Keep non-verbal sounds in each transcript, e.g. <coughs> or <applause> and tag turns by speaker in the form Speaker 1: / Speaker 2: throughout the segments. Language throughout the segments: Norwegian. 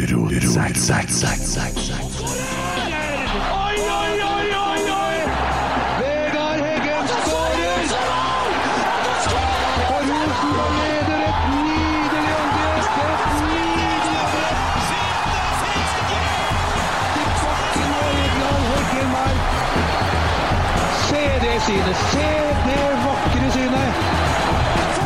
Speaker 1: Zack, zack, zack, zack, zack.
Speaker 2: Oi, oi, oi, oi, oi! Vegard Heggen skårer! Og Rosenborg leder et nydelig angrep! Et nydelig angrep! Til bakken og Egil Heggen her. Se det synet! Se det vakre synet!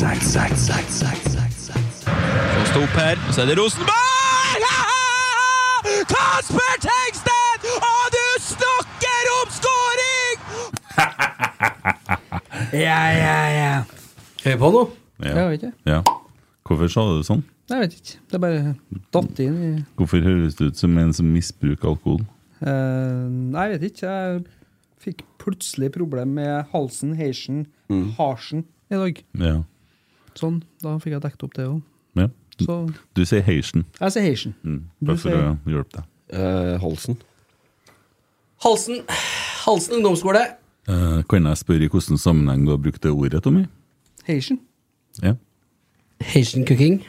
Speaker 1: Zack, zack, zack, zack, zack, zack, zack.
Speaker 3: Og stå opp her, og så er det Rosenborg! Kasper Tengstedt! Og du snakker om skåring!
Speaker 4: Ja, ja, ja. Er vi på nå?
Speaker 5: Ja.
Speaker 4: Jeg vet ikke.
Speaker 5: ja. Hvorfor sa du det sånn?
Speaker 4: Jeg vet ikke. Det er bare datt inn i
Speaker 5: Hvorfor høres du ut som en som misbruker alkohol?
Speaker 4: Eh, Nei, jeg vet ikke. Jeg fikk plutselig problem med halsen, heisen, harsen i dag.
Speaker 5: Ja.
Speaker 4: Sånn. Da fikk jeg dekket opp det òg.
Speaker 5: ja.
Speaker 4: Så
Speaker 5: Du sier Haitian,
Speaker 4: jeg sier heisen.
Speaker 5: bare
Speaker 4: Du
Speaker 5: for å
Speaker 4: sier-
Speaker 5: hjelpe deg.
Speaker 1: Eh, Holsen.
Speaker 6: Halsen, Halsen ungdomsskole.
Speaker 5: Eh, kan jeg spørre i hvilken sammenheng du har brukt det ordet, Tommy?
Speaker 4: Heisen.
Speaker 5: Ja.
Speaker 6: Haitian cooking.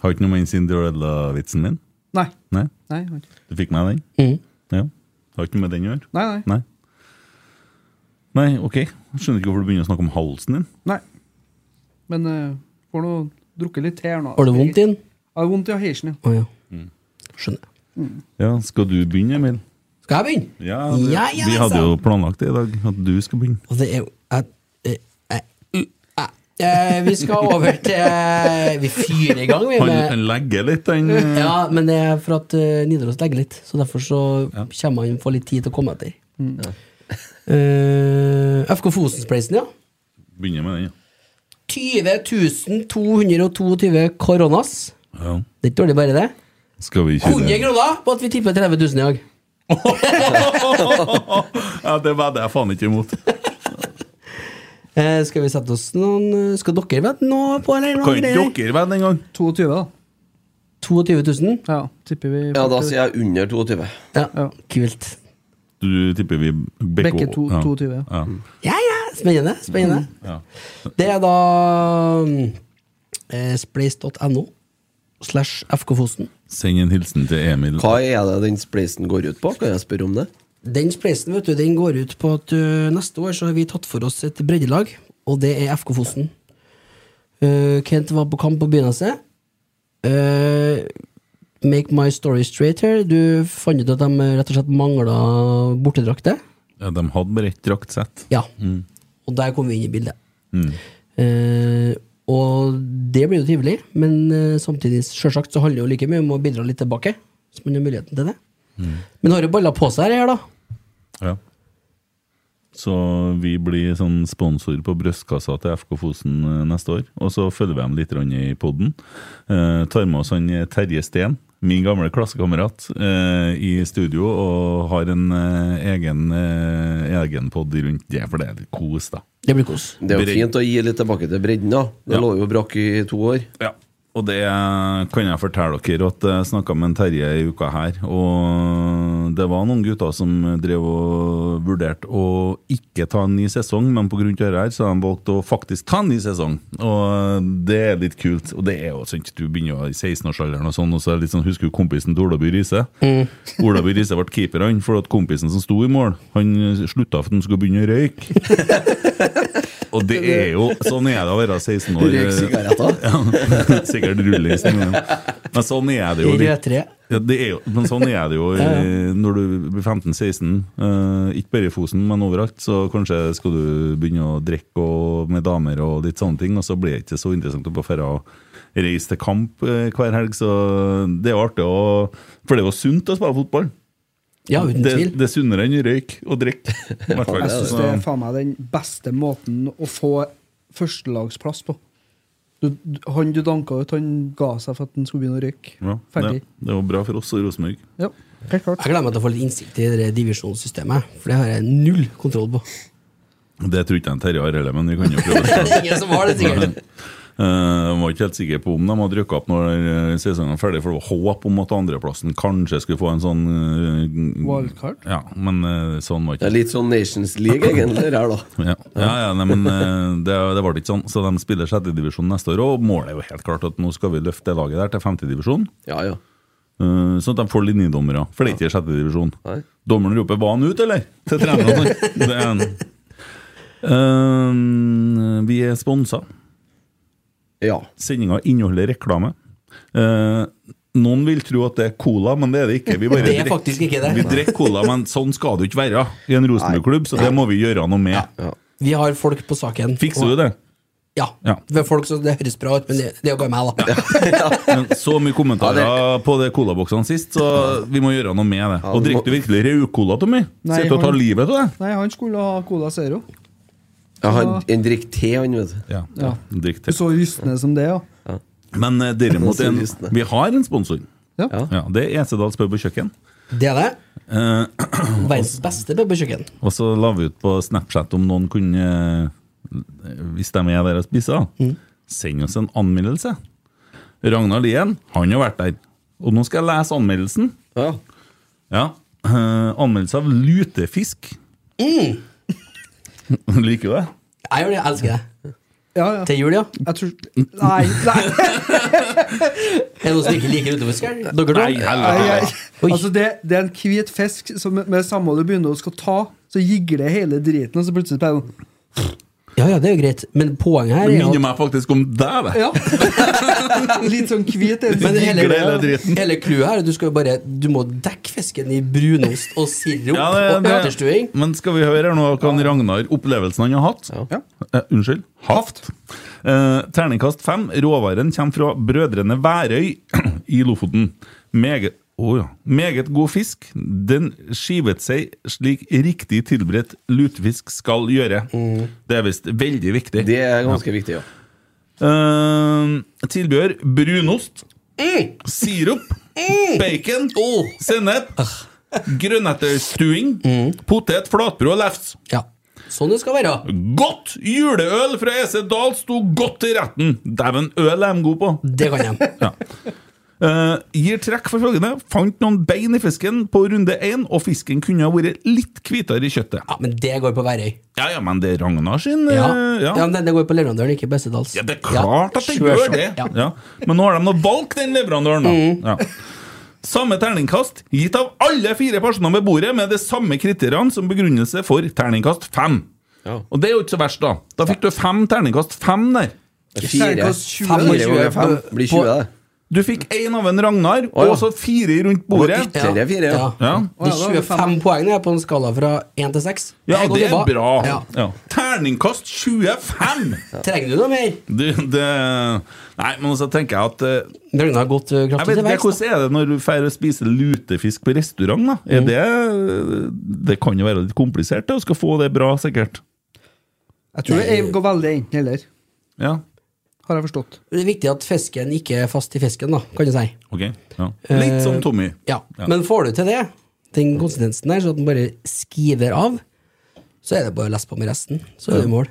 Speaker 5: Har ikke noe med Cinderella-vitsen din?
Speaker 4: Nei.
Speaker 5: Nei?
Speaker 4: Nei, jeg vet ikke.
Speaker 5: Du fikk med den?
Speaker 6: Mm.
Speaker 5: Ja. Har ikke noe med den å gjøre?
Speaker 4: nei. nei.
Speaker 5: Nei. Nei, ok. Skjønner ikke hvorfor du begynner å snakke om halsen din.
Speaker 4: nei. Men uh, får nå drukket litt te her nå.
Speaker 6: Har du vondt i den?
Speaker 4: Jeg har vondt i heisen, ja.
Speaker 6: Å ja. Skjønner.
Speaker 5: Ja, Skal du begynne, Emil?
Speaker 6: Skal jeg begynne?
Speaker 5: Ja, det,
Speaker 6: Ja, ja, altså.
Speaker 5: Vi hadde
Speaker 6: sant.
Speaker 5: jo planlagt det i dag, at du skal begynne.
Speaker 6: Og det er jo at, eh, eh, uh, eh, eh, Vi skal over til eh, Vi fyrer i gang, vi.
Speaker 5: Han,
Speaker 6: Med,
Speaker 5: han legger litt, han. eh,
Speaker 6: ja, men det er for at eh, Nidaros legger litt, så derfor så kommer han få litt tid til å komme etter. Eh, FK Fosenspreisen, ja.
Speaker 5: Begynner med den, ja.
Speaker 6: 20 222 koronas.
Speaker 5: ja.
Speaker 6: Det er ikke dårlig, bare det.
Speaker 5: Skal vi
Speaker 6: 100
Speaker 5: ikke
Speaker 6: kroner på at vi tipper 30 000 i dag.
Speaker 5: Ja, Det vedder jeg faen ikke imot.
Speaker 6: Eh, skal vi sette oss noen eh, Skal dere vedde noe på, eller? noe
Speaker 5: Kan ikke
Speaker 6: greier?
Speaker 5: dere vedde engang?
Speaker 4: 22, da.
Speaker 6: 22 000?
Speaker 4: Ja, tipper vi
Speaker 1: Ja, da sier jeg under 22.
Speaker 6: Ja,
Speaker 4: Ja.
Speaker 6: kult.
Speaker 5: Du tipper vi Bekke,
Speaker 4: Bekke to- 22, ja.
Speaker 5: ja.
Speaker 6: Ja, ja, spennende. spennende.
Speaker 5: ja.
Speaker 6: Det er da mm, eh, spleis.no slash FK Fosen.
Speaker 5: Send en hilsen til Emil.
Speaker 1: Hva er det den spleisen går ut på? Kan jeg spørre om det?
Speaker 6: Den spleisen vet du, den går ut på at ø, neste år så har vi tatt for oss et breddelag, og det er FK Fosen. Uh, Kent var på kamp på begynnelse. Uh, make my story straight here. Du fant ut at de rett og slett mangla bortedrakter.
Speaker 5: Ja, de hadde bare ett draktsett.
Speaker 6: Ja. Og der kom vi inn i bildet. Eh, og det blir jo trivelig, men eh, samtidig selvsagt, så handler det jo like mye om å bidra litt tilbake. Hvis man har muligheten til det. Men har jo baller på seg her, da.
Speaker 5: Ja. Så vi blir sånn sponsor på brystkassa til FK Fosen eh, neste år. Og så følger vi dem litt grann i poden. Eh, tar med oss han eh, Terje Steen, min gamle klassekamerat, eh, i studio og har en eh, egen, eh, egen pod rundt det, for det er litt kos, da.
Speaker 6: Det blir kos.
Speaker 1: Det er
Speaker 5: Bredden.
Speaker 1: jo fint å gi litt tilbake til bredden, da. Det
Speaker 5: Ja.
Speaker 1: lå jo brakk i to år.
Speaker 5: Ja, og det kan jeg fortelle dere at jeg snakka med en Terje i uka her, og det var noen gutter som drev og vurderte å ikke ta en ny sesong, men pga. dette her, så har de valgt å faktisk ta en ny sesong. Og det er litt kult. Og det er jo sånn at du begynner jo i 16-årsalderen og sånn, og så er det litt sånn, husker du kompisen til Olaby Riise? Olaby Riise ble keeper, han, for at kompisen som sto i mål, han slutta for at han skulle begynne å røyke. Og det er jo Sånn er det å være 16 år.
Speaker 1: Røyk sigaretter.
Speaker 5: <laughs> Ja, Sikkert rullingsen min. Men sånn er det jo.
Speaker 6: I
Speaker 5: litt.
Speaker 6: rødtre.
Speaker 5: Ja, det er jo, men sånn er det jo i- når du blir 15-16. eh, ikke bare i Fosen, men overalt. Så kanskje skal du begynne å drikke og, med damer og litt sånne ting, og så blir det ikke så interessant å bare dra og reise til kamp eh, hver helg. Så det er jo artig å For det er jo sunt å spille fotball.
Speaker 6: Ja, uten
Speaker 5: Det,
Speaker 6: tvil.
Speaker 5: det er sunnere enn røyk og drikke. i hvert fall.
Speaker 4: Jeg syns det
Speaker 5: Så-
Speaker 4: er faen meg den beste måten å få førstelagsplass på. Du, du- han du danka ut, han ga seg for at han skulle begynne å røyke.
Speaker 5: Ja, det,
Speaker 4: Ferdig.
Speaker 5: det var bra for oss og Rosenborg.
Speaker 4: Ja, helt klart.
Speaker 6: Jeg gleder meg til å få litt innsikt i det der divisjonssystemet, for det har jeg null kontroll
Speaker 5: <laughs>
Speaker 6: på.
Speaker 5: Det tror ikke jeg en Terje har heller, men vi kan jo prøve.
Speaker 4: <laughs>
Speaker 5: å se.
Speaker 6: Ingen som har det, sikkert.
Speaker 5: Eh, Jeg var ikke helt sikker på om de hadde rykka opp når eh, sesongen var ferdig, for det var håp om at andreplassen kanskje skulle få en sånn eh,
Speaker 4: Wildcard?
Speaker 5: Ja, men eh, sånn var
Speaker 1: Det
Speaker 5: ikke
Speaker 1: er litt sånn Nations League egentlig det her, da.
Speaker 5: Ja, ja, ja nei, men eh, det, det ble ikke sånn. Så de spiller sjettedivisjon neste år, og målet er jo helt klart at nå skal vi løfte det laget der til femtedivisjon.
Speaker 1: Ja, ja.
Speaker 5: Uh, sånn at de får linjedommere, for det er ikke i sjette divisjon.
Speaker 1: Nei.
Speaker 5: Dommeren roper 'var han ut', eller? Til treneren. sånn. det er en. Eh, vi er sponsa.
Speaker 1: ja.
Speaker 5: Sendinga inneholder reklame. Eh, noen vil tro at det er cola, men det er det ikke. Vi bare
Speaker 6: Det er
Speaker 5: drikker-
Speaker 6: faktisk ikke det.
Speaker 5: Vi drikker cola, men sånn skal det jo ikke være i en Rosenborg-klubb, så det må vi gjøre noe med.
Speaker 6: Vi har folk på saken.
Speaker 5: Fikser du det?
Speaker 6: Ja.
Speaker 5: Ja.
Speaker 6: Det er folk som det høres bra ut, men det, det er jo bare meg, da.
Speaker 5: Men så mye kommentarer
Speaker 1: Ja,
Speaker 5: på det colaboksene sist, så vi må gjøre noe med det.
Speaker 1: Ja,
Speaker 5: Og
Speaker 1: vi må-
Speaker 5: drikker du virkelig Raucola, Tommy?
Speaker 4: Nei,
Speaker 5: Sitter du og tar
Speaker 4: han-
Speaker 5: livet av det?
Speaker 4: Nei, han skulle ha Cola Zero.
Speaker 1: ja han, en drikk te, han, vet du.
Speaker 5: Ja.
Speaker 4: Ja.
Speaker 5: Drikk
Speaker 4: Du
Speaker 5: til.
Speaker 4: så rystende som det, ja.
Speaker 5: Men eh, derimot,
Speaker 1: Så
Speaker 5: en,
Speaker 1: lystne.
Speaker 5: vi har en sponsor.
Speaker 4: Ja.
Speaker 1: Ja.
Speaker 5: Ja, det er Esedals pub og kjøkken.
Speaker 6: Det er det.
Speaker 5: Eh,
Speaker 6: Verdens beste pubkjøkken.
Speaker 5: og så la vi ut på Snapchat om noen kunne eh, Hvis de er der og spiser, send oss en anmeldelse. Ragnar Lien, han har vært der. Og nå skal jeg lese anmeldelsen.
Speaker 1: Ja.
Speaker 5: Ja. eh, anmeldelse av lutefisk. Mm. <laughs> Liker du det?
Speaker 6: Jeg gjør det, jeg elsker det.
Speaker 4: ja, ja.
Speaker 6: Til jul, ja.
Speaker 4: Jeg tror Nei, nei.
Speaker 6: Er det noen som ikke liker utover skjell? Dere
Speaker 5: Nei,
Speaker 6: to?
Speaker 5: helvete.
Speaker 4: jeg,
Speaker 6: Oi.
Speaker 4: altså det, det er en hvit fisk som med det samme du begynner å skal ta, så gigler hele driten, og så plutselig sånn, blir den
Speaker 6: Ja, ja, det er jo greit, men poenget her
Speaker 5: Det
Speaker 6: er
Speaker 5: minner
Speaker 6: at
Speaker 5: meg faktisk om deg, det.
Speaker 4: Ja! <laughs> Litt sånn hvit. er det.
Speaker 6: men hele,
Speaker 5: Gigler hele driten.
Speaker 6: hele clouet her er at du skal jo bare Du må dekke fisken i brunost og sirup
Speaker 5: Ja, det-
Speaker 6: og
Speaker 5: det-
Speaker 6: etterstuing.
Speaker 5: Men skal vi høre her nå hva han Ragnar opplevelsen han har hatt?
Speaker 1: Ja.
Speaker 5: Eh, unnskyld. Haft. Eh, terningkast fem. Råvaren kommer fra Brødrene Værøy <clears throat> i Lofoten. Meget å ja. Meget god fisk. Den skivet seg slik riktig tilberedt lutefisk skal gjøre. Det er visst veldig viktig.
Speaker 1: Det er ganske viktig, ja.
Speaker 5: Eh, tilbehør brunost,
Speaker 6: Mm,
Speaker 5: sirup, bacon,
Speaker 6: Oh,
Speaker 5: sennep, grønnetterstuing, potet, flatbrød og lefs.
Speaker 6: Ja. Sånn det skal være.
Speaker 5: Godt juleøl fra EC Dahl sto godt til retten. Dæven, øl er de gode på.
Speaker 6: Det
Speaker 5: <laughs>
Speaker 6: kan jeg.
Speaker 5: Eh, gir trekk for følgende. Fant noen bein i fisken på runde én, og fisken kunne ha vært litt hvitere i kjøttet.
Speaker 6: Ja, Men det går på Værøy.
Speaker 5: Ja, ja, men det er Ragnar sin eh,
Speaker 6: Ja.
Speaker 5: ja.
Speaker 6: Ja, men det- det går på leverandøren, ikke Bessedals.
Speaker 5: Ja, det er klart at det gjør
Speaker 6: sjølsagt,
Speaker 5: det!
Speaker 6: Ja.
Speaker 5: Ja. Men nå har de nå valgt den leverandøren, da. Ja. Samme terningkast gitt av alle fire personene ved bordet med de samme kriteriene som begrunnelse for terningkast fem.
Speaker 1: Ja.
Speaker 5: Og det er jo ikke så verst, da. Da fikk du fem terningkast fem der.
Speaker 1: Fire.
Speaker 4: Terningkast 20.
Speaker 1: Fire ganger fem blir 20,
Speaker 6: På-
Speaker 1: det.
Speaker 5: Du fikk én av en Ragnar,
Speaker 1: Å, ja.
Speaker 5: og så fire rundt bordet.
Speaker 1: Og ytterligere fire, ja.
Speaker 5: Ja.
Speaker 6: De 25 poengene er på en skala fra 1 til 6.
Speaker 5: Ja,
Speaker 6: Jeg går
Speaker 5: det er
Speaker 6: tilbake.
Speaker 5: bra.
Speaker 6: Ja.
Speaker 5: Ja. Terningkast 25!
Speaker 6: Trenger du noe mer?
Speaker 5: Du, det Nei, men så tenker jeg at eh,
Speaker 6: Ragnar har gått eh,
Speaker 5: Jeg
Speaker 6: kraftig
Speaker 5: vet ikke,
Speaker 6: til verks.
Speaker 5: Hvordan er det når du drar og spiser lutefisk på restaurant? da?
Speaker 6: Mm.
Speaker 5: Er det, det kan jo være litt komplisert det, å skal få det bra, sikkert.
Speaker 4: Jeg tror det går veldig enten eller,
Speaker 5: Ja,
Speaker 4: har jeg forstått.
Speaker 6: da. Det er viktig at fisken ikke er fast i fisken, da, kan du si.
Speaker 5: ok. Ja.
Speaker 6: Eh,
Speaker 5: Litt som Tommy.
Speaker 6: Ja. Men får du til det, den konsistensen der, så at den bare skiver av, så er det bare å lese på med resten. Så er det mål.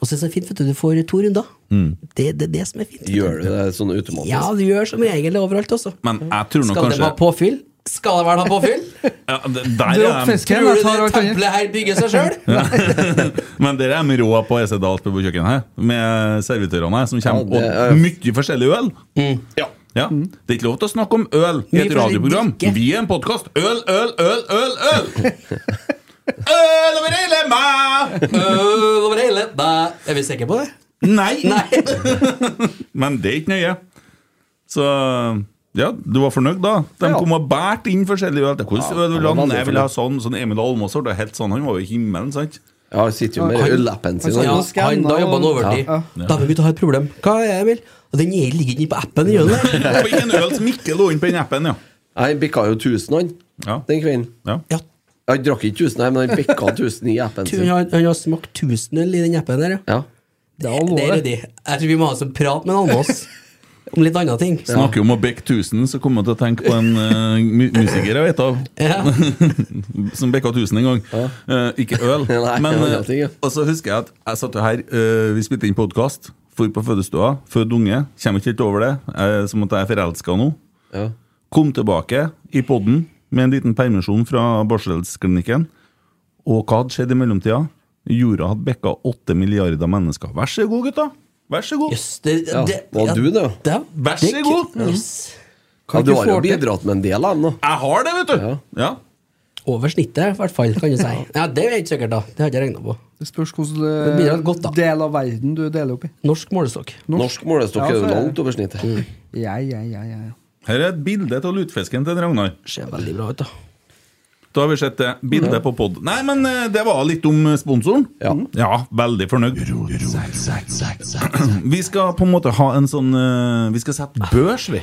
Speaker 6: Og så er det så fint, vet du. Du får to runder. Det er det, er det som er fint. vet du.
Speaker 1: Gjør du det sånn automatisk?
Speaker 6: Ja, du gjør som regel overalt også.
Speaker 5: Men jeg tror nok
Speaker 6: Skal de
Speaker 5: kanskje
Speaker 6: ha påfyll? Skal de vel ha påfyll?
Speaker 5: ja, det- Der
Speaker 4: Dropp
Speaker 5: er de.
Speaker 4: fisken, jeg
Speaker 6: Tror du
Speaker 4: tar
Speaker 6: det
Speaker 4: alt annet.
Speaker 6: tempelet her bygger seg sjøl?
Speaker 5: <laughs> Men der er de rå på EC Dahls pub og kjøkken her, med servitørene her, som kommer
Speaker 1: Ja, det er-
Speaker 5: og mye forskjellig øl. Ja. Det er ikke lov til å snakke om øl i
Speaker 6: Mm. Mye
Speaker 5: et radioprogram.
Speaker 6: forskjellig drikke.
Speaker 5: Vi er en podkast. Øl, øl, øl, øl, øl!
Speaker 6: <laughs>
Speaker 5: Øl over hele meg!
Speaker 6: <laughs> Øl over hele Nei, Er vi sikre på det?
Speaker 5: Nei!
Speaker 6: Nei.
Speaker 5: Men det er ikke nøye. Så ja, du var fornøyd da? De
Speaker 4: Ja.
Speaker 5: kom og bært inn forskjellige øl. Hvordan øl vil
Speaker 1: han
Speaker 5: du
Speaker 1: var
Speaker 5: ha?
Speaker 1: veldig
Speaker 5: Nei, Jeg vil ha sånn, sånn Emil Almås var helt sånn. Han var jo i himmelen, sant?
Speaker 1: Ja, han sitter jo med
Speaker 4: Han-
Speaker 1: øllappen sin.
Speaker 4: han
Speaker 6: Ja,
Speaker 1: han.
Speaker 4: satt-
Speaker 6: han, da jobber han overtid.
Speaker 4: Ja.
Speaker 6: Da vil vi ta et problem. Hva er det, Emil? Og den er- ligger ikke inne på appen. Gjør den
Speaker 5: <laughs> Det
Speaker 6: det?
Speaker 5: var ingen øl som ikke lå inn på den appen, ja.
Speaker 1: Nei, Han bikka jo 1000, han,
Speaker 5: Ja.
Speaker 1: den kvelden.
Speaker 5: ja.
Speaker 6: Ja,
Speaker 1: Han drakk ikke 1000, nei, men han bikka 1000 i appen
Speaker 6: tu- han,
Speaker 1: sin.
Speaker 6: har, han har smakt 1000 øl i den appen der, ja.
Speaker 1: Ja.
Speaker 4: Det er
Speaker 6: Det er
Speaker 4: alvorlig.
Speaker 6: ryddig. Jeg tror vi må ha oss en prat med en annen av oss om litt andre ting.
Speaker 5: Snakker jo om å bekke 1000, så kommer jeg til å tenke på en eh, mu musiker jeg vet av,
Speaker 6: Ja.
Speaker 5: <laughs> som bekka 1000 en gang. Eh, ikke øl.
Speaker 1: <laughs> Nei,
Speaker 5: men,
Speaker 1: det var en
Speaker 5: eh,
Speaker 1: annen ting, ja.
Speaker 5: og så husker jeg at jeg satt jo her, eh, vi spilte inn podkast, for på fødestua, født unge, kommer ikke helt over det, eh, som at jeg er forelska nå.
Speaker 1: Ja.
Speaker 5: Kom tilbake i podden med en liten permisjon fra barselsklinikken. Og hva hadde skjedd i mellomtida? Jorda hadde bekka åtte milliarder mennesker. Vær så god, gutta! Vær så god!
Speaker 6: Jøss, det, det,
Speaker 1: Ja, var du det?
Speaker 6: det-
Speaker 5: Vær så
Speaker 6: det-
Speaker 5: god.
Speaker 6: Jøss.
Speaker 1: ja, du
Speaker 4: ikke
Speaker 1: har
Speaker 4: få
Speaker 1: jo
Speaker 4: til.
Speaker 1: bidratt med en del av dem, da.
Speaker 5: Jeg har det, vet du!
Speaker 1: Ja.
Speaker 5: ja.
Speaker 6: Over snittet, i hvert fall, kan du si. Ja, det er ikke sikkert, da. Det har jeg ikke regna på.
Speaker 4: Det spørs
Speaker 6: Det blir jo godt, da.
Speaker 4: hvilken del av verden du deler opp i.
Speaker 6: Norsk målestokk.
Speaker 1: Norsk målestokk
Speaker 4: Ja,
Speaker 1: er jo
Speaker 4: så er det. Mm.
Speaker 1: langt over snittet.
Speaker 4: Ja, ja, ja, ja. ja.
Speaker 5: Her er et bilde av lutefisken til Ragnar.
Speaker 6: Ser veldig bra ut, da.
Speaker 5: Da har vi sett det. Bilde på pod. Nei, men eh, det var litt om eh, sponsoren.
Speaker 1: Ja.
Speaker 5: veldig fornøyd. <clears throat> Vi skal på en måte ha en sånn eh, Vi skal sette børs, vi.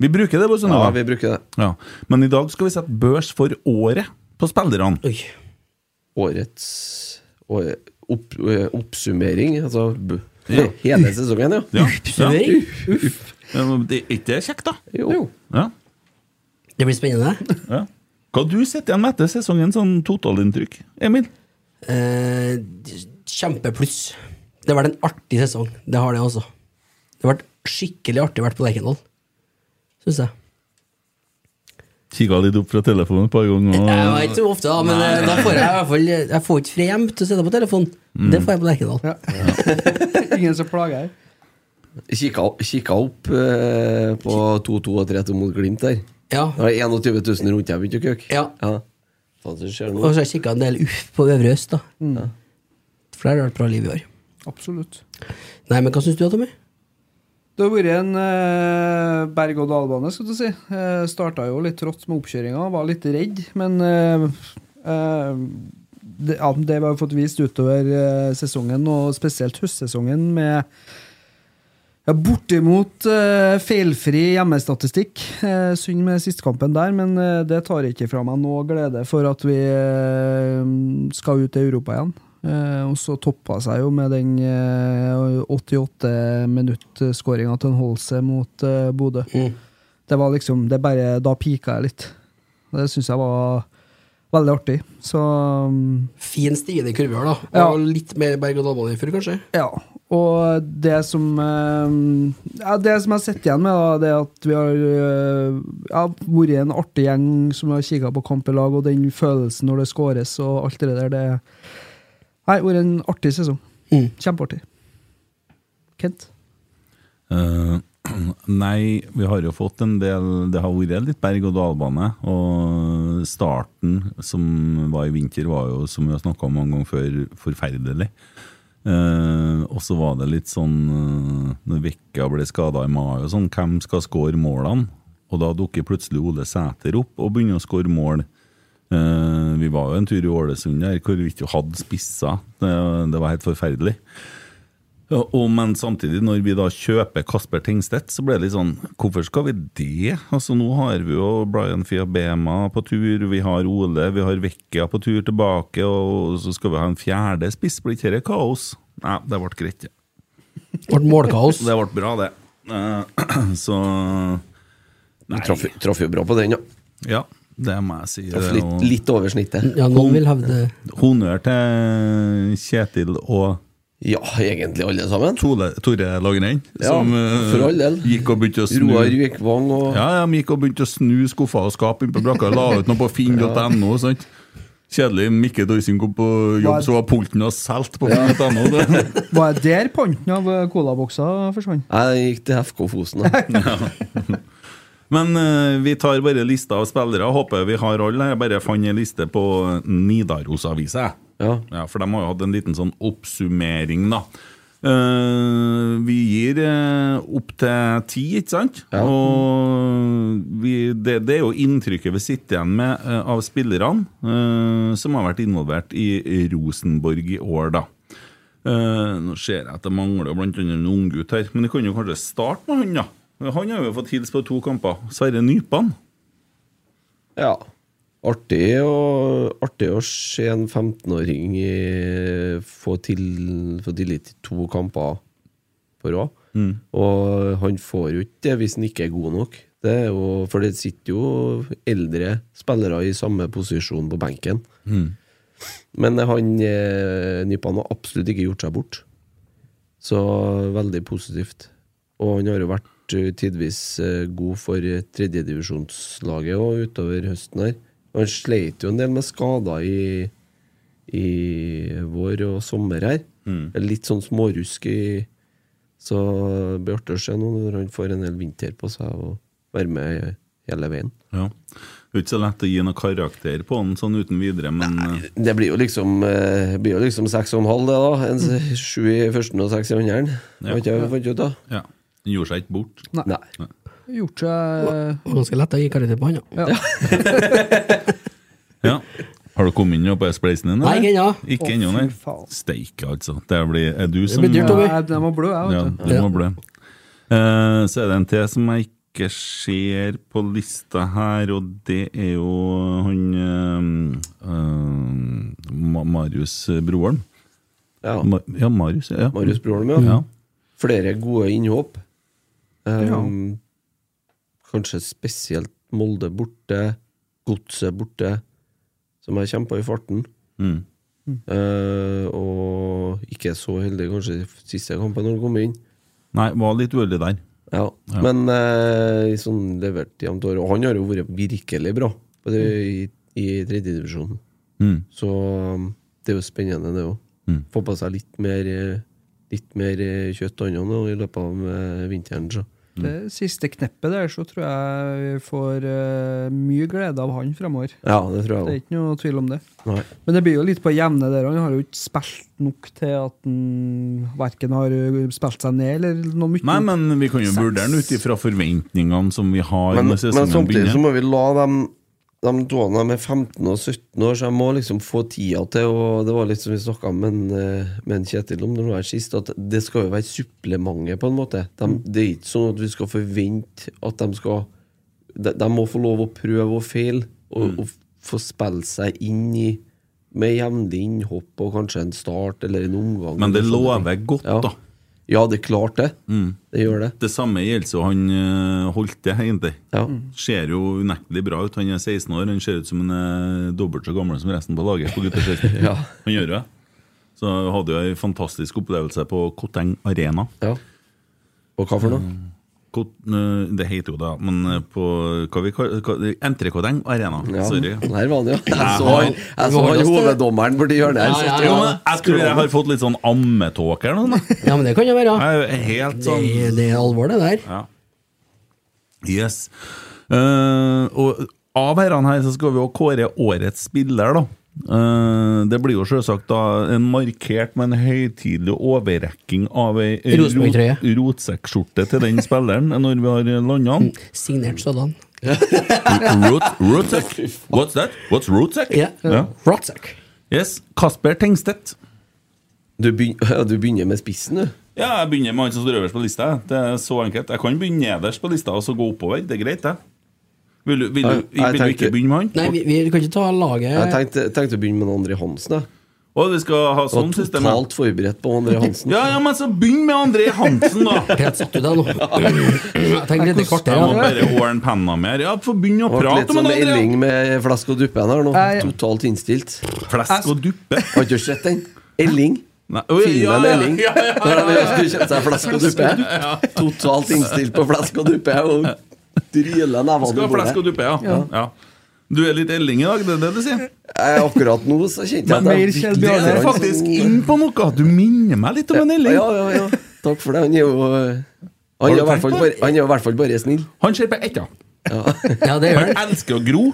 Speaker 5: Vi bruker det på
Speaker 1: Ja,
Speaker 5: Sunnøve.
Speaker 1: vi bruker det.
Speaker 5: Ja. Men i dag skal vi sette børs for året på spillerne.
Speaker 6: Oi.
Speaker 1: Årets år, opp, ø, oppsummering, altså b- hele sesongen, ja. <laughs>
Speaker 5: Ja. Ja.
Speaker 6: Servering.
Speaker 5: Ja, men Det er ikke det kjekt, da?
Speaker 1: Jo.
Speaker 5: Ja.
Speaker 6: Det blir spennende.
Speaker 5: Ja. Hva du sitter igjen med etter sesongen, sånn totalinntrykk, Emil?
Speaker 6: Eh, kjempepluss. Det har vært en artig sesong. Det har det, altså. Det har vært skikkelig artig å være på Lerkendal, syns jeg.
Speaker 5: Kikka litt opp fra telefonen et par ganger.
Speaker 6: Jeg var ikke så ofte, da, men eh, da får jeg i hvert fall Jeg får ikke fri hjem til å sitte på telefon.
Speaker 5: Mm.
Speaker 6: Det får jeg på Lerkendal.
Speaker 4: Ja. Ingen som plager her.
Speaker 1: Kikka, kikka opp ø, på 2-2 og 3-2 mot Glimt der.
Speaker 6: Ja.
Speaker 1: Det var 21 000 rundt jeg begynte å køke.
Speaker 6: Ja.
Speaker 1: Faen, så skjer det
Speaker 6: Og så
Speaker 1: nå.
Speaker 6: har jeg kikka en del uff på Øvre Øst, da.
Speaker 5: Mm.
Speaker 6: For der har det vært bra liv i år.
Speaker 4: Absolutt.
Speaker 6: Nei, men hva syns du, Tommy?
Speaker 4: Det har vært en eh, berg-og-dal-bane, skal du si. Uh, Starta jo litt trått med oppkjøringa, var litt redd, men eh, eh, det, ja, det vi har fått vist utover eh, sesongen, og spesielt høstsesongen, med ja, bortimot eh, feilfri hjemmestatistikk. Eh, synd med sistkampen der, men eh, det tar ikke fra meg noe glede for at vi eh, skal ut i Europa igjen. Eh, og så toppa seg jo med den eh, 88-minutt-skåringa til en Holse mot eh, Bodø. Det var liksom det bare, Da pika jeg litt. Det syns jeg var veldig artig. Så mm,
Speaker 6: Fin stigende kurve i år, da.
Speaker 4: Ja.
Speaker 6: Og litt mer berg-og-dal-bane enn før, kanskje?
Speaker 4: ja. Og det som eh, ja, Det som jeg har sett igjen med, da, det er at vi har eh, ja, vært en artig gjeng som har kikka på kamp i lag, og den følelsen når det skåres og alt det der, det Nei, det har vært en artig sesong.
Speaker 6: Mm.
Speaker 4: Kjempeartig. Kent?
Speaker 5: Eh, <clears throat> nei, vi har jo fått en del Det har vært litt berg-og-dal-bane. Og starten som var i vinter, var jo, som vi har snakka om mange ganger før, forferdelig. Eh, og så var det litt sånn eh, Når Vekka ble skada i mai, og sånn, hvem skal score målene? Og da dukker plutselig Ole Sæter opp og begynner å score mål. Eh, vi var jo en tur i Ålesund der hvor vi ikke hadde spisser. Det, det var helt forferdelig. Ja, og, men samtidig, når vi da kjøper Kasper Tengstedt, så ble det litt sånn Hvorfor skal vi det? Altså, nå har vi jo Brian Fiabema på tur, vi har Ole, vi har Vekkia på tur tilbake, og så skal vi ha en fjerde spiss. Blir ikke dette kaos? Nei, det ble greit. ja.
Speaker 6: Ble målkaos.
Speaker 5: Det ble bra, det. Eh, <clears throat> Så
Speaker 1: Vi traff, traff jo bra på den, ja.
Speaker 5: Ja, det må jeg si. det,
Speaker 1: Traff litt,
Speaker 5: og-
Speaker 1: litt over snittet.
Speaker 6: Ja, noen vil hevde
Speaker 5: Honnør til Kjetil og
Speaker 1: Ja, egentlig alle sammen.
Speaker 5: Tole, Tore Lagrenn,
Speaker 1: Ja,
Speaker 5: som eh,
Speaker 1: for all del.
Speaker 5: gikk og begynte å snu
Speaker 1: Roar Vikvang og
Speaker 5: Ja, ja, de gikk og begynte å snu skuffer og skap inn på brakka. La ut noe på finn.no. sant? Kjedelig. Mikke Doysing kom på jobb, så var pulten og solgt på finn.no. det.
Speaker 4: Var jeg der panten av eh, colaboksa forsvant?
Speaker 1: Jeg gikk til FK Fosen, da.
Speaker 5: <laughs> Men eh, vi tar bare lista av spillere. Håper vi har alle. Jeg bare fant en liste på Nidaros-avisa. jeg.
Speaker 1: Ja.
Speaker 5: Ja, for de har jo hatt en liten sånn oppsummering, da. Eh, vi gir eh, opp til ti, ikke sant? Og vi, det, det er jo inntrykket vi sitter igjen med eh, av spillerne eh, som har vært involvert i Rosenborg i år, da. Eh, nå ser jeg at det mangler blant annet en unggutt her, men vi kan jo kanskje starte med han, da. Han har jo fått hils på to kamper. Sverre Nypan.
Speaker 1: ja. Artig å, artig å se en 15-åring i- få, til, få tillit til to kamper på rad.
Speaker 5: Mm.
Speaker 1: Og han får jo ikke det hvis han ikke er god nok. Det er jo, for det sitter jo eldre spillere i samme posisjon på benken.
Speaker 5: Mm.
Speaker 1: Men han eh, Nypan har absolutt ikke gjort seg bort. Så veldig positivt. Og han har jo vært eh, tidvis eh, god for eh, tredjedivisjonslaget og utover høsten her. Og han sleit jo en del med skader i, i vår og sommer her. Litt sånn smårusk i Så det blir artig å se nå når han får en hel vinter på seg og være med hele veien.
Speaker 5: Ja. Det er ikke så lett å gi noen karakter på den sånn uten videre, men eh,
Speaker 1: Det blir jo liksom eh, blir jo liksom seks og en halv, det, da. En s- Sju i første og seks i andre.
Speaker 5: Ja.
Speaker 1: Mm. Ja. Vet ikke hva vi fant ut, da.
Speaker 5: ja. den gjorde seg ikke bort.
Speaker 1: Nei.
Speaker 4: Gjort seg
Speaker 6: Og Ganske lett å gi karakter på han, ja.
Speaker 5: Ja. <laughs> Har du kommet inn nå på spleisen din?
Speaker 6: Nei,
Speaker 5: eller?
Speaker 4: Å,
Speaker 5: Ikke
Speaker 6: ikke ennå.
Speaker 5: ennå, nei.
Speaker 4: fy faen.
Speaker 5: Steike, altså. Det blir, er du som
Speaker 6: blir dyrt, Tommy.
Speaker 4: Jeg, jeg må blø, jeg,
Speaker 5: Ja,
Speaker 4: vet du.
Speaker 5: det må bli. Eh, så er det en til som jeg ikke ser på lista her, og det er jo han eh, eh, Ma- Marius Broholm.
Speaker 1: Ja.
Speaker 5: Ma ja, Marius. Ja.
Speaker 1: Marius Broholm, ja.
Speaker 5: Ja.
Speaker 1: Flere gode innhopp. Ehm, Kanskje spesielt Molde borte, Godset borte, som har kjempa i farten.
Speaker 5: Mm.
Speaker 1: Eh, og ikke så heldig kanskje i siste kampen når han kom inn.
Speaker 5: Nei, var litt uheldig der.
Speaker 1: Ja. Men eh, sånn levert jevnt over. Og han har jo vært virkelig bra på det, i, i tredjedivisjonen.
Speaker 5: Mm.
Speaker 1: Så um, det er jo spennende, det òg.
Speaker 5: Mm.
Speaker 1: Få på seg litt mer, eh, litt mer eh, kjøtt og annet nå i løpet av eh, vinteren. Så.
Speaker 4: Det siste kneppet der, så tror jeg vi får eh, mye glede av han fremover.
Speaker 1: Ja, det
Speaker 4: Det
Speaker 1: tror
Speaker 4: er
Speaker 1: jeg òg.
Speaker 4: ikke noe tvil om det.
Speaker 1: Nei.
Speaker 4: Men det blir jo litt på jevne der. Han har jo ikke spilt nok til at han verken har ø, spilt seg ned eller noe mye.
Speaker 5: Nei, men vi kan jo vurdere den ut ifra forventningene som vi har
Speaker 1: Men,
Speaker 5: når
Speaker 1: men
Speaker 5: sesongen
Speaker 1: samtidig så
Speaker 5: begynner.
Speaker 1: må vi la dem de tåene de er 15 og 17 år, så jeg må liksom få tida til Og det var litt som vi snakka med, en, eh, med en Kjetil om det nå her sist, at det skal jo være supplementet, på en måte. De,
Speaker 5: Mm.
Speaker 1: det er ikke sånn at vi skal forvente at de skal de, de må få lov å prøve og feile, og,
Speaker 5: Mm.
Speaker 1: og få spille seg inn i med jevnlig innhopp og kanskje en start eller en omgang.
Speaker 5: Men det
Speaker 1: eller sånne ting.
Speaker 5: lover godt,
Speaker 1: sånn ja.
Speaker 5: da. Mm.
Speaker 1: Ja, det er klart det. Det gjør det.
Speaker 5: Det samme gjelder jo han eh, Holte, egentlig.
Speaker 1: Ja.
Speaker 5: Ser jo unektelig bra ut. Han er 16 år, han ser ut som han er dobbelt så gammel som resten på laget. på gutteskiftet.
Speaker 1: <laughs> Ja.
Speaker 5: Han gjør det. Så jeg hadde jo en fantastisk opplevelse på Koteng Arena.
Speaker 1: ja. Og hva for
Speaker 5: Mm.
Speaker 1: noe?
Speaker 5: Kot, eh, det heter jo det, men eh, på hva vi kaller hva- Entre Koteng Arena.
Speaker 1: Ja,
Speaker 5: Sorry.
Speaker 1: Der var han, <laughs> ja. Jeg så,
Speaker 5: har-
Speaker 1: han- jeg så
Speaker 6: var
Speaker 1: han
Speaker 6: det-
Speaker 1: hoveddommeren borti hjørnet her.
Speaker 6: Ja, ja,
Speaker 1: sitter
Speaker 5: Jo,
Speaker 1: jo.
Speaker 5: men eh, jeg tror jeg har fått litt sånn ammetåke eller noe.
Speaker 1: <laughs>
Speaker 5: sånt.
Speaker 6: Ja, men det kan jo være.
Speaker 5: Jeg er helt
Speaker 6: Det,
Speaker 5: sånn
Speaker 6: det er alvor, det der.
Speaker 5: Ja. Yes. Eh, og av herrene her så skal vi jo kåre årets spiller, da. Eh, det blir jo selvsagt da en markert, men høytidelig overrekking av ei rot,
Speaker 6: Rosenborg-trøye.
Speaker 5: rotsekkskjorte til den spilleren <laughs> når vi har landa den.
Speaker 6: Signert sådan.
Speaker 5: Rot, rotsekk. What's that? What's rotsekk?
Speaker 6: Ja.
Speaker 5: Ja.
Speaker 6: Rotsack.
Speaker 5: Yes. Kasper Tengstedt.
Speaker 1: Du, begyn- <laughs> ja, du begynner med spissen, du.
Speaker 5: Ja, jeg begynner med han som står øverst på lista. Det er så enkelt. Jeg kan begynne nederst på lista og så gå oppover. Det er greit, det. Vil du, vil du,
Speaker 1: Jeg- jeg
Speaker 5: vil du
Speaker 1: tenkte-
Speaker 5: ikke begynne med han?
Speaker 6: Nei, vi, vi kan ikke ta
Speaker 1: Jeg
Speaker 6: laget
Speaker 1: tenkte, tenkte å begynne med André Hansen. Jeg
Speaker 5: Og vi skal ha
Speaker 1: var
Speaker 5: sånn system. ja.
Speaker 1: totalt forberedt på André Hansen.
Speaker 5: Ja, ja, men så begynn med André Hansen,
Speaker 1: <laughs>
Speaker 5: da!
Speaker 6: Helt satt ut deg
Speaker 5: <laughs>
Speaker 6: nå. Jeg tenkte et kvarter.
Speaker 5: Jeg må
Speaker 6: ja.
Speaker 5: bare ordne penna mer. Ja, få begynne å
Speaker 1: Det ble litt
Speaker 5: prate
Speaker 1: sånn
Speaker 5: med André.
Speaker 1: Elling med flaske og duppen her nå.
Speaker 4: Nei.
Speaker 1: Totalt innstilt.
Speaker 5: Flesk og duppe.
Speaker 1: Har ikke du sett den? Elling.
Speaker 5: Nei, oi,
Speaker 1: Filmen
Speaker 5: ja, ja,
Speaker 1: Elling.
Speaker 5: ja, ja.
Speaker 1: Når han skulle kjøpe seg flaske og duppe. Totalt innstilt på flaske og duppe. Og dryler nevene
Speaker 5: Skal
Speaker 1: på
Speaker 5: ha flesk og
Speaker 1: bordet.
Speaker 5: duppe, ja. ja. Du er litt Elling i dag, det er det du sier?
Speaker 1: Eh, Akkurat nå så kjente jeg at
Speaker 5: Men
Speaker 1: jeg
Speaker 4: mer Kjell
Speaker 1: fikk
Speaker 5: Du
Speaker 1: litt
Speaker 5: er
Speaker 1: grann
Speaker 5: faktisk
Speaker 1: sånn-
Speaker 5: inn på noe! Du minner meg litt om en
Speaker 1: Ja,
Speaker 5: Elling.
Speaker 1: ja, ja. Takk for det. Han er jo eh, Han
Speaker 5: Har
Speaker 1: er
Speaker 5: du
Speaker 1: i hvert
Speaker 5: tenkt
Speaker 1: fall
Speaker 5: på det?
Speaker 1: bare, han er i hvert fall bare snill.
Speaker 5: Han ser på ett, ja.
Speaker 6: Ja, det gjør
Speaker 5: Han
Speaker 6: det.
Speaker 5: elsker å gro.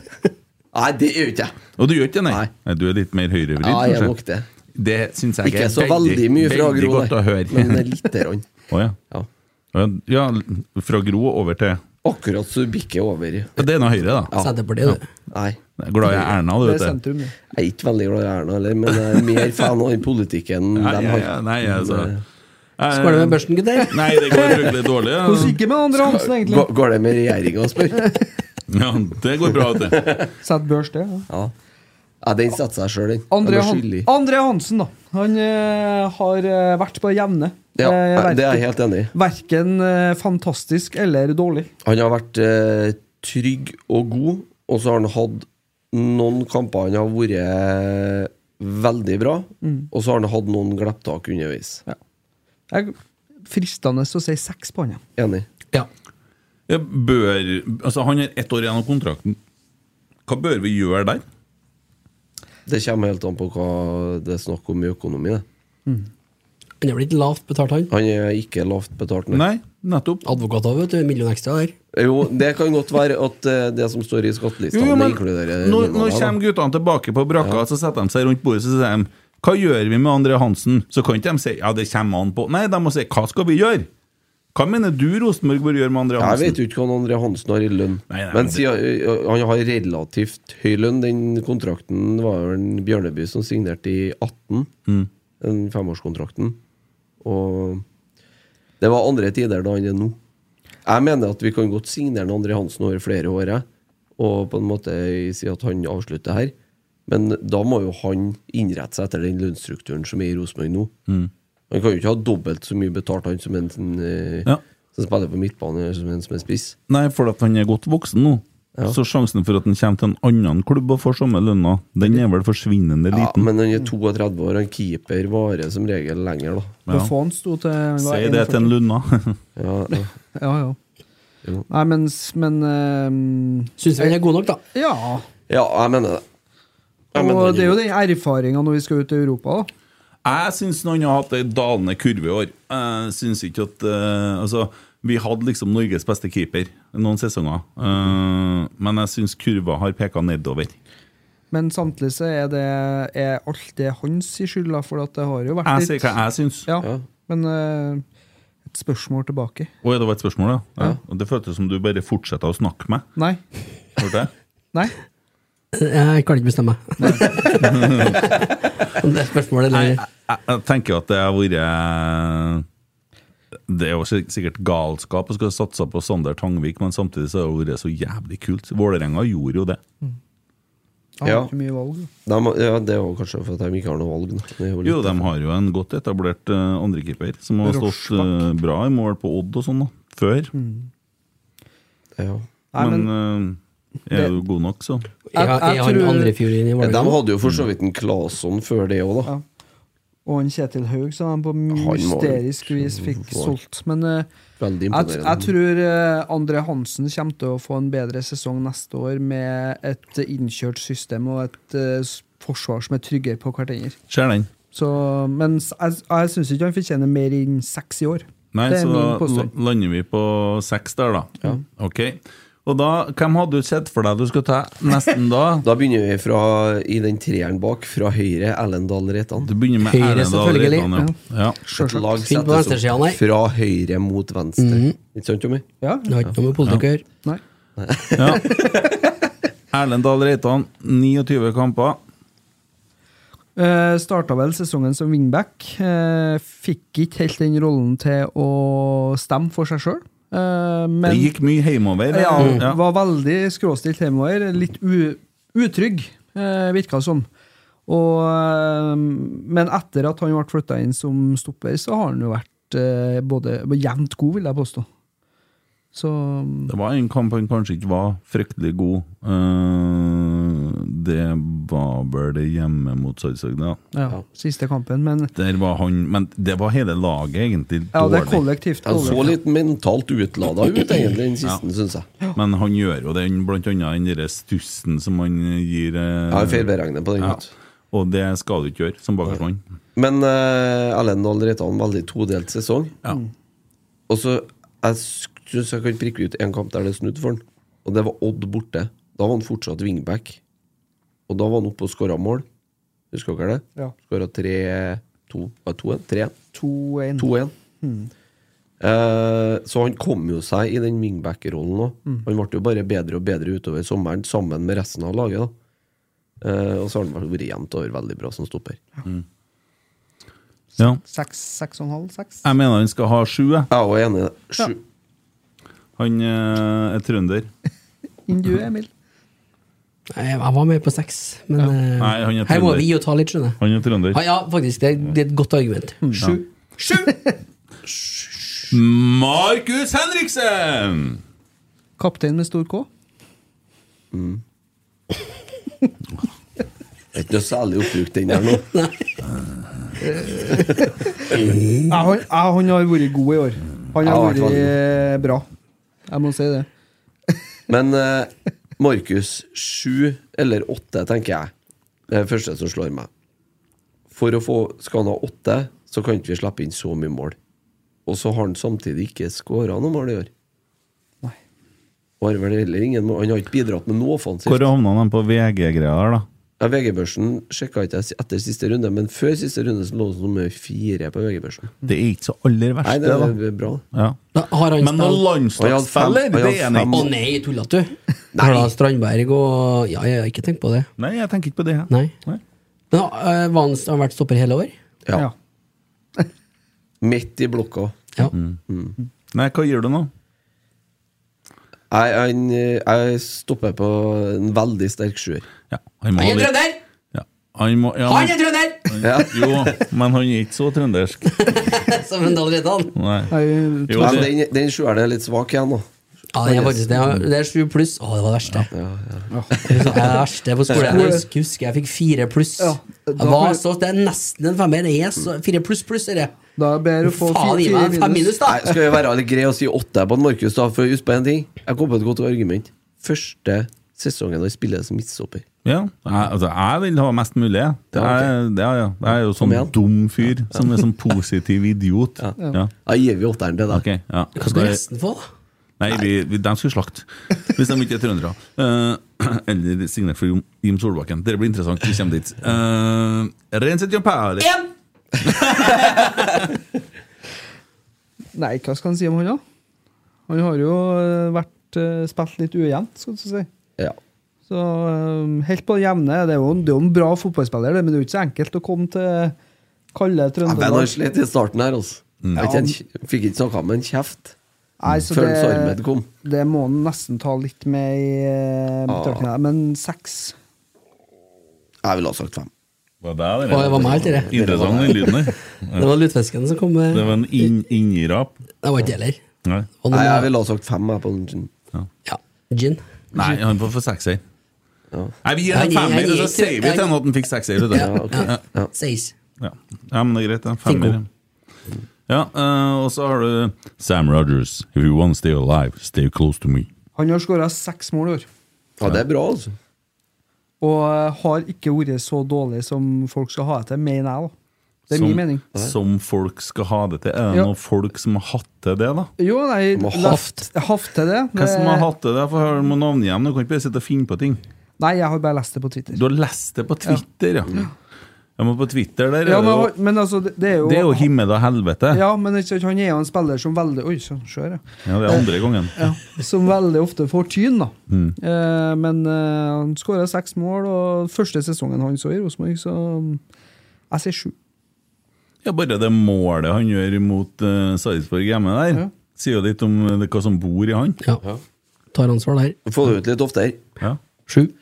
Speaker 1: Nei, det er jo ikke jeg.
Speaker 5: Og du gjør ikke det, nei?
Speaker 1: Nei.
Speaker 5: Nei, Du er litt mer høyrevridd,
Speaker 1: Ja, jeg er nok
Speaker 5: kanskje?
Speaker 1: det.
Speaker 5: Det syns jeg
Speaker 1: Ikke så
Speaker 5: er
Speaker 1: veldig mye fra
Speaker 5: veldig
Speaker 1: Gro,
Speaker 5: godt å
Speaker 1: nei.
Speaker 5: høre.
Speaker 1: men det er lite grann.
Speaker 5: Å, ja.
Speaker 1: Ja.
Speaker 5: Ja, fra Gro over til
Speaker 1: Akkurat så du bikker over.
Speaker 5: Det er nå Høyre, da.
Speaker 6: Senterpartiet, det.
Speaker 1: Nei,
Speaker 5: Jeg er Glad i Erna, du
Speaker 4: Det er
Speaker 5: vet det.
Speaker 4: sentrum, det.
Speaker 1: jeg er ikke veldig glad i Erna heller, men jeg er mer fan av den politikken de
Speaker 5: Nei, ja,
Speaker 1: har.
Speaker 5: ja, nei, altså Eh,
Speaker 6: Skål med børsten, gutter.
Speaker 5: Nei, det går fryktelig dårlig.
Speaker 4: Hvordan
Speaker 5: Ja.
Speaker 4: gikk det med Andre Hansen, egentlig?
Speaker 1: Går, går det med regjeringa, spør?
Speaker 5: Ja, det går bra, vet du.
Speaker 4: Sett børs, det. Ja.
Speaker 1: Ja. ja, den setter seg sjøl, den.
Speaker 4: André,
Speaker 1: Den er
Speaker 4: Han
Speaker 1: skyldig.
Speaker 4: André Hansen, da. Han eh, har eh, vært på det jevne.
Speaker 1: Ja,
Speaker 4: Eh,
Speaker 1: det
Speaker 4: verken-
Speaker 1: er jeg helt enig i.
Speaker 4: Verken eh, fantastisk eller dårlig.
Speaker 1: Han har vært eh, trygg og god, og så har han hatt noen kamper han har vært veldig bra, og så har han hatt noen glepptak underveis.
Speaker 4: Jeg er fristende å si seks på han. ja.
Speaker 1: Enig.
Speaker 6: Ja.
Speaker 5: Jeg bør, altså, han har ett år igjen av kontrakten. Hva bør vi gjøre der?
Speaker 1: Det kommer helt an på hva det er snakk om i økonomi. Det.
Speaker 6: Han er blitt lavt betalt, han.
Speaker 1: Han er ikke lavt betalt. nå.
Speaker 5: Nei, nettopp.
Speaker 6: Advokater, vet du. En million ekstra der.
Speaker 1: Jo, det kan godt være at eh, det som står i skattelista,
Speaker 5: Jo, jo, men
Speaker 1: det inkluderer
Speaker 5: nå, nå
Speaker 1: lønna der, da.
Speaker 5: kommer guttene tilbake på brakka, så setter de seg rundt bordet så sier de, hva gjør vi med André Hansen? Så kan ikke de si ja, det kommer han på. Nei, de må si hva skal vi gjøre? Hva mener du Rosenborg bør gjøre med André
Speaker 1: Jeg
Speaker 5: Hansen?
Speaker 1: vet jo ikke hva han André Hansen har i lønn.
Speaker 5: Nei, nei,
Speaker 1: men
Speaker 5: men det-
Speaker 1: siden, ø, ø, han har relativt høy lønn. Den kontrakten var jo en Bjørneby som signerte i 18.
Speaker 5: Mm.
Speaker 1: Den femårskontrakten. Og det var andre tider da han er nå. Jeg mener at vi kan godt signere André Hansen over flere år, jeg. og på en måte si at han avslutter her. Men da må jo han innrette seg etter den lønnsstrukturen som er i Rosenborg nå.
Speaker 5: Mm.
Speaker 1: Han kan jo ikke ha dobbelt så mye betalt, han som en eh,
Speaker 5: Ja.
Speaker 1: som spiller på midtbane, eller som en som er spiss.
Speaker 5: Nei, for at han er godt voksen nå.
Speaker 1: Ja.
Speaker 5: Så sjansen for at han kommer til en annen klubb og får samme lønna, den er vel forsvinnende
Speaker 1: Ja,
Speaker 5: liten.
Speaker 1: men han
Speaker 4: Mm.
Speaker 1: er 32 år, han keeper varer som regel lenger, da.
Speaker 4: Ja. Buffon sto til han var
Speaker 5: Si
Speaker 4: 41.
Speaker 5: det til en Lunna.
Speaker 1: Ja, ja.
Speaker 4: Ja, ja.
Speaker 1: Jo.
Speaker 4: Nei, men, s- men eh,
Speaker 6: Syns vi han er god nok, da.
Speaker 4: Ja.
Speaker 1: <laughs> ja jeg mener det. Jeg mener
Speaker 4: Og
Speaker 1: han
Speaker 4: det er jo den erfaringa når vi skal ut i Europa, da.
Speaker 5: <laughs> Jeg syns han har hatt ei dalende kurve i år. Jeg syns ikke at eh, Altså, vi hadde liksom Norges beste keeper noen sesonger, Eh, men jeg syns kurva har peka nedover.
Speaker 4: Men samtidig så er, det, er alt det hans i skyld, da, for at det har jo vært
Speaker 5: Jeg sier hva jeg syns.
Speaker 4: Ja,
Speaker 1: Ja.
Speaker 4: Men eh, et spørsmål tilbake.
Speaker 5: Å, ja, det var et spørsmål, ja? ja. Og Det føltes som du bare fortsetter å snakke med.
Speaker 4: Nei.
Speaker 5: Hørte jeg?
Speaker 4: Nei.
Speaker 6: Jeg kan ikke <laughs> bestemme meg. Om det er spørsmålet
Speaker 5: Nei,
Speaker 6: eller
Speaker 5: jeg, jeg tenker at det har vært Det er jo sik- sikkert galskap å skulle satse på Sander Tangvik, men samtidig så har det vært så jævlig kult. Vålerenga gjorde jo det.
Speaker 4: Jeg har
Speaker 1: Ja.
Speaker 4: ikke mye valg. da.
Speaker 1: De, ja, det er jo kanskje for at de ikke har noe valg. Da. Det er jo litt-
Speaker 5: Jo, de har jo en godt etablert eh, andrekeeper, som har stått eh, bra i mål på Odd og sånn da, før.
Speaker 1: ja.
Speaker 4: Mm. Nei,
Speaker 5: men
Speaker 4: men,
Speaker 5: eh, er jo god nok, så.
Speaker 6: Er
Speaker 4: jeg- jeg
Speaker 6: er han
Speaker 4: tror-
Speaker 6: andrefiorin i
Speaker 1: Ja, De
Speaker 6: Vålerenga?
Speaker 1: hadde jo for så vidt en Claesson før det òg, da.
Speaker 4: Mm. Ja. Og en Kjetil Haug, så han på mysterisk vis fikk
Speaker 1: få-
Speaker 4: solgt. Men eh,
Speaker 1: Veldig
Speaker 4: jeg, t- jeg
Speaker 1: imponerende.
Speaker 4: tror eh, André Hansen kommer til å få en bedre sesong neste år med et innkjørt system og et eh, s- forsvar som er tryggere på hverandre.
Speaker 5: Ser den.
Speaker 4: Så, men s- jeg, jeg syns ikke han fortjener mer enn seks i år.
Speaker 5: Nei,
Speaker 4: det er
Speaker 5: så
Speaker 4: min
Speaker 5: da
Speaker 4: påstand.
Speaker 5: lander vi på seks der, da. Ok. Og da, hvem hadde du sett for deg du skulle ta nesten da?
Speaker 4: <laughs>
Speaker 1: Da begynner vi fra, i den treeren bak, fra høyre, Ellen Dahl Reitan.
Speaker 5: Du begynner med
Speaker 6: Høyre,
Speaker 5: Erlend Dahl
Speaker 6: selvfølgelig.
Speaker 5: Reitan, ja. ja.
Speaker 1: Et lag
Speaker 6: Fint på
Speaker 1: settes
Speaker 6: venstresiden, nei.
Speaker 1: opp fra høyre mot venstre. Ikke sant, Tommy?
Speaker 4: Mm. Ja,
Speaker 6: Det har ikke noe med politikk å gjøre.
Speaker 4: nei.
Speaker 5: Ja. <laughs> Erlend Dahl Reitan, 29 kamper.
Speaker 4: Uh, Starta vel sesongen som wingback. Eh, fikk ikke helt den rollen til å stemme for seg sjøl. men
Speaker 5: Det gikk mye hjemover. Mm,
Speaker 4: ja,
Speaker 5: Ja.
Speaker 4: var veldig skråstilt hjemover. Litt u utrygg, uh, virka det som. Og, eh, men etter at han ble flytta inn som stopper, så har han jo vært eh, både jevnt god, vil jeg påstå. Så
Speaker 5: Det var en kamp han kanskje ikke var fryktelig god. Eh, det var vel det hjemme mot Sarpsborg, ja.
Speaker 4: ja, siste kampen. Men
Speaker 5: Der var han Men det var hele laget egentlig
Speaker 4: ja, det er
Speaker 5: dårlig.
Speaker 4: kollektivt.
Speaker 1: Han så
Speaker 4: dårlig.
Speaker 1: litt mentalt utlada ut, egentlig, den siste, synes syns jeg.
Speaker 5: Men han gjør jo den, blant annet den derre stussen som han gir eh,
Speaker 1: Jeg er feilberegnet på den.
Speaker 5: ja.
Speaker 1: vet du.
Speaker 5: Og det skal du ikke gjøre som bakerstmann.
Speaker 1: Men uh, Erlend Dahl Reitan, veldig todelt sesong.
Speaker 5: Ja.
Speaker 1: Og så Jeg syns jeg kan prikke ut en kamp der det er snudd for han. Og det var Odd borte. Da var han fortsatt wingback. Og da var han oppe og skåra mål. Husker dere det?
Speaker 4: Ja.
Speaker 1: Skåra 3-2 3-1.
Speaker 4: 2-1.
Speaker 1: 2-1. Eh, så han kom jo seg i den wingback-rollen òg. Han ble jo bare bedre og bedre utover sommeren sammen med resten av laget. da Eh, og så har han vært jevnt over veldig bra som stopper.
Speaker 5: Ja.
Speaker 4: Seks, seks og en halv, seks?
Speaker 5: Jeg mener han skal ha sju. jeg.
Speaker 1: Jeg er også enig i det. Sju.
Speaker 5: Han eh, er trønder.
Speaker 4: enn du, Emil.
Speaker 6: Nei, Jeg var med på seks, men eh,
Speaker 5: Nei, han er
Speaker 6: her må
Speaker 5: trønder.
Speaker 6: vi gi og ta litt, skjønner jeg.
Speaker 5: Han er trønder.
Speaker 6: Ja, ja, faktisk. Det, er- det er et godt argument.
Speaker 5: Hmm.
Speaker 6: Sju. Sju!
Speaker 5: Markus Henriksen!
Speaker 4: Kaptein med stor K.
Speaker 1: Det er ikke noe særlig oppbrukt, den her nå.
Speaker 4: Ja, han, ja, han har vært god i år. Han
Speaker 1: Ja,
Speaker 4: har
Speaker 1: i hvert
Speaker 4: vært eh, bra. Jeg må si det.
Speaker 1: Men eh, Markus, sju eller åtte, tenker jeg. Det er det første som slår meg. For å få Skal han ha åtte, så kan ikke vi slippe inn så mye mål. Og så har han samtidig ikke skåra noe mål i år.
Speaker 4: Nei.
Speaker 1: Og har vel heller ingen mål. Han har ikke bidratt med noe
Speaker 5: Hvor
Speaker 1: offensivt.
Speaker 5: havna han på VG-greia der, da?
Speaker 1: Ja, VG-børsen sjekka ikke jeg etter siste runde, men før siste runde så lå han som nummer fire på VG-børsen.
Speaker 5: Det er ikke så aller verst,
Speaker 1: Nei, det
Speaker 5: det,
Speaker 1: er bra.
Speaker 5: da. Ja.
Speaker 6: Da har han
Speaker 5: Men når
Speaker 6: spilt
Speaker 1: Og jeg hadde fem-
Speaker 5: landslagsspiller,
Speaker 1: og jeg
Speaker 5: det
Speaker 1: hadde
Speaker 5: er han
Speaker 1: fem-
Speaker 5: ikke.
Speaker 6: Å nei, tullete du! Karla Strandberg og Ja, jeg har ikke tenkt på det.
Speaker 5: Nei, jeg tenker ikke på det. jeg.
Speaker 6: Nei. Men eh, var han- har han vært stopper hele år?
Speaker 1: Ja.
Speaker 4: Ja.
Speaker 1: Midt i blokka.
Speaker 6: Ja.
Speaker 5: Nei, hva gjør du nå?
Speaker 1: Jeg, jeg, jeg stopper på en veldig sterk sjuer.
Speaker 5: Ja, han må
Speaker 6: Han
Speaker 5: ha
Speaker 6: er
Speaker 5: litt
Speaker 6: trønder!
Speaker 5: ja, han må, ja,
Speaker 6: Han er trønder!
Speaker 1: Ja.
Speaker 5: Jo, men han er ikke så trøndersk.
Speaker 6: <laughs> Som en Dahl Reitan.
Speaker 5: Nei.
Speaker 4: Jeg,
Speaker 5: Jo,
Speaker 1: Ja,
Speaker 5: det,
Speaker 1: den, den sjueren er litt svak igjen, da.
Speaker 6: Ja, det er faktisk det. Det er sju pluss. Å, det var det verste. <laughs> Det var det verste på skolen. Jeg husker, husker jeg fikk fire pluss.
Speaker 4: Ja, da
Speaker 6: Jeg var
Speaker 4: får-
Speaker 6: så, det er nesten en femmer. Det er så, fire pluss pluss, er det.
Speaker 4: Da ber du få
Speaker 6: Faen gi
Speaker 4: fire
Speaker 6: meg en fem minus, da!
Speaker 1: Nei, skal vi være litt greie og si åtte på en Markus, da? For husk på en ting. Jeg kom på et godt argument. Første sesongen han spiller som midtstopper.
Speaker 5: ja. Jeg, altså, jeg vil ha mest mulig. jeg. Det
Speaker 1: Ja,
Speaker 5: er, det er, ja. Jeg er jo
Speaker 1: Kom
Speaker 5: sånn
Speaker 1: igjen.
Speaker 5: dum fyr som er sånn positiv idiot.
Speaker 1: Ja.
Speaker 5: Ja.
Speaker 1: Da gir vi åtteren til deg.
Speaker 5: Ok, ja.
Speaker 6: Hva skal resten få, da?
Speaker 5: Nei, vi, vi, de skulle slakte. Hvis de ikke er trøndere. Eh, eller signert for Jim- Jim Solbakken. Det blir interessant. Vi kommer dit. Uh, Renset Jampali.
Speaker 6: Én!
Speaker 4: Nei, hva skal han si om han, da? Han har jo eh, vært eh, spilt litt ujevnt, skal du si.
Speaker 1: Ja.
Speaker 4: Så eh, helt på det jevne. Det er jo en, det er jo en bra fotballspiller, det, men det er jo ikke så enkelt å komme til kalde
Speaker 1: Men han
Speaker 4: Trøndelag.
Speaker 1: slet i starten her, altså. Jeg vet ikke, han Fikk ikke snakka med en kjeft
Speaker 4: Nei, så
Speaker 1: før
Speaker 4: det-
Speaker 1: Sarmed kom. Ah.
Speaker 4: Det må han nesten ta litt med i eh, betraktningen. her, Men seks
Speaker 1: Jeg ville ha sagt fem.
Speaker 5: Hva det er,
Speaker 6: Å, det var meg, dere.
Speaker 5: Interessant, den lyden der.
Speaker 6: <laughs> Det var lutefisken som kom med.
Speaker 5: Det var en inn- innirap.
Speaker 6: Det var ikke det heller.
Speaker 5: Nei.
Speaker 6: Og
Speaker 1: Nei, jeg
Speaker 6: noe-
Speaker 1: ville ha sagt fem. Jeg, på den.
Speaker 6: Ja. Gin.
Speaker 5: Nei, han får få sekser. Nei, vi gir
Speaker 6: Jeg
Speaker 5: en
Speaker 6: gir-
Speaker 5: femmer,
Speaker 6: jeg
Speaker 5: og
Speaker 6: gir
Speaker 5: så
Speaker 6: ikke-
Speaker 5: sier vi
Speaker 6: jeg-
Speaker 5: til han at han fikk sekser. vet du.
Speaker 6: Ja,
Speaker 5: Ja,
Speaker 6: ja. Seis.
Speaker 5: ja. ja, men det er greit. da. Femmer. Ja, eh, og så har du Sam Rogers. If you want to stay alive, stay close to me.
Speaker 4: Han har skåra seks mål i år.
Speaker 1: Ja, det er bra, altså.
Speaker 4: Og eh, har ikke vært så dårlig som folk skal ha det til, mener jeg. da. Det er min mening.
Speaker 5: Som folk skal ha det til. Er det
Speaker 4: Ja.
Speaker 5: noen folk som har hatt til det, da?
Speaker 4: Jo, nei,
Speaker 1: Må
Speaker 4: la-
Speaker 1: haft.
Speaker 4: haft til det.
Speaker 5: Hvem som har
Speaker 4: Det-
Speaker 5: hatt det der? For her må navnet hjem. Du kan ikke bare sitte og finne på ting.
Speaker 4: Nei, jeg har bare lest det på Twitter.
Speaker 5: Du har lest det på Twitter, ja. Ja, men på Twitter der
Speaker 4: Ja,
Speaker 5: er det jo
Speaker 4: men, men altså, det, det er jo,
Speaker 5: Det er jo himmel og helvete. Ja,
Speaker 4: Ja, men ikke sant, han er jo en spiller som veldig Oi, sånn, skjør, ja.
Speaker 5: det er andre gangen.
Speaker 4: Som veldig ofte får tyn, da.
Speaker 1: Mm.
Speaker 4: Eh, men eh, han skåra seks mål, og første sesongen han så i Rosenborg, så mm, Jeg sier sju.
Speaker 5: Ja, bare det målet han gjør mot uh, Sarpsborg hjemme der, sier jo litt om eh, det, hva som bor i han.
Speaker 6: Ja. Tar ansvar der.
Speaker 1: Få det ut litt oftere.
Speaker 5: Ja,
Speaker 6: Sju.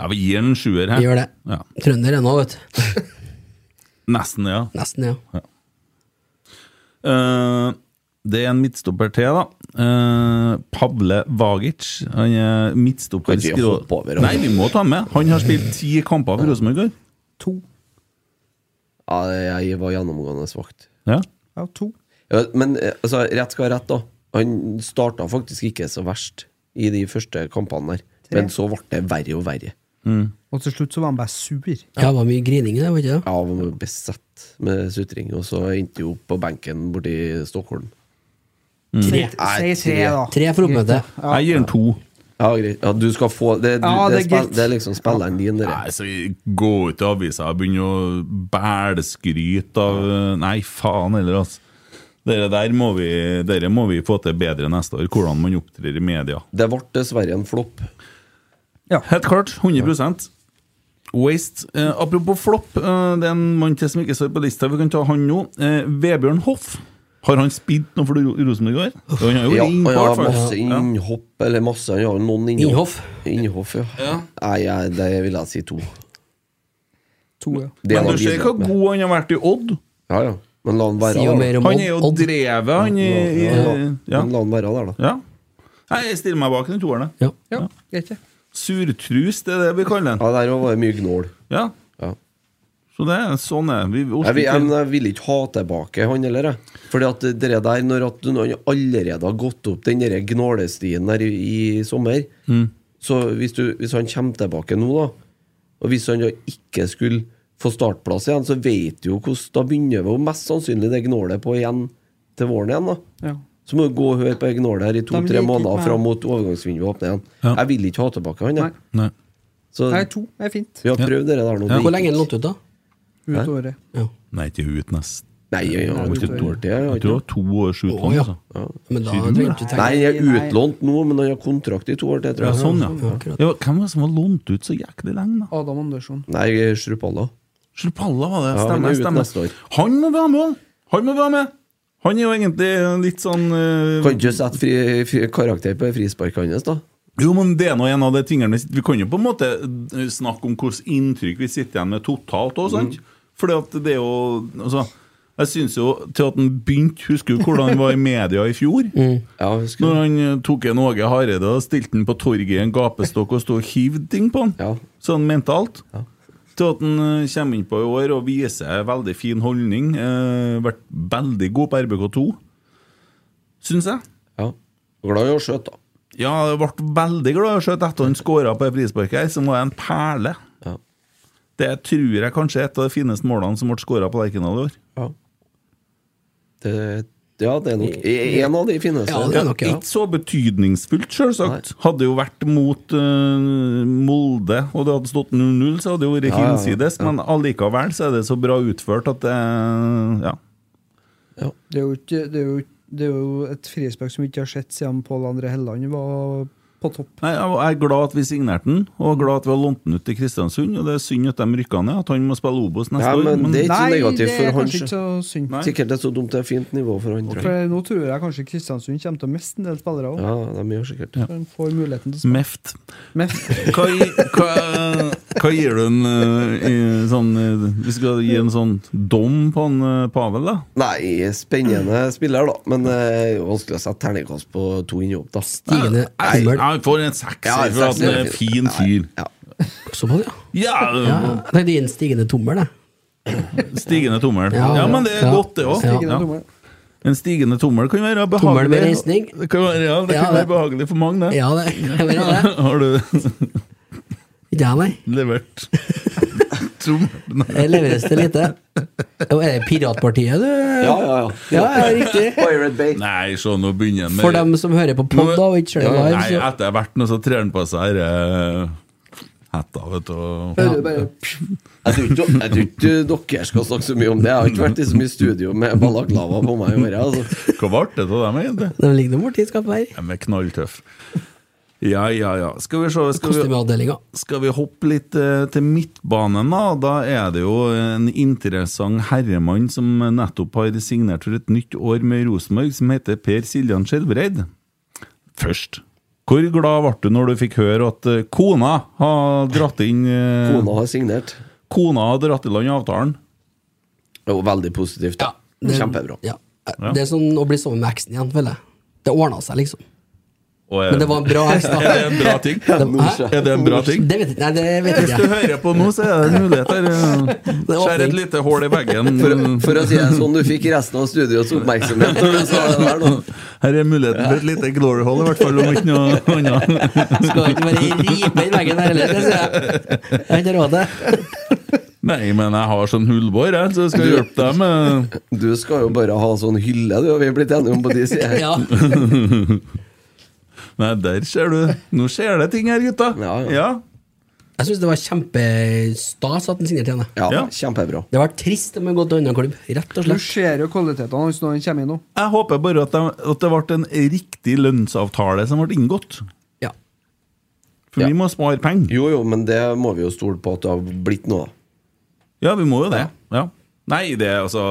Speaker 5: ja vi gir han en sjuer
Speaker 6: Vi
Speaker 5: her.
Speaker 6: gjør det.
Speaker 5: Ja.
Speaker 6: Trønder ennå, vet du.
Speaker 5: Nesten, ja.
Speaker 6: Nesten, ja.
Speaker 5: Eh, det er en midtstopper til, da. Eh, Pavle Vagic. Han er midtstopper
Speaker 1: Kan vi
Speaker 5: skrå-
Speaker 1: hoppe over han?
Speaker 5: Nei, vi må ta han med. Han har spilt ti kamper for Rosenborg i går.
Speaker 4: To.
Speaker 1: Ja, jeg var gjennomgående svakt.
Speaker 5: Ja.
Speaker 4: Ja, to.
Speaker 1: Ja, Men eh, altså, rett skal være rett, da. Han starta faktisk ikke så verst i de første kampene der. Men så ble det verre og verre.
Speaker 4: Og til slutt så var han bare sur.
Speaker 6: Ja, det var mye grining i det, var det ikke det?
Speaker 1: Jeg var besatt med sutring, og så endte jeg opp på benken borti Stockholm.
Speaker 6: Tre.
Speaker 1: Mm. Nei,
Speaker 4: Si tre, da.
Speaker 6: Tre for oppmøte.
Speaker 5: Jeg gir han to.
Speaker 1: Ja, greit. Ja, du skal få Det, du,
Speaker 4: Ja, det
Speaker 1: det, er,
Speaker 4: er
Speaker 1: spill,
Speaker 4: greit.
Speaker 1: det er liksom spilleren din, dere.
Speaker 5: Nei, så Gå ut til avisa og begynne å bælskryte av Nei, faen heller, altså. Dere der må vi, dere må vi få til bedre neste år, hvordan man opptrer i media.
Speaker 1: Det ble dessverre en flopp.
Speaker 5: Helt klart. 100 Waste. Eh, apropos flopp, eh, det er en mann til som ikke står på lista. Vi kan ta han nå. Eh, Vebjørn Hoff. Har han spilt noe for Ro- Rosenborg i år? Jo, Han har jo
Speaker 1: Ja, han
Speaker 5: inn på
Speaker 1: har
Speaker 5: hvert fall.
Speaker 1: masse innhopp Eller masse, han har jo noen innhopp Innhoff,
Speaker 6: Innhoff.
Speaker 1: ja, Nei, jeg, det vil jeg si to
Speaker 4: To, ja.
Speaker 1: Det
Speaker 5: Men
Speaker 1: han
Speaker 5: du ser
Speaker 1: bidrar
Speaker 5: hvor
Speaker 1: med.
Speaker 5: god han har vært i Odd.
Speaker 1: Ja, ja Men la han være
Speaker 6: Sier jo
Speaker 1: der
Speaker 6: mer om
Speaker 5: Han er jo
Speaker 6: Odd.
Speaker 5: drevet, han i, i
Speaker 1: da. Men la-
Speaker 5: ja.
Speaker 1: Men la han være der da
Speaker 5: ja. Nei, Jeg stiller meg bak den toeren. jeg.
Speaker 6: Ja.
Speaker 4: Ja, greit, det.
Speaker 5: Surtrus, det er det vi kaller den.
Speaker 1: Ja, der var det mye gnål
Speaker 5: Ja.
Speaker 1: Ja.
Speaker 5: Så det er sånn er vi.
Speaker 1: jeg vil, jeg, men jeg vil ikke ha tilbake han heller, jeg. Fordi at det der, når at han allerede har gått opp den der gnålestien der i, i sommer
Speaker 5: Mm.
Speaker 1: Så hvis, du, hvis han kommer tilbake nå, da, og hvis han da ikke skulle få startplass igjen, så vet du jo hvordan Da begynner vi jo mest sannsynlig det gnålet på igjen til våren igjen, da.
Speaker 4: Ja.
Speaker 1: Så må du gå og høre på det gnålet her
Speaker 4: De
Speaker 1: i
Speaker 4: liker
Speaker 1: to-tre
Speaker 4: ikke
Speaker 1: måneder
Speaker 4: meg.
Speaker 1: fram mot overgangsvinduet åpner igjen.
Speaker 5: Ja.
Speaker 1: Jeg vil ikke ha tilbake han,
Speaker 4: Nei.
Speaker 1: jeg.
Speaker 5: Nei.
Speaker 1: Så
Speaker 4: Nei, to er fint.
Speaker 1: vi har prøvd det der nå.
Speaker 5: Ja.
Speaker 1: Det
Speaker 6: Hvor
Speaker 1: gikk
Speaker 6: lenge er
Speaker 1: ikke.
Speaker 6: den lånt ut, da?
Speaker 1: Hæ?
Speaker 4: Ut året.
Speaker 6: Ja.
Speaker 5: Nei, ikke ut nest.
Speaker 1: Nei, jeg har
Speaker 5: Jeg
Speaker 1: ikke
Speaker 5: tror
Speaker 1: tålt det. Jeg har
Speaker 5: det
Speaker 1: ikke
Speaker 5: var to år sju
Speaker 6: Å
Speaker 5: tonn,
Speaker 6: ja.
Speaker 5: altså.
Speaker 6: Men da
Speaker 5: Sier du
Speaker 6: trenger du
Speaker 1: Nei,
Speaker 6: ikke tenke
Speaker 1: jeg er
Speaker 4: Nei, nei.
Speaker 1: utlånt nå, men han har kontrakt i to år til, tror
Speaker 5: Ja,
Speaker 1: jeg.
Speaker 5: sånn, ja.
Speaker 6: akkurat.
Speaker 5: ja. Hvem var det som var lånt ut så jæklig lenge, da?
Speaker 4: Adam Andersson.
Speaker 1: Nei, Strupalla.
Speaker 5: Slupalla var det.
Speaker 1: Ja, han er
Speaker 5: Stemmer.
Speaker 1: ute neste
Speaker 5: stemmer.
Speaker 1: år.
Speaker 5: Han må være med! han. Han må være med! Han er jo egentlig litt sånn eh,
Speaker 1: Kan ikke sette fri, fri, karakter på frisparket hans, da?
Speaker 5: Jo, men det er nå en av de tingene Vi kan jo på en måte eh, snakke om hvilket inntrykk vi sitter igjen med totalt òg, sant?
Speaker 1: Mhm.
Speaker 5: Fordi at det er jo Altså, jeg syns jo til at han begynte Husker du hvordan han var i media i fjor?
Speaker 1: Ja, husker
Speaker 5: Når
Speaker 1: du?
Speaker 5: han eh, tok en Åge Hareide og stilte han på torget i en gapestokk og stod og hivde ting på han.
Speaker 1: Ja.
Speaker 5: Sånn mentalt. Til at han eh, kommer inn på i år og viser veldig fin holdning. Eh, vært veldig god på RBK2, syns jeg.
Speaker 1: Ja. Glad i å skjøte, da.
Speaker 5: Ja, jeg ble veldig glad selv etter han skåra på det frisparket her, som var en perle.
Speaker 1: Ja.
Speaker 5: Det tror jeg kanskje er et av de fineste målene som ble skåra på Lerkendal i år.
Speaker 1: Ja. Det, ja, det er nok en av de fineste.
Speaker 6: Ja, det er nok, ja.
Speaker 5: Ikke så betydningsfullt, selvsagt. Hadde jo vært mot eh, Molde, og det hadde stått 0-0, så hadde det jo vært
Speaker 1: Ja, ja, ja.
Speaker 5: hinsides, men allikevel så er det så bra utført at det Ja.
Speaker 4: Det er jo, ikke, det er jo, det er jo et frispark som vi ikke har sett siden Pål André Helland var på topp.
Speaker 5: Nei, Jeg jeg er glad at vi signerte den, og glad at vi har lånt den ut til Kristiansund. Og Det er synd at de rykka ned, at han må spille Obos neste
Speaker 1: Ja, men
Speaker 5: år. Men
Speaker 1: det- er ikke så
Speaker 4: Nei,
Speaker 1: negativt
Speaker 4: det er
Speaker 1: for han,
Speaker 4: kanskje ikke så synd.
Speaker 5: Nei.
Speaker 1: Sikkert et så dumt det er fint nivå for han. tror jeg.
Speaker 4: For nå tror jeg kanskje Kristiansund kommer til å miste en del spillere òg.
Speaker 1: Ja, de gjør sikkert det.
Speaker 4: Han får muligheten til å
Speaker 5: Meft.
Speaker 4: spille.
Speaker 5: Hva, gi- hva, hva gir du en eh, i sånn eh, Vi skal gi en sånn dom på en eh, Pavel, da?
Speaker 1: Nei, spennende spiller, da. Men det er jo vanskelig å sette terningkast på to innhopp, da.
Speaker 6: Stigende
Speaker 5: Nei,
Speaker 6: himmel.
Speaker 5: Jeg får en sekser
Speaker 1: Ja, en
Speaker 5: for at han er en
Speaker 1: sekser.
Speaker 5: fin fyr.
Speaker 1: Ja.
Speaker 6: Såpass, ja. ja.
Speaker 5: Ja,
Speaker 6: Jeg tenkte gi en stigende tommel, jeg.
Speaker 5: Stigende tommel.
Speaker 6: Ja,
Speaker 5: Ja, men det er
Speaker 6: ja.
Speaker 5: godt, det òg.
Speaker 6: Stigende
Speaker 4: Ikke
Speaker 5: Ja.
Speaker 4: noe dummere.
Speaker 5: En stigende tommel kan være
Speaker 6: Tommel med
Speaker 5: behagelig.
Speaker 6: reisning.
Speaker 5: Det kan være, ja, det
Speaker 6: Ja,
Speaker 5: kan være
Speaker 6: det.
Speaker 5: behagelig for mange, det.
Speaker 6: Ja, det jeg mener det.
Speaker 5: <laughs> Har du
Speaker 6: Ikke jeg, nei.
Speaker 5: levert <laughs> tommel? Nei.
Speaker 6: Jeg leveres til lite. Jo, Er det Piratpartiet, du?
Speaker 1: Ja, ja, ja.
Speaker 6: Ja, ja, riktig.
Speaker 1: <laughs> Pirate Bay.
Speaker 5: Nei, se, nå begynner han med
Speaker 6: For dem som hører på pod da, og ikke ser det
Speaker 5: Ja,
Speaker 6: live,
Speaker 5: Nei,
Speaker 6: så
Speaker 5: etter verten, så trer han på seg denne hetta, vet du. og-
Speaker 4: Hører du bare
Speaker 1: Jeg tror ikke, jeg tror ikke dere skal snakke så mye om det. Jeg har ikke vært i så mye studio med balaklava på meg i år. Altså.
Speaker 5: Hva ble det av dem, egentlig?
Speaker 6: De ligger nå borti skapet her.
Speaker 5: De er knalltøffe. Ja, ja, ja. Skal vi se skal vi,
Speaker 6: Kostymeavdelinga.
Speaker 5: skal vi hoppe litt eh, til midtbanen, da? Da er det jo en interessant herremann som nettopp har signert for et nytt år med Rosenborg, som heter Per Siljan Skjelbreid. Først. Hvor glad ble du når du fikk høre at eh, kona har dratt inn eh,
Speaker 1: Kona har signert.
Speaker 5: Kona har dratt i land avtalen?
Speaker 1: Det var veldig positivt. da. Kjempebra.
Speaker 6: Ja. Det er sånn å bli sammen med eksen igjen, føler jeg. Det ordna seg, liksom.
Speaker 5: Og er-
Speaker 6: Men det var en bra eks,
Speaker 5: Eh, Er det
Speaker 6: da.
Speaker 5: en bra
Speaker 1: <laughs>
Speaker 5: ting?
Speaker 6: Hæ?
Speaker 5: Er det en bra ting?
Speaker 6: Det vet jeg ikke. Nei, det vet
Speaker 5: Hvis
Speaker 6: jeg
Speaker 5: du
Speaker 6: ikke.
Speaker 5: hører på nå, så er det en mulighet her. eh,
Speaker 6: Det er
Speaker 5: Skjær et
Speaker 6: åpning.
Speaker 5: lite hull i
Speaker 1: For,
Speaker 5: veggen.
Speaker 1: for å si det sånn, du fikk resten av studioets oppmerksomhet når du sa det der. Da.
Speaker 5: Her er muligheten for et lite glory hole, i hvert fall om ikke noe annet.
Speaker 6: Skal ikke bare ripe inn veggen her heller, det sier jeg. Jeg har ikke råd til det.
Speaker 5: Nei, men jeg har sånn hullbår, jeg, så jeg skal hjelpe deg med
Speaker 1: Du skal jo bare ha sånn hylle, du. og Vi er blitt enige om på de sidene.
Speaker 6: Ja.
Speaker 5: Nei, der ser du. Nå skjer det ting her, gutta.
Speaker 1: Ja, ja.
Speaker 5: Ja.
Speaker 6: Jeg syns det var kjempestas at han signerte igjen. jeg.
Speaker 1: Ja,
Speaker 5: Ja.
Speaker 1: kjempebra.
Speaker 6: Det har vært trist om han har gått til en annen klubb, rett og
Speaker 4: Du
Speaker 6: slett.
Speaker 4: ser jo kvalitetene hans når han kommer inn nå.
Speaker 5: Jeg håper bare at, de, at det ble en riktig lønnsavtale som ble inngått.
Speaker 6: Ja.
Speaker 5: For
Speaker 1: Ja.
Speaker 5: vi må spare penger.
Speaker 1: Jo, jo, men det må vi jo stole på at det har blitt noe.
Speaker 5: Ja, vi må jo det. Ja. Nei, det er altså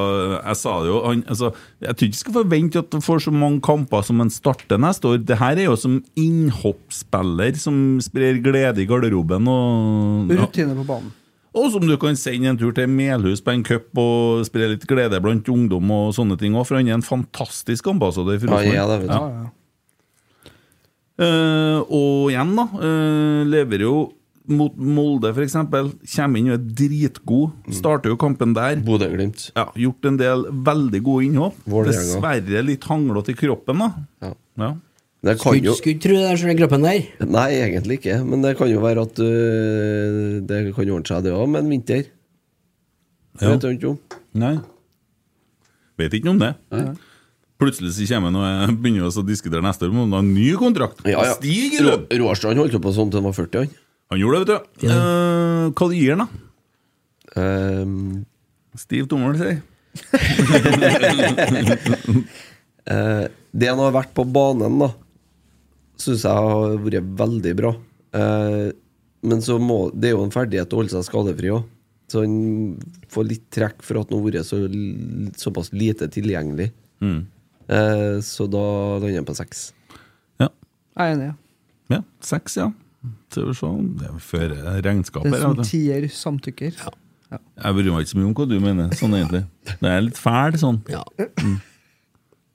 Speaker 5: Jeg sa det jo han, altså, Jeg tror ikke jeg skal forvente at du får så mange kamper som han starter neste år. Det her er jo som innhoppsspiller som sprer glede i garderoben. Og, ja.
Speaker 4: Rutine på banen.
Speaker 5: og som du kan sende en tur til Melhus på en cup og spre litt glede blant ungdom og sånne ting òg, for han er en fantastisk ambassadør. for
Speaker 1: Ja,
Speaker 5: Rosenborg.
Speaker 1: ja, det vet du.
Speaker 4: Ja, ja.
Speaker 5: Eh, og igjen, da. eh, lever jo mot Molde, f.eks. Kommer inn og er dritgod.
Speaker 1: Mm.
Speaker 5: Starter jo kampen der.
Speaker 1: Bodø-Glimt.
Speaker 5: Ja, gjort en del veldig gode innhopp.
Speaker 1: Vålerenga.
Speaker 5: Dessverre litt hanglete i kroppen, da.
Speaker 1: Ja.
Speaker 5: Ja.
Speaker 1: Det kan
Speaker 6: Skulle
Speaker 1: jo
Speaker 6: skulle ikke tro det der, så den kroppen der.
Speaker 1: Nei, egentlig ikke. Men det kan jo være at øh, det kan ordne seg, det òg, med en vinter. Det
Speaker 5: Ja.
Speaker 1: Vet du ikke om.
Speaker 5: Nei. Vet ikke noe om det. Plutselig så kommer han og jeg begynner oss å diskutere neste år, men han har en ny kontrakt.
Speaker 1: Ja, ja.
Speaker 5: Stig i lønn!
Speaker 1: Rå- Råstrand holdt jo på sånn til han var 40, han.
Speaker 5: Han gjorde det, vet du.
Speaker 6: Ja.
Speaker 5: Eh, hva gir han, da?
Speaker 1: Ehm,
Speaker 5: Stiv tommel, sier jeg.
Speaker 6: <laughs>
Speaker 1: det han har vært på banen, da, syns jeg har vært veldig bra. Eh, men så må, det er jo en ferdighet å holde seg skadefri òg. Så han får litt trekk for at han har vært så, l- såpass lite tilgjengelig. Eh, så da lander han på seks. <laughs>
Speaker 5: Ja.
Speaker 4: Jeg er enig. ja.
Speaker 5: Ja, seks, ja. Så vi se. Det er før regnskapet.
Speaker 4: Den
Speaker 5: her,
Speaker 4: som
Speaker 5: vet du.
Speaker 4: tier, samtykker.
Speaker 5: Jeg bryr meg ikke så mye om hva du mener, sånn egentlig. Det er litt fæl, sånn.
Speaker 6: Ja.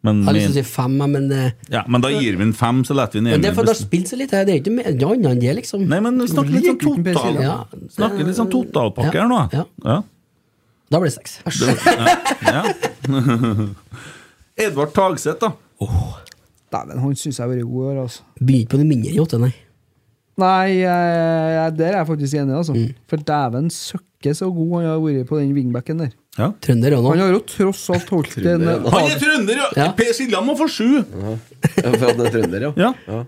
Speaker 5: Men,
Speaker 6: Jeg har lyst til å
Speaker 5: men,
Speaker 6: si fem, jeg, men eh,
Speaker 5: ja, men da gir vi en fem, så lar vi den
Speaker 6: men Det er for at det
Speaker 5: ene
Speaker 6: har spilt seg litt. her, Det er ikke mer- det er annet enn det, liksom.
Speaker 5: Nei, men vi snakker litt sånn
Speaker 4: Liker den
Speaker 5: total
Speaker 4: PC,
Speaker 6: ja.
Speaker 5: Snakker litt sånn totalpakke her nå.
Speaker 6: Ja.
Speaker 5: Ja.
Speaker 6: Da blir det seks.
Speaker 5: <laughs> Edvard Tagseth, da.
Speaker 4: Dæven, han syns jeg har vært god i år, altså.
Speaker 6: Begynner ikke på noe mindre enn åtte, nei.
Speaker 4: Nei, jeg, jeg, der er jeg faktisk enig, altså.
Speaker 5: Mm.
Speaker 4: For dæven søkke så god han har vært på den wingbacken der.
Speaker 5: Ja.
Speaker 6: Trønder òg
Speaker 4: Han
Speaker 6: nå.
Speaker 4: har jo tross alt
Speaker 5: <laughs>
Speaker 4: holdt en
Speaker 1: Trønder,
Speaker 5: Han er
Speaker 4: av-
Speaker 5: trønder, ja!
Speaker 6: Ja.
Speaker 5: Per Siljan må få sju!
Speaker 1: Ja, For at han er trønder, ja.
Speaker 5: Ja.
Speaker 1: ja.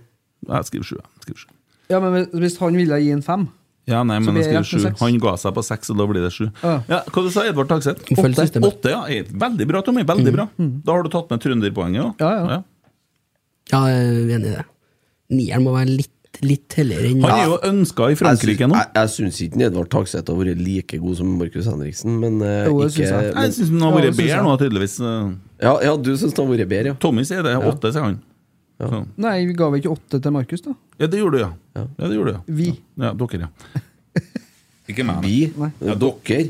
Speaker 5: Jeg skriver sju. Jeg skriver sju.
Speaker 4: Ja, men hvis- Hvis han ville gi en fem
Speaker 5: Ja, nei, men
Speaker 4: blir
Speaker 5: jeg
Speaker 4: det
Speaker 5: skriver sju.
Speaker 4: seks.
Speaker 5: Han ga seg på seks, og da blir det sju.
Speaker 4: Ja.
Speaker 5: Ja, hva du sa Edvard Tagseth?
Speaker 6: Må følge
Speaker 5: Åtte.
Speaker 6: systemet.
Speaker 5: Åtte, ja. Eh, Veldig bra, Tommy. Veldig bra. Da har du tatt med trønderpoenget,
Speaker 4: Mm.
Speaker 5: da.
Speaker 4: Ja, ja.
Speaker 6: Ja, jeg er enig i det. Nieren må være litt, litt helligere enn
Speaker 5: Han er jo ønska i Frankrike
Speaker 1: Jeg
Speaker 5: nå.
Speaker 1: syns- Jeg, jeg syns ikke Edvard Takseth har vært like god som Markus Henriksen, men eh,
Speaker 4: Jo, det
Speaker 1: ikke
Speaker 4: syns jeg.
Speaker 5: Jeg
Speaker 1: men,
Speaker 5: syns han har
Speaker 4: Ja,
Speaker 5: vært
Speaker 4: det synes
Speaker 5: bedre
Speaker 4: jeg.
Speaker 5: nå, tydeligvis. Eh,
Speaker 1: ja, ja, du syns han har vært bedre, ja.
Speaker 5: Tommy sier det. Åtte, sier han. Så.
Speaker 4: Nei, vi ga vel ikke åtte til Markus, da?
Speaker 5: Ja, det gjorde du, ja. Ja, det gjorde du, ja.
Speaker 4: Vi.
Speaker 5: Ja, dere, ja. <laughs> Ikke meg. nei.
Speaker 1: Vi?
Speaker 4: Nei.
Speaker 1: Ja, dere?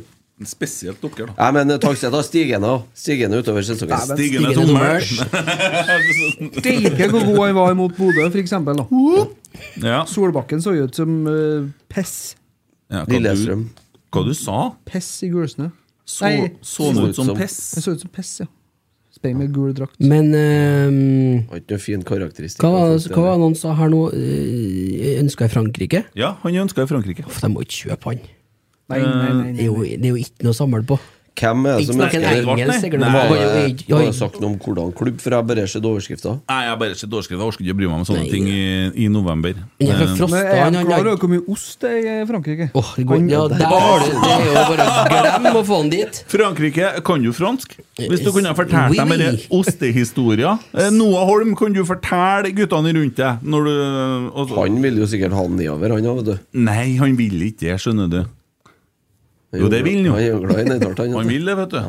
Speaker 5: Spesielt dere, da.
Speaker 1: Nei, men eh, Takseth har stigende, også. stigende utover
Speaker 4: Nei,
Speaker 1: sesongen.
Speaker 4: men-
Speaker 5: Stigende
Speaker 6: Stigende
Speaker 5: tommel.
Speaker 4: Steike hvor god han var imot Bodø, for eksempel. Da.
Speaker 5: Ja.
Speaker 4: Solbakken så jo ut som eh, pess.
Speaker 5: Ja, hva du,
Speaker 1: Lillestrøm.
Speaker 5: hva du sa?
Speaker 4: Pess i gulsnø.
Speaker 5: Så,
Speaker 4: Nei.
Speaker 5: så han ut som
Speaker 4: Han
Speaker 5: piss?
Speaker 4: så ut som pess, ja. Spreng med gul drakt.
Speaker 6: Men eh,
Speaker 1: Har ikke noen fin karakteristikk.
Speaker 6: hva var
Speaker 1: altså,
Speaker 6: hva var det noen sa her nå? Eh, Ønska i Frankrike?
Speaker 5: Ja, han ønska i Frankrike.
Speaker 6: Uff, de må ikke kjøpe han.
Speaker 4: Nei, nei, nei.
Speaker 6: Det er
Speaker 4: nei.
Speaker 6: eh, jo, det er jo ikke noe å samle på.
Speaker 1: Hvem er det
Speaker 6: Ikke
Speaker 1: som
Speaker 6: snakke
Speaker 1: ønsker
Speaker 6: en
Speaker 1: det?
Speaker 5: Edvard, nei.
Speaker 6: engelsk. sikkert.
Speaker 5: Nei.
Speaker 6: Oi,
Speaker 1: Var
Speaker 6: oi, oi,
Speaker 1: det- var
Speaker 6: oi.
Speaker 1: det sagt noe om hvordan klubb? For jeg bare ser overskrifta.
Speaker 5: Nei, jeg bare ikke dårskrevet. Jeg orker ikke å bry meg om sånne ting i, i november.
Speaker 6: Han er fra Frosta.
Speaker 4: Men er
Speaker 6: han-
Speaker 4: han
Speaker 6: han-
Speaker 4: klar over hvor mye ost det er i eh, Frankrike?
Speaker 6: Åh, det går-
Speaker 4: <laughs>
Speaker 6: ja, der har du- det er jo bare å glemme å få han dit.
Speaker 5: Frankrike, kan du fransk? Hvis du kunne ha fortalt
Speaker 6: Oui,
Speaker 5: dem
Speaker 6: Eh, oui.
Speaker 5: denne ostehistoria. Eh, Noah Holm, kan du fortelle guttene rundt deg når du og så-
Speaker 1: Han vil jo sikkert ha den nedover, han òg, vet du.
Speaker 5: Nei, han vil ikke det, skjønner du. Jo, det vil han jo.
Speaker 1: Han er jo glad i
Speaker 5: <laughs>
Speaker 1: Nedvard, han. vet
Speaker 5: Han
Speaker 1: du.
Speaker 5: vil det, vet du.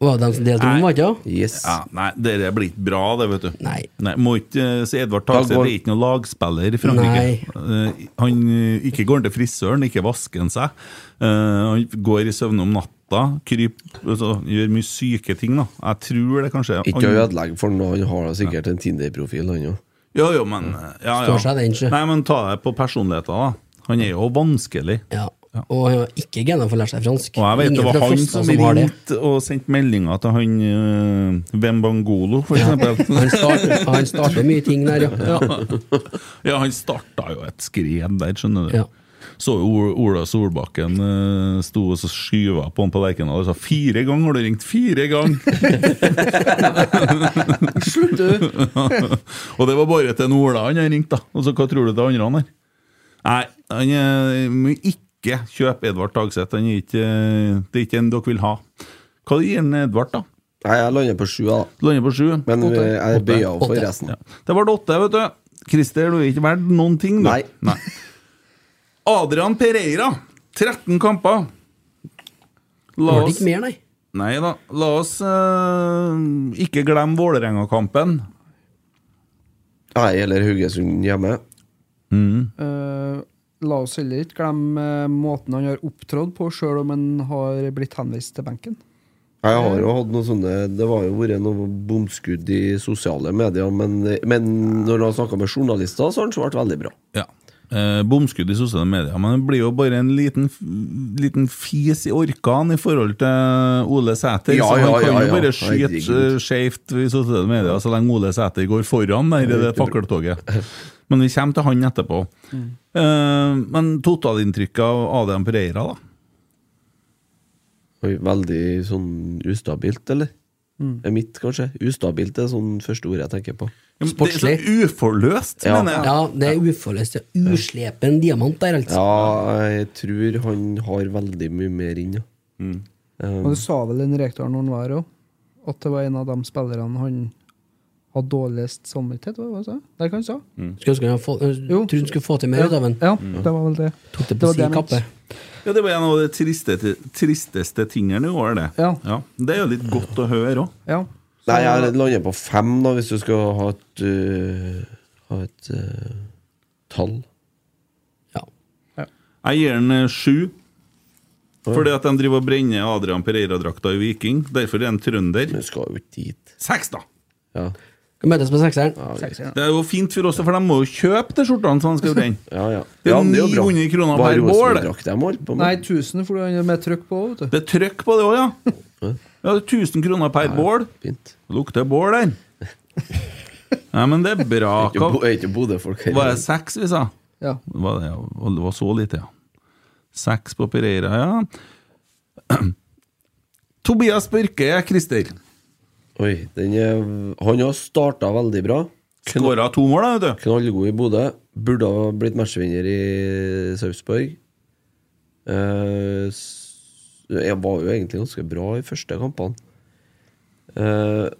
Speaker 6: Var det de som delte
Speaker 5: Nei.
Speaker 6: om, var det ikke det?
Speaker 1: Yes.
Speaker 5: Ja, nei, det blir ikke bra, det, vet du.
Speaker 6: Nei.
Speaker 5: må ikke eh, si Edvard Tagseth
Speaker 1: Da går-
Speaker 5: er ikke noen lagspiller i Frankrike. Eh, han eh, ikke går han til frisøren, ikke vasker han seg. Eh, han går i søvne om natta, kryper altså, Gjør mye syke ting, da. Jeg tror det kanskje
Speaker 1: Ikke å
Speaker 5: han-
Speaker 1: ødelegge for han, han har da sikkert en Tinder-profil, han òg.
Speaker 5: Jo, jo, men eh, ja, ja.
Speaker 6: Står seg den ikke.
Speaker 5: Nei, men ta det på personligheten, da. Han er jo vanskelig.
Speaker 6: Ja. Og han har ikke gener for å lære seg fransk.
Speaker 5: Og jeg vet
Speaker 6: Ingen
Speaker 5: det var
Speaker 6: fra
Speaker 5: han
Speaker 6: Frosta
Speaker 5: som
Speaker 6: har det.
Speaker 5: ringte og sendte meldinger til han uh, Vembangolo, for eksempel.
Speaker 6: Han starter, han starter mye ting der, ja.
Speaker 5: <laughs> Ja, han starta jo et skred der, skjønner du.
Speaker 6: Ja.
Speaker 5: Så jo Ol- Ola Solbakken eh, sto og så skyva på han på Lerkendal og sa 'fire ganger har du ringt', fire ganger!
Speaker 4: Slutt,
Speaker 6: <laughs>
Speaker 4: du!
Speaker 5: <laughs> og det var bare til en Ola han har ringt, da. Og så hva tror du til andre han har? Nei, han eh, må ikke kjøpe Edvard Tagseth. Han er ikke, eh, det er ikke en dere vil ha. Hva gir han Edvard, da?
Speaker 1: Nei, jeg lander på sju, da.
Speaker 5: Lander på sju.
Speaker 1: Men
Speaker 4: Åtte.
Speaker 1: eh, jeg bøyer av for
Speaker 6: Åtte.
Speaker 1: resten.
Speaker 5: Ja. Det ble åtte, vet du. Christer, du er ikke verdt noen ting, du.
Speaker 1: Nei.
Speaker 5: Adrian Pereira, 13 kamper. La
Speaker 6: Var det
Speaker 5: oss
Speaker 6: ikke mer, nei?
Speaker 5: Nei da, la oss eh, ikke glemme Vålerenga-kampen.
Speaker 1: Nei, eller Haugesund hjemme.
Speaker 4: Eh, la oss heller ikke glemme eh, måten han har opptrådt på, sjøl om han har blitt henvist til benken.
Speaker 1: Jeg har jo hatt noen sånne Det var jo vært noen bomskudd i sosiale medier, men, men når han snakka med journalister, så har han svart veldig bra.
Speaker 5: Ja. Eh, bomskudd i sosiale medier. Men det blir jo bare en liten, liten fis i orkan i forhold til Ole Sæter.
Speaker 1: Ja,
Speaker 5: så han
Speaker 1: ja,
Speaker 5: kan
Speaker 1: ja,
Speaker 5: jo
Speaker 1: ja.
Speaker 5: bare skyte
Speaker 1: Herregud.
Speaker 5: eh, skjevt i sosiale medier så lenge Ole Sæter går foran der i det fakkeltoget. Men vi kommer til han etterpå.
Speaker 1: Mm.
Speaker 5: Eh, men totalinntrykket av Adrian Pereira, da?
Speaker 1: Oi, Veldig sånn ustabilt, eller? Er mitt, kanskje? Ustabilt er sånn første ordet jeg tenker på.
Speaker 5: Ja, men Det er
Speaker 6: Sportslig.
Speaker 5: så uforløst,
Speaker 1: Ja.
Speaker 5: mener jeg.
Speaker 6: Ja, det er uforløst. det er Uslepen diamant der, altså.
Speaker 1: Ja, jeg tror han har veldig mye mer inn, ja.
Speaker 6: Mm.
Speaker 4: Og det sa vel en rektor når han var her òg, at det var en av de spillerne han hadde dårligst samvittighet for. hva sa jeg? Det er hva han sa.
Speaker 6: Skulle ønske han hadde fått- øh,
Speaker 4: Jo.
Speaker 6: Trodde han skulle få til mer ut av den.
Speaker 4: Ja, det var vel det.
Speaker 6: Mm. Tok det
Speaker 4: Det
Speaker 6: på
Speaker 4: var det
Speaker 6: sin
Speaker 4: jeg
Speaker 6: kappe.
Speaker 5: Ja, det var en av de tristeste, tristeste tingene i år, det.
Speaker 4: Ja.
Speaker 5: Det er jo litt godt å høre òg.
Speaker 4: Ja.
Speaker 1: Nei, jeg lander på fem, da, hvis du skal ha et øh, Ha et øh, tall.
Speaker 6: Ja.
Speaker 5: Jeg gir den eh, sju. Fordi at de driver og brenner Adrian Pereira-drakta i Viking. Derfor er han trønder.
Speaker 1: Men du skal jo ikke dit.
Speaker 5: Seks, da!
Speaker 1: Ja.
Speaker 6: Skal møtes på sekseren.
Speaker 5: Det er jo fint for oss, for de må jo kjøpe de skjortene som han skal brenne.
Speaker 1: Ja, ja.
Speaker 5: Det er
Speaker 1: ja, men jo bra.
Speaker 5: 900 kroner
Speaker 1: Hva
Speaker 5: per
Speaker 1: Rosenborg
Speaker 5: bål, det.
Speaker 1: drakk de holdt på med?
Speaker 4: Nei, 1000 for han er med trykk på, vet du.
Speaker 5: Det er trøkk på det òg, ja. Ja, det er 1000 kroner per bål.
Speaker 1: Fint.
Speaker 5: Lukter bål der. Nei, men det er bra.
Speaker 1: Det er jo bo- er ikke Bodø-folk her.
Speaker 5: Var det seks vi sa?
Speaker 4: Ja.
Speaker 5: Var det, ja. Og det var så lite, ja. Seks på Pereira, ja. <clears throat> Tobias Børke, Christer.
Speaker 1: Oi, den er, han har starta veldig bra.
Speaker 5: Skåra to mål, da, vet du.
Speaker 1: Knallgod i Bodø. Burde ha blitt matchvinner i Sarpsborg. Eh, s- jeg var jo egentlig ganske bra i første kampene. Eh,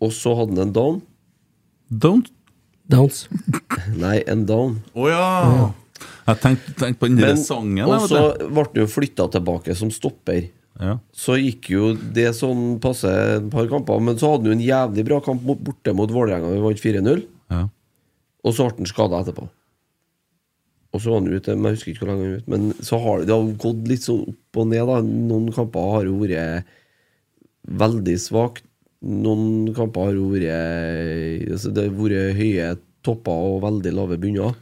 Speaker 1: og så hadde han en down.
Speaker 5: Don't
Speaker 6: Downs.
Speaker 1: Nei, en down.
Speaker 5: Å ja. Jeg tenkte tenkte på den der
Speaker 1: Men,
Speaker 5: sangen.
Speaker 1: og
Speaker 5: jeg,
Speaker 1: så
Speaker 5: vet
Speaker 1: ble han jo flytta tilbake som stopper.
Speaker 5: du. Ja.
Speaker 1: så gikk jo det sånn passe et par kamper. Men så hadde han jo en jævlig bra kamp mot, borte mot Vålerenga, vi vant 4-0.
Speaker 5: Ja.
Speaker 1: Og så ble han skada etterpå. Og så var han ute, men jeg husker ikke hvor lenge han var ute. Men så har det, det har gått litt sånn opp og ned, da. Noen kamper har jo vært veldig svake. Noen kamper har jo vært altså Det har vært høye topper og veldig lave bunner.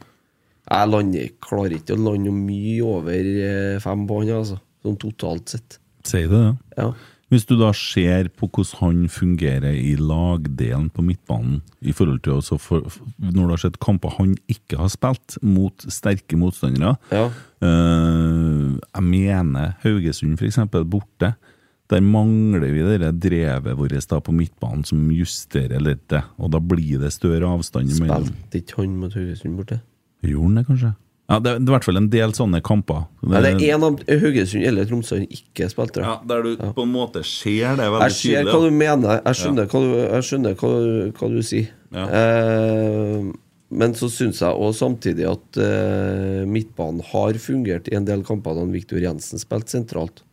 Speaker 1: Jeg lander, klarer ikke å lande mye over eh, fem på han, altså. Sånn totalt sett.
Speaker 5: Sier du det?
Speaker 1: Ja.
Speaker 5: Hvis du da ser på hvordan han fungerer i lagdelen på midtbanen, i forhold til også for, når du har sett kamper han ikke har spilt mot sterke motstandere
Speaker 1: Ja.
Speaker 5: Eh, Jeg mener Haugesund, f.eks., borte. Der mangler vi det der drevet vårt da på midtbanen som justerer litt, det, og da blir det større avstand imellom.
Speaker 1: Spilte ikke han mot Haugesund borte?
Speaker 5: Gjorde han det, kanskje? Ja, det er det er i hvert fall en del sånne kamper.
Speaker 1: Nei, det er én av Haugesund eller Tromsø han ikke spilte.
Speaker 5: ja,
Speaker 1: da.
Speaker 5: Der du på en måte ser det veldig
Speaker 1: Jeg ser hva du
Speaker 5: tydelig.
Speaker 1: mener. Jeg skjønner hva du, jeg skjønner hva, du- hva du sier.
Speaker 5: Ja.
Speaker 1: Eh, men så syns jeg òg samtidig at eh, midtbanen har fungert i en del kamper da Viktor Jensen spilte sentralt.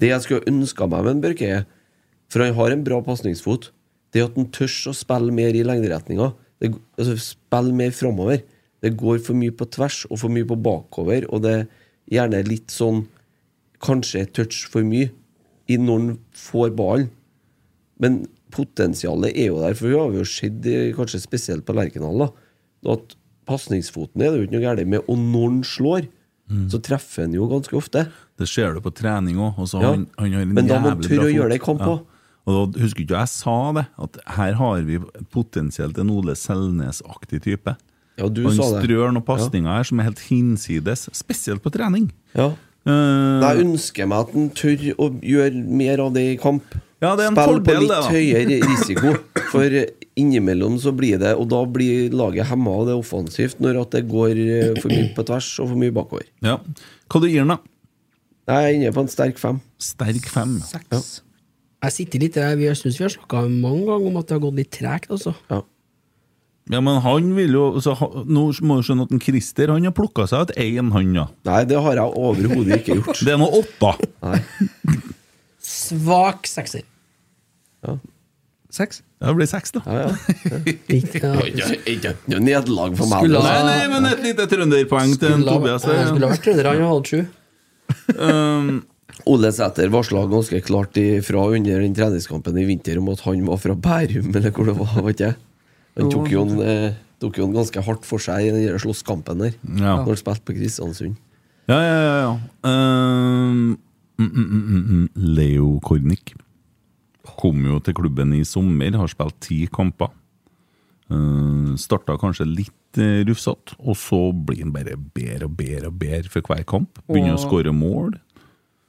Speaker 1: Det jeg skulle ønska meg med en Børke, er For han har en bra pasningsfot. Det at han tør å spille mer i lengderetninga. Det- Altså, spille mer framover. Det går for mye på tvers og for mye på bakover, og det er gjerne litt sånn Kanskje et touch for mye i når han får ballen. Men potensialet er jo der, for vi har jo sett, eh, kanskje spesielt på Lerkendal, da, at pasningsfoten er det jo ikke noe galt med, og når han slår, så treffer han jo ganske ofte.
Speaker 5: Da. Det ser du på trening òg. Og så
Speaker 1: Ja.
Speaker 5: har han, han har en
Speaker 1: Men da må
Speaker 5: jævlig
Speaker 1: han tørre
Speaker 5: bra
Speaker 1: å
Speaker 5: fot.
Speaker 1: gjøre det i kamp også.
Speaker 5: Og da Husker ikke jeg sa det, at her har vi potensielt en Ole Selnes-aktig type.
Speaker 1: Ja, du
Speaker 5: han
Speaker 1: sa det.
Speaker 5: strør noen pasninger her som er helt hinsides, spesielt på trening.
Speaker 1: Ja.
Speaker 5: Eh,
Speaker 1: Jeg ønsker meg at han tør å gjøre mer av det i kamp.
Speaker 5: Ja, det er en
Speaker 1: Spill på
Speaker 5: fordel,
Speaker 1: litt høyere
Speaker 5: det, <laughs>
Speaker 1: risiko, for innimellom så blir det Og da blir laget hemma, og det er offensivt når at det går eh, for mye på tvers og for mye bakover.
Speaker 5: ja. Hva du gir den, da?
Speaker 1: Jeg er inne på en sterk fem.
Speaker 5: Sterk fem.
Speaker 4: Seks.
Speaker 6: Jeg sitter litt der. Vi- Jeg syns vi har snakka mange ganger om at det har gått litt tregt, altså.
Speaker 1: Ja.
Speaker 5: Ja, men han vil jo så, ha- Nå må du skjønne at en Christer han har plukka seg ut én, han, ja.
Speaker 1: Nei, det har jeg overhodet ikke gjort.
Speaker 5: Det er nå åtta.
Speaker 1: Nei.
Speaker 6: svak sekser.
Speaker 4: Seks?
Speaker 5: Det blir seks, da.
Speaker 1: Ja, ja.
Speaker 6: Ikke, ja.
Speaker 1: Oi, det er Ikke ikke noe nederlag for meg.
Speaker 6: Skulle
Speaker 1: altså.
Speaker 5: Nei, nei, men et lite trønderpoeng til en
Speaker 6: Skulle ha-
Speaker 5: Tobias.
Speaker 6: jeg skulle
Speaker 5: der,
Speaker 6: ha vært trønder, han hadde sju.
Speaker 5: Ja. Um,
Speaker 1: Ole Sæter varsla ganske klart ifra under den treningskampen i vinter om at han var fra Bærum, <laughs> eller hvor det var. vet jeg Han tok jo en, eh, tok jo en ganske hardt for seg i den der slåsskampen der,
Speaker 5: Ja.
Speaker 1: når han spilte på Kristiansund.
Speaker 5: Ja, ja, ja. ja. Ehm, mm, mm, mm, mm, mm. Leo Kornic kom jo til klubben i sommer, har spilt ti kamper. Uh, starta kanskje litt uh, rufsete, og så blir han bare bedre og bedre og bedre for hver kamp. Begynner å
Speaker 4: Og-
Speaker 5: skåre mål.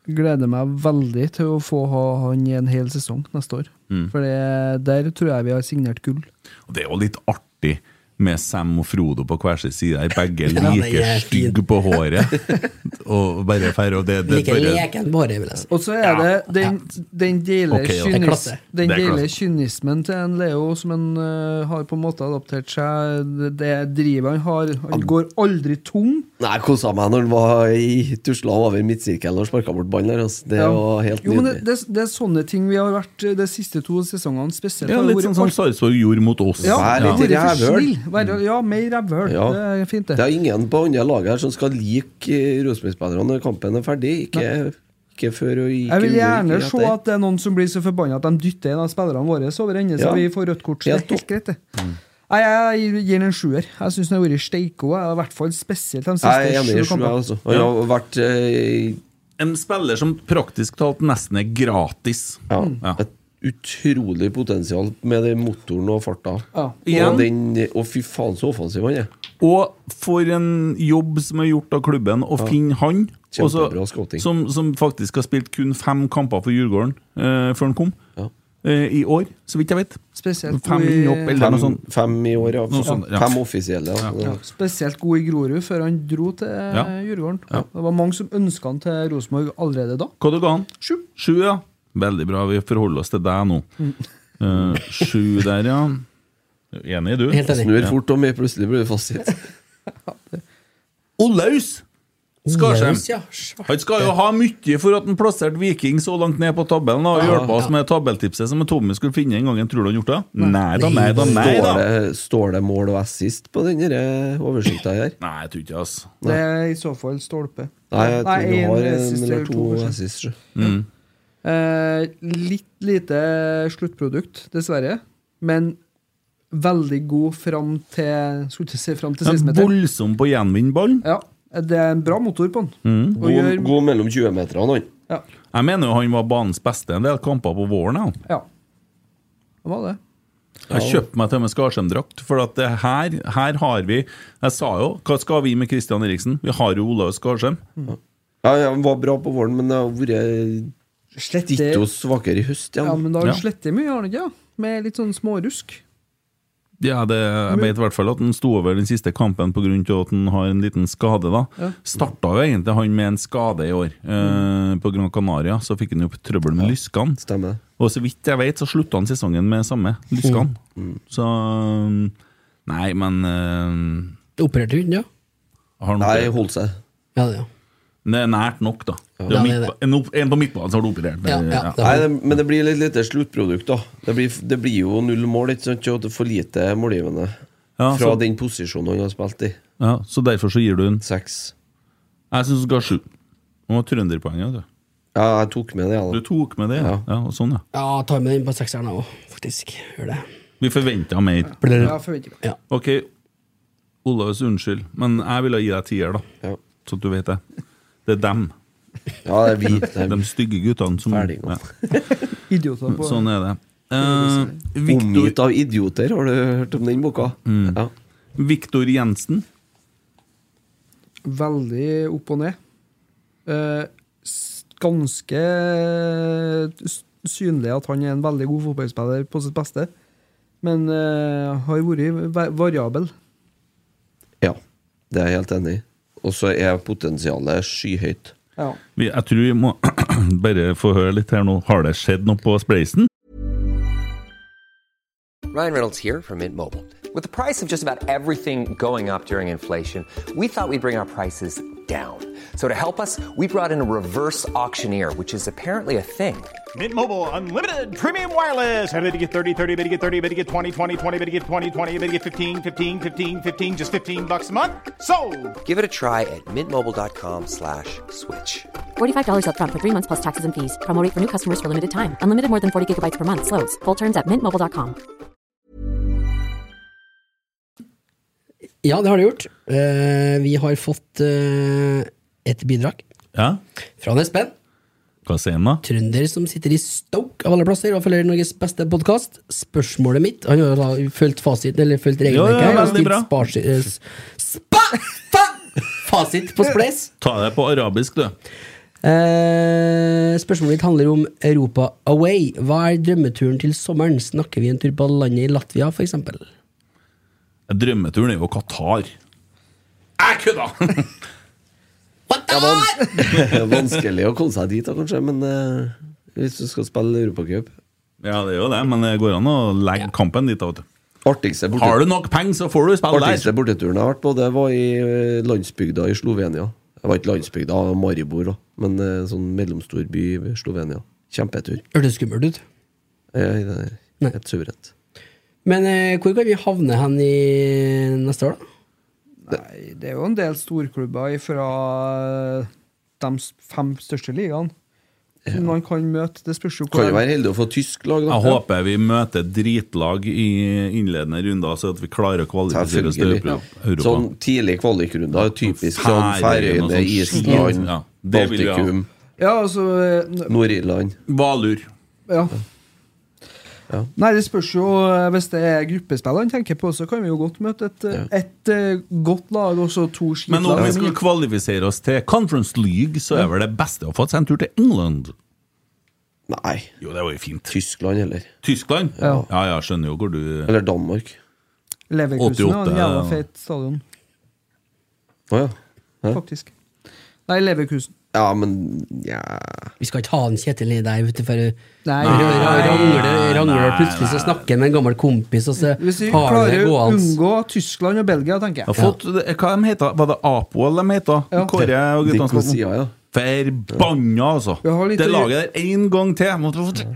Speaker 4: Gleder meg veldig til å få ha han i en hel sesong neste år. For det, der tror jeg vi har signert gull.
Speaker 5: Og det er jo litt artig med Sam og Frodo på hver sin side. her. Begge
Speaker 6: <laughs> Ja, det
Speaker 5: like
Speaker 6: er fint.
Speaker 5: stygge på håret. <laughs> Og bare færre, og det, det
Speaker 6: Like
Speaker 5: bare
Speaker 6: leken bare, vil jeg si.
Speaker 4: Og så er det den, den deilige
Speaker 5: Ok, ja. Det er
Speaker 4: kynis-
Speaker 6: klasse.
Speaker 4: den
Speaker 5: Det er
Speaker 4: deilige
Speaker 5: klasse.
Speaker 4: kynismen til en Leo som han eh, har på en måte adoptert seg. Det, det drivet han har. Han går aldri tom.
Speaker 1: Nei, jeg kosa meg når han var i tusla over midtsirkelen og sparka bort ballen der. Altså. Det
Speaker 4: Ja.
Speaker 1: var helt
Speaker 4: jo, men det,
Speaker 1: nydelig.
Speaker 4: det, det er sånne ting vi har vært eh, de siste to sesongene spesielt.
Speaker 5: ja,
Speaker 4: har det
Speaker 5: Litt
Speaker 4: vært
Speaker 5: sånn som
Speaker 4: alt-
Speaker 5: Sarpsborg gjorde mot oss.
Speaker 4: ja,
Speaker 1: Vær
Speaker 4: vært
Speaker 1: litt
Speaker 4: for
Speaker 1: rævhøl.
Speaker 4: snill. Vær- Ja, mer rævhøl.
Speaker 1: Ja.
Speaker 4: Det er fint,
Speaker 1: Det
Speaker 4: det.
Speaker 1: er ingen på andre laget her som skal like eh, Rosenborg-spillerne når kampen er ferdig. Ikke, ikke før og ikke
Speaker 4: Jeg vil
Speaker 1: under,
Speaker 4: gjerne
Speaker 1: ikke
Speaker 4: se
Speaker 1: etter.
Speaker 4: at det er noen som blir så forbanna at de dytter en av spillerne våre over ende, så
Speaker 1: Ja. Mm.
Speaker 4: vi får rødt kort. Så det
Speaker 1: Helt
Speaker 4: er helt greit, det. Nei, Jeg gir den en sjuer. Jeg syns den har vært steikgod. jeg, I hvert fall spesielt de
Speaker 1: Jeg er
Speaker 4: siste
Speaker 1: enig i
Speaker 4: sju
Speaker 1: sju, jeg
Speaker 4: kampene.
Speaker 1: også. Og jeg har vært eh,
Speaker 5: En spiller som praktisk talt nesten er gratis.
Speaker 1: ja,
Speaker 5: Ja.
Speaker 1: et utrolig potensial med den motoren og farta.
Speaker 4: Ja.
Speaker 5: Igjen.
Speaker 1: Og, den, og fy faen, så offensiv han er.
Speaker 5: Og for en jobb som er gjort av klubben, å finne han og så-
Speaker 1: Kjempebra scouting.
Speaker 5: som, som faktisk har spilt kun fem kamper for Djurgården eh, før han kom,
Speaker 1: Ja.
Speaker 5: eh, i år, så vidt jeg vet.
Speaker 4: Spesielt
Speaker 5: Fem
Speaker 4: god i-
Speaker 5: inn opp, eller
Speaker 1: Fem,
Speaker 5: noe sånt.
Speaker 1: fem i år, ja.
Speaker 5: Noe sånt, ja.
Speaker 1: Fem offisielle. Ja.
Speaker 4: Ja, spesielt god i Grorud før han dro til
Speaker 5: Ja.
Speaker 4: eh, Djurgården. Det var mange som ønska han til Rosenborg allerede da.
Speaker 5: Hva du ga han?
Speaker 4: Sju.
Speaker 5: Sju, ja. Veldig bra, vi forholder oss til deg nå. Eh, sju der, ja. Enig, du?
Speaker 6: Helt enig.
Speaker 1: Snur fort om jeg plutselig blir det
Speaker 5: <laughs>
Speaker 1: fasit.
Speaker 5: Olaus! Skarsheim.
Speaker 6: Yes, ja, svart.
Speaker 5: Han skal jo ha mye for at han plasserte Viking så langt ned på tabellen og hjelpe oss med tabelltipset som Tommy skulle finne en gang. Tror du han gjort det? Nei da, nei da, nei
Speaker 1: Står
Speaker 5: da.
Speaker 1: det, står det mål og assist på denne oversikta her?
Speaker 5: Nei, jeg tror ikke det, altså.
Speaker 4: Det er i så fall stolpe.
Speaker 1: Nei, jeg tror du
Speaker 4: en
Speaker 1: har en
Speaker 4: assist
Speaker 1: eller to
Speaker 4: kanskje.
Speaker 1: assist. sjø.
Speaker 4: Eh, litt lite sluttprodukt, dessverre. Men veldig god fram til Skulle ikke si fram til
Speaker 5: Han er
Speaker 4: 16-meteren.
Speaker 5: voldsom på å gjenvinne ballen.
Speaker 4: Ja, det er en bra motor på den.
Speaker 5: Mm.
Speaker 4: Og
Speaker 1: God,
Speaker 4: gjør,
Speaker 1: god mellom 20-meterne, han.
Speaker 4: ja,
Speaker 5: Jeg mener jo han var banens beste en del kamper på våren. Jeg,
Speaker 4: ja. Det var det.
Speaker 5: jeg kjøpte meg til og med Skarsheim-drakt, for at det her, her har vi Jeg sa jo hva skal vi med Christian Eriksen? Vi har jo Olaus Skarsheim.
Speaker 1: Ja, ja, han var bra på våren, men det har vært
Speaker 4: Slett
Speaker 1: stitt og svakere i høst
Speaker 4: Ja,
Speaker 1: igjen.
Speaker 4: men da har
Speaker 5: Ja.
Speaker 4: han slettet mye, har han ikke? Ja. Med litt sånn smårusk.
Speaker 5: Ja, det, jeg vet i hvert fall at han sto over den siste kampen pga. at han har en liten skade. da Starta jo egentlig han med en skade i år. Eh,
Speaker 6: Mm.
Speaker 5: på Gran Canaria så fikk han jo trøbbel med lyskene.
Speaker 1: Stemmer det.
Speaker 5: Og så vidt jeg vet, så slutta han sesongen med samme lyskene.
Speaker 6: Mm.
Speaker 5: Så um, Nei, men eh,
Speaker 6: Opererte hund, ja.
Speaker 5: har han
Speaker 1: Nei,
Speaker 5: operert?
Speaker 1: holdt seg.
Speaker 6: Ja, det, ja.
Speaker 5: Det er nært nok, da. Det er
Speaker 6: Ja, det er
Speaker 5: midtba- En, opp, en på midtbanen som har du operert. eh,
Speaker 6: Ja, ja,
Speaker 5: Ja.
Speaker 6: det
Speaker 1: Nei,
Speaker 6: var-
Speaker 1: det, men det blir litt lite sluttprodukt, da. Det blir, det blir jo null mål, ikke sant? Og det er for lite målgivende
Speaker 5: Ja,
Speaker 1: fra
Speaker 5: så-
Speaker 1: den posisjonen han har spilt i.
Speaker 5: Ja, så derfor så gir du en
Speaker 1: Seks.
Speaker 5: Jeg syns du skal ha sju. Du må ha trønderpoenget. vet
Speaker 1: Ja, jeg tok med det,
Speaker 5: Du.
Speaker 1: jeg,
Speaker 5: du tok med det, ja.
Speaker 1: Ja.
Speaker 5: ja og sånn, ja.
Speaker 6: ja tar med den på sekseren òg, faktisk. Gjør det.
Speaker 5: Vi forventa mer.
Speaker 6: Blir
Speaker 4: Ja,
Speaker 6: det
Speaker 4: forventer ikke.
Speaker 5: Ok, Olaus, unnskyld, men jeg ville gi deg tier, da.
Speaker 1: da. Ja,
Speaker 5: Så at du vet det. Det er dem.
Speaker 1: ja det
Speaker 5: <laughs>
Speaker 1: er vi. Det er
Speaker 5: De
Speaker 1: vi.
Speaker 5: stygge guttene som
Speaker 1: Ferdinand.
Speaker 4: Idioter på
Speaker 5: Sånn er det. Eh,
Speaker 1: Omgitt
Speaker 5: Viktor,
Speaker 1: av idioter, har du hørt om den boka?
Speaker 5: Mm.
Speaker 1: Ja.
Speaker 5: Viktor Jensen.
Speaker 4: Veldig opp og ned. Eh, s- ganske s- synlig at han er en veldig god fotballspiller på sitt beste, men eh, har vært va- variabel.
Speaker 1: ja. Det er jeg helt enig i. Og så er potensialet skyhøyt. <laughs>
Speaker 4: Ja.
Speaker 5: Vi- Jeg tror vi må <clears throat> bare få høre litt her nå. Har det skjedd noe på Spleisen?
Speaker 7: Ryan Reynolds here from Mint Mobile. With the price of just about everything going up during inflation, we thought we'd bring our prices down. So to help us, we brought in a reverse auctioneer, which is apparently a thing.
Speaker 8: Mint Mobile unlimited premium wireless. Ready to get 30, 30, ready to get 30, ready to get 20, 20, 20, ready to get 20, 20, ready to get 15, 15, 15, 15 just 15 bucks a month. Sold.
Speaker 7: Give it a try at mintmobile.com slash switch.
Speaker 9: $45 upfront for three months plus taxes and fees. Promo rate for new customers for limited time. Unlimited more than 40 gigabytes per month. Slows. Full terms at mintmobile.com.
Speaker 6: Ja, det har det gjort. Eh, vi har fått eh, et bidrag
Speaker 5: Ja,
Speaker 6: fra en Espen.
Speaker 5: hva sier han da?
Speaker 6: Trønder som sitter i Stoke av alle plasser og følger Norges beste podkast. Spørsmålet mitt Han har jo da fulgt fasit, eller fulgt
Speaker 5: Ja,
Speaker 6: regelverket.
Speaker 5: ja,
Speaker 6: her, og
Speaker 5: veldig
Speaker 6: stilt
Speaker 5: bra.
Speaker 6: sparsi- eh, Spa! Fa! Fasit på Spleis.
Speaker 5: Ta det på arabisk, du.
Speaker 6: Eh, spørsmålet mitt handler om Europa away. Hva er drømmeturen til sommeren? Snakker vi en tur på landet i Latvia, f.eks.?
Speaker 5: Drømmeturen er jo Qatar. Jeg kødda!
Speaker 1: Det er vanskelig å komme seg dit, da, kanskje, men eh, hvis du skal spille Europacup
Speaker 5: ja, det er jo det, men det går an å legge kampen dit. da, vet du.
Speaker 1: Artigste borte-
Speaker 5: Har du nok penger, så får du spille
Speaker 1: artigste
Speaker 5: der.
Speaker 1: borteturen jeg har vært på, det var i eh, landsbygda i Slovenia. Jeg var ikke landsbygda, jeg var Maribor, da, men eh, sånn mellomstor by i Slovenia. Kjempetur.
Speaker 6: Hørtes skummelt ut.
Speaker 1: Eh, det er
Speaker 6: Nei.
Speaker 1: Helt suverent.
Speaker 6: Men eh, hvor kan vi havne hen i neste år, da?
Speaker 4: Nei, det er jo en del storklubber fra de s- fem største ligaene. Man kan møte Det spørs jo
Speaker 1: Kan jo
Speaker 4: hvor
Speaker 1: være heldig å få tysk lag, da.
Speaker 5: Jeg håper vi møter dritlag i innledende runder, så at vi klarer å kvalifisere oss til
Speaker 1: Selvfølgelig.
Speaker 5: Euro- Europa.
Speaker 1: Sånn tidlig kvalikrunde er typisk sånn
Speaker 5: Færøyene og
Speaker 1: Færøyene,
Speaker 5: sånn.
Speaker 1: Island,
Speaker 5: Ja, det vil vi ha.
Speaker 1: Baltikum,
Speaker 4: Ja, altså eh,
Speaker 1: Nord-Irland.
Speaker 5: Valur.
Speaker 4: Ja.
Speaker 1: Ja.
Speaker 4: Nei, det spørs jo eh, Hvis det er gruppespill han tenker på, så kan vi jo godt møte et, eh, et, eh, godt lag og så to
Speaker 5: Men om
Speaker 4: skitlag.
Speaker 5: vi skulle kvalifisere oss til Conference League, så er vel det beste å få seg en tur til England?
Speaker 1: Nei,
Speaker 5: Jo, det var jo fint.
Speaker 1: Tyskland heller.
Speaker 5: Tyskland?
Speaker 4: Ja.
Speaker 5: ja, jeg skjønner jo hvor du
Speaker 1: Eller Danmark.
Speaker 4: Leverkusen har
Speaker 5: 88,
Speaker 4: en jævla
Speaker 5: ja.
Speaker 4: feit stadion,
Speaker 1: Å ja. Hæ?
Speaker 4: faktisk. Nei, Leverkusen.
Speaker 1: Ja, men ja.
Speaker 6: Vi skal ikke ha en Kjetil i deg ute for
Speaker 4: Nei,
Speaker 6: Rangler rangler plutselig så snakker han med en gammel kompis, og så
Speaker 4: Mm. Hvis vi
Speaker 6: har han det
Speaker 4: klarer å
Speaker 6: gående.
Speaker 4: unngå Tyskland og Belgia, tenker
Speaker 5: Jeg har
Speaker 4: jeg.
Speaker 5: fått, det- Hva de heter Var det Apoel de heter?
Speaker 4: Ja.
Speaker 5: Kåre og guttene skal
Speaker 1: Nikosia, ja.
Speaker 5: Forbanna, altså!
Speaker 4: Vi har litt
Speaker 5: Det
Speaker 4: å-
Speaker 5: laget der én gang til! Måtte få til.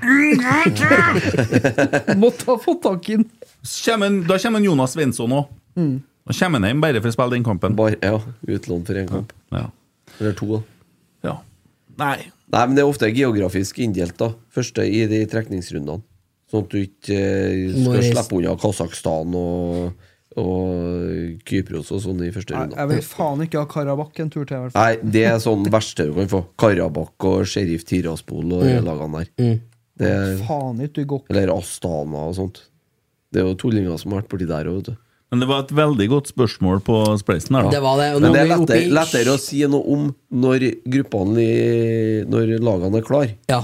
Speaker 4: <laughs> Måtte ha fått tak i den.
Speaker 5: Så kommer en- Da kommer en Jonas Svensson òg. Da kommer han hjem bare for å spille den kampen.
Speaker 1: Bare, ja. Utlån for én kamp.
Speaker 5: Ja.
Speaker 1: Eller to. da.
Speaker 5: ja. Nei.
Speaker 1: Nei, men det er ofte geografisk inndelt, da. Første i de trekningsrundene. Sånn at du ikke eh,
Speaker 6: Må
Speaker 1: skal
Speaker 6: reise-
Speaker 1: slippe unna Kasakhstan og, og Kypros og sånn i første
Speaker 4: Nei,
Speaker 1: runde.
Speaker 4: Jeg vil faen ikke ha Karabakh en tur til, i hvert fall.
Speaker 1: Nei, det er sånn <laughs> verste du kan få. Karabakh og Sheriff Tiraspol
Speaker 6: Mm.
Speaker 1: og de lagene der. Det er,
Speaker 4: Faen ikke, du går ikke
Speaker 1: eller Astana og sånt. Det er jo tullinger som har vært borti der òg, vet du.
Speaker 5: Men det var et veldig godt spørsmål på spleisen her, da.
Speaker 6: Det var det. Og nå
Speaker 1: Men det er
Speaker 6: er vi oppe
Speaker 1: lettere,
Speaker 6: i-
Speaker 1: lettere å si noe om når gruppene i- Når lagene er klare.
Speaker 6: Ja.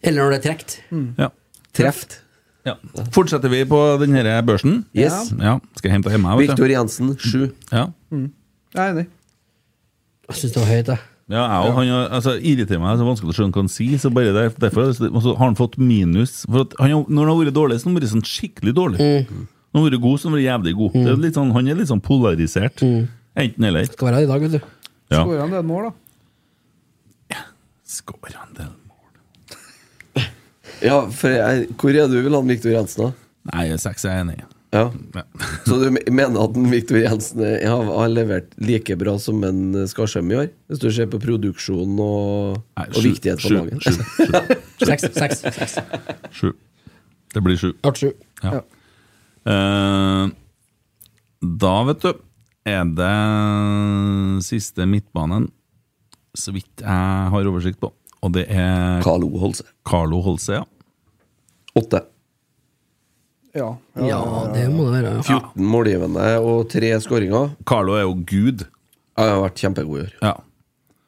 Speaker 6: Eller når det er trukket.
Speaker 5: Ja.
Speaker 1: Treft.
Speaker 5: Ja. Fortsetter vi på denne børsen?
Speaker 1: Yes.
Speaker 5: Ja. Skal jeg hente hjemme, vet
Speaker 1: Viktor
Speaker 5: du.
Speaker 1: Jensen, sju.
Speaker 5: Ja.
Speaker 4: Jeg er enig.
Speaker 6: Jeg syns det var høyt, jeg.
Speaker 5: Ja, jeg, og han har- altså, irriterer meg, det er så vanskelig å skjønne hva han sier. Så bare der, derfor og så har han fått minus. For at han, har- når han har vært dårlig, så har han vært sånn skikkelig dårlig. Når han har vært god, så har han vært jævlig god. Det er litt sånn, han er litt sånn polarisert. Enten eller.
Speaker 6: Skal være her i dag, vet du.
Speaker 5: Ja.
Speaker 4: Skårer han det mål, da?
Speaker 5: Skår han del mål?
Speaker 1: Ja, for jeg, hvor er du vil ha Viktor Jensen, da?
Speaker 5: Nei, seks er jeg enig i.
Speaker 1: Ja.
Speaker 5: Ja.
Speaker 1: Så du mener at en Viktor Jensen er- har, har levert like bra som en Skarsheim i år? Hvis du ser på produksjon og,
Speaker 5: Nei,
Speaker 1: og
Speaker 5: sju-
Speaker 1: viktighet på
Speaker 5: sju-
Speaker 1: laget?
Speaker 5: sju- sju-
Speaker 6: Seks. seks, seks.
Speaker 5: Sju. Det blir sju.
Speaker 6: Art sju.
Speaker 5: Ja. Eh, da, vet du, er det siste midtbanen, så vidt jeg har oversikt på. Og det er
Speaker 1: Carlo Holse.
Speaker 5: Carlo Holse, ja.
Speaker 1: Åtte.
Speaker 4: Ja.
Speaker 6: Ja, det må det være. Ja.
Speaker 1: 14 målgivende og tre skåringer.
Speaker 5: Carlo er jo gud.
Speaker 1: Jeg har vært kjempegod i år.
Speaker 5: Ja.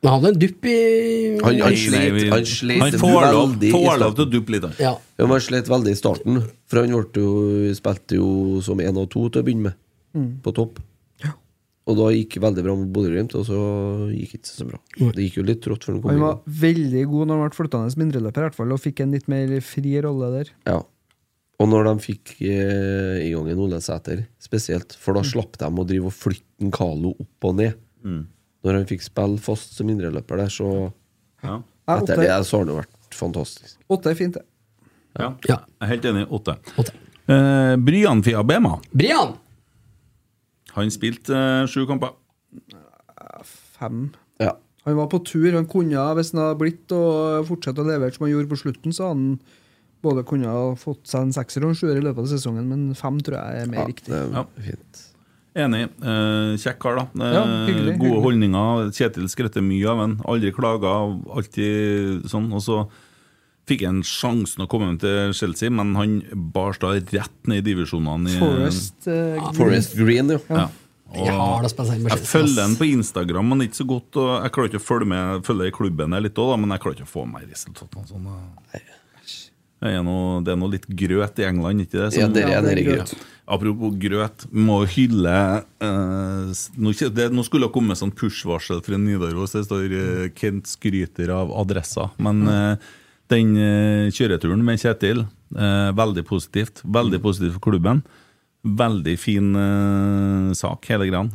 Speaker 6: Men han hadde en dupp i
Speaker 1: Han, han
Speaker 5: Nei, nei,
Speaker 1: slet,
Speaker 5: vi-
Speaker 1: han slet
Speaker 5: han får lov,
Speaker 1: veldig i
Speaker 5: får lov
Speaker 1: starten.
Speaker 5: til å duppe litt. Han.
Speaker 6: Ja.
Speaker 1: Ja, men han slet veldig i starten, for han ble jo, spilte jo som én og to til å begynne med,
Speaker 4: Mm.
Speaker 1: på topp. Og da gikk det veldig bra med Bodø-Glimt, og så gikk det ikke så bra. Det gikk jo litt trått før han kom
Speaker 4: Han
Speaker 1: inn.
Speaker 4: var veldig god når han ble flyttende mindreløper, i hvert fall, og fikk en litt mer fri rolle der.
Speaker 1: Ja. Og når de fikk eh, i
Speaker 4: Mm.
Speaker 1: gang en Ole Sæter, spesielt, for da slapp de å drive og flytte en Carlo opp og ned. Når han fikk spille fast som indreløper der, så
Speaker 5: Ja.
Speaker 4: Nei,
Speaker 1: Etter det
Speaker 4: åtte,
Speaker 1: så har han jo vært fantastisk.
Speaker 4: åtte er fint, det.
Speaker 5: Ja.
Speaker 6: Ja.
Speaker 5: Jeg er helt enig. Åtte.
Speaker 6: Åtte.
Speaker 5: Eh, Bryan Fiabema.
Speaker 6: Brian!
Speaker 5: Han spilte eh, sju kamper.
Speaker 4: Fem.
Speaker 1: Ja.
Speaker 4: Han var på tur. Han kunne, hvis han hadde blitt og fortsatt å levere som han gjorde på slutten, så hadde han både kunne ha fått seg en sekser og en sjuer i løpet av sesongen, men fem tror jeg er mer
Speaker 1: ja
Speaker 4: riktig.
Speaker 1: det er
Speaker 5: Ja.
Speaker 1: fint.
Speaker 5: Enig. Eh, kjekk kar, da. Eh,
Speaker 4: Ja, hyggelig,
Speaker 5: gode
Speaker 4: hyggelig.
Speaker 5: holdninger. Kjetil skretter mye av ham. Aldri klaga, alltid sånn. Og så fikk han sjansen å komme hjem til Chelsea, men han barsta rett ned i divisjonene. i-
Speaker 4: Forest eh,
Speaker 1: Forest Green, jo.
Speaker 5: Ja.
Speaker 6: Ja, da spiller jeg
Speaker 5: Jeg følger han på Instagram, men ikke så godt. Og jeg klarer ikke å følge med følge i klubben her litt òg, men jeg klarer ikke å få med resultatene. Sånn, da. det, er noe, det er noe litt grøt i England, ikke det?
Speaker 1: Ja, dere
Speaker 4: Ja,
Speaker 1: er
Speaker 4: det er
Speaker 1: nede i
Speaker 4: grøt.
Speaker 1: grøt.
Speaker 5: Apropos grøt, må hylle eh, s- nå, kje- det, nå skulle det komme sånn push-varsel fra Nidaros. Det står eh, 'Kent skryter av adressa'. Men eh, den eh, kjøreturen med Kjetil, eh, veldig positivt. Veldig positivt for klubben. Veldig fin eh, sak, hele greia.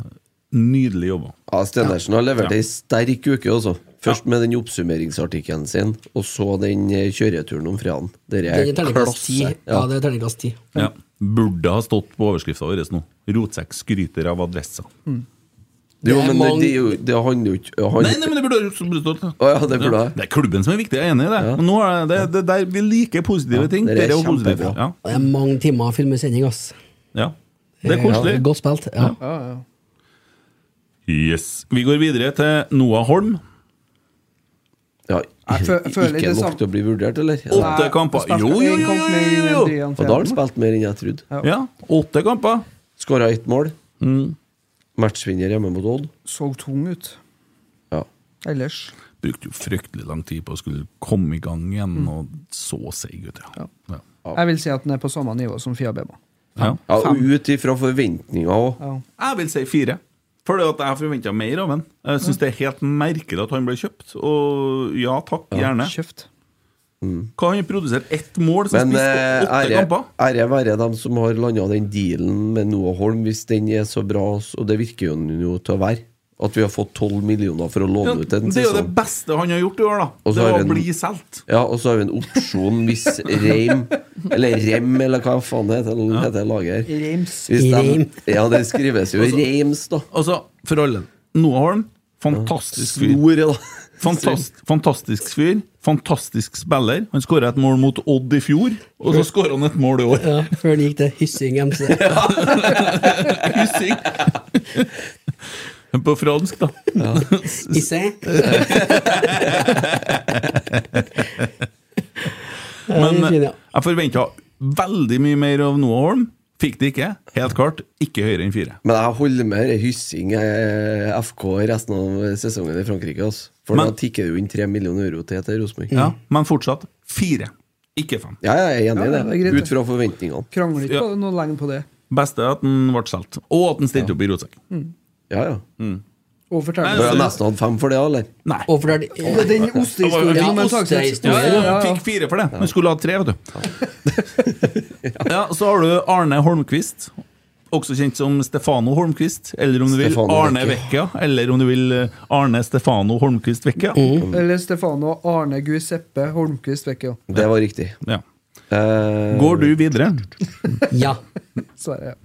Speaker 5: Nydelig jobba.
Speaker 1: Ja, Stenersen har levert
Speaker 5: Ja.
Speaker 1: ei sterk uke, altså. Først med den oppsummeringsartikkelen sin, og så den eh, kjøreturen om fredagen. Dere
Speaker 6: Det
Speaker 1: er
Speaker 6: er terningkast ti.
Speaker 1: klasse.
Speaker 6: Ja,
Speaker 1: Ja.
Speaker 6: det er terningkast ti.
Speaker 5: Ja. Burde ha stått på overskrifta vår nå. 'Rotsekk skryter av adressa'.
Speaker 1: Jo,
Speaker 6: Det er
Speaker 1: men det,
Speaker 6: mange-
Speaker 1: det, er jo- det handler jo ikke han-
Speaker 5: Nei, nei, men det burde ha burde stått da.
Speaker 1: Å ja, det burde det.
Speaker 5: Det er klubben som er viktig, jeg er enig i det. Men nå er det, det, det er, vi liker positive ting.
Speaker 1: det
Speaker 5: Det
Speaker 1: er
Speaker 5: er jo positivt.
Speaker 1: kjempebra.
Speaker 5: Ja.
Speaker 6: Det er mange timer filmsending, ass.
Speaker 5: ja. Det er koselig.
Speaker 6: Ja, godt spilt. Ja.
Speaker 4: Ja, ja.
Speaker 5: Yes. Vi går videre til Noah Holm.
Speaker 1: Ja,
Speaker 4: Jeg fø- jeg føler
Speaker 1: ikke
Speaker 4: det
Speaker 1: nok
Speaker 4: samme.
Speaker 1: til å bli vurdert, eller?
Speaker 5: Åtte
Speaker 1: Nei.
Speaker 5: kamper.
Speaker 4: spilte
Speaker 5: Jo, jo, jo!
Speaker 4: en
Speaker 5: jo,
Speaker 4: kamp med
Speaker 5: jo, jo.
Speaker 4: André Jan
Speaker 1: Og da har han
Speaker 4: Fjellmo.
Speaker 1: spilt mer enn jeg trodde.
Speaker 5: Ja, Åtte kamper.
Speaker 1: Skåra ett mål. Matchvinner hjemme mot Odd.
Speaker 4: Så tung ut.
Speaker 1: Ja.
Speaker 4: Ellers.
Speaker 5: Brukte jo fryktelig lang tid på å skulle komme i gang igjen,
Speaker 1: Mm.
Speaker 5: og så seig ut, ja. ja.
Speaker 4: Jeg vil si at den er på samme nivå som Fiabema.
Speaker 5: ja.
Speaker 1: Ja, og ut ifra forventninger òg.
Speaker 4: Ja.
Speaker 5: Jeg vil si fire. For det at jeg forventa mer av han. Jeg syns det er helt merkelig at han ble kjøpt. Og ja takk, gjerne.
Speaker 4: Kjøft.
Speaker 5: Hva har han produsert? Ett mål som
Speaker 1: Men
Speaker 5: spiste
Speaker 1: eh,
Speaker 5: åtte
Speaker 1: ære
Speaker 5: kamper?
Speaker 1: ære være dem som har landa den dealen med Noah Holm, hvis den er så bra, og det virker jo den jo til å være. At vi har fått 12 millioner for å
Speaker 5: Ja,
Speaker 1: låne ut en
Speaker 5: det er jo det
Speaker 1: sesong.
Speaker 5: beste han har gjort i år, da.
Speaker 1: Og så
Speaker 5: det
Speaker 1: har
Speaker 5: var å
Speaker 1: han-
Speaker 5: bli solgt.
Speaker 1: Ja, og så har vi en opsjon hvis Reim Eller Rem, eller hva faen det heter, heter laget her.
Speaker 4: Reims.
Speaker 1: Hvis de,
Speaker 6: Reim.
Speaker 1: ja, det skrives
Speaker 5: <laughs>
Speaker 1: jo Reims, da.
Speaker 5: Altså, for alle. Noah Holm, fantastisk fyr.
Speaker 1: Snoret, da.
Speaker 5: Fantastisk, fantastisk fyr. Fantastisk spiller. Han skåra et mål mot Odd i fjor, og så skårer han et mål i år.
Speaker 6: Ja, før det gikk til Hyssing <laughs> MC.
Speaker 5: Hyssing! På fransk, da.
Speaker 6: Isse.
Speaker 5: Men eh,
Speaker 6: fin, ja.
Speaker 5: jeg forventa veldig mye mer av Noah Holm. Fikk det ikke. Helt klart ikke høyere enn fire.
Speaker 1: Men jeg holder med det hyssing eh, FK resten av sesongen i Frankrike. Altså. For
Speaker 5: Men-
Speaker 1: da tikker det jo inn 3 millioner euro til til
Speaker 6: Mm.
Speaker 1: Rosenborg.
Speaker 5: Ja, men fortsatt fire, ikke fem.
Speaker 1: Ja, jeg
Speaker 4: Ja,
Speaker 1: er enig i
Speaker 4: det er
Speaker 1: det.
Speaker 4: greit,
Speaker 1: Ut fra forventningene.
Speaker 4: Krangler ikke
Speaker 5: Ja.
Speaker 4: på noe lenge på det.
Speaker 5: Beste er at han ble solgt, og at han stilte opp i Rotsekk.
Speaker 6: Mm.
Speaker 1: Ja, ja.
Speaker 5: Mm.
Speaker 4: Og
Speaker 1: Du
Speaker 4: forteller
Speaker 1: har
Speaker 5: altså,
Speaker 1: nesten hatt fem for det, eller?
Speaker 5: Nei.
Speaker 6: Og for det
Speaker 4: Og
Speaker 6: er
Speaker 4: den ostehistorien om en Sagseth.
Speaker 5: Ja, ja, ja.
Speaker 4: Ja, ja.
Speaker 5: Fikk fire for det, men skulle ha tre, vet du. Ja, Så har du Arne Holmquist, også kjent som Stefano Holmquist. Eller om du vil
Speaker 1: Stefano
Speaker 5: Arne Vecchia.
Speaker 1: Vecchia.
Speaker 5: Eller om du vil eh, Arne Stefano Holmquist Vecchia.
Speaker 1: Mm.
Speaker 4: Eller Stefano Arne Guiseppe Holmquist Vecchio.
Speaker 1: Det var riktig.
Speaker 5: Ja.
Speaker 1: Eh,
Speaker 5: Går du videre?
Speaker 6: Ja.
Speaker 4: Sverre.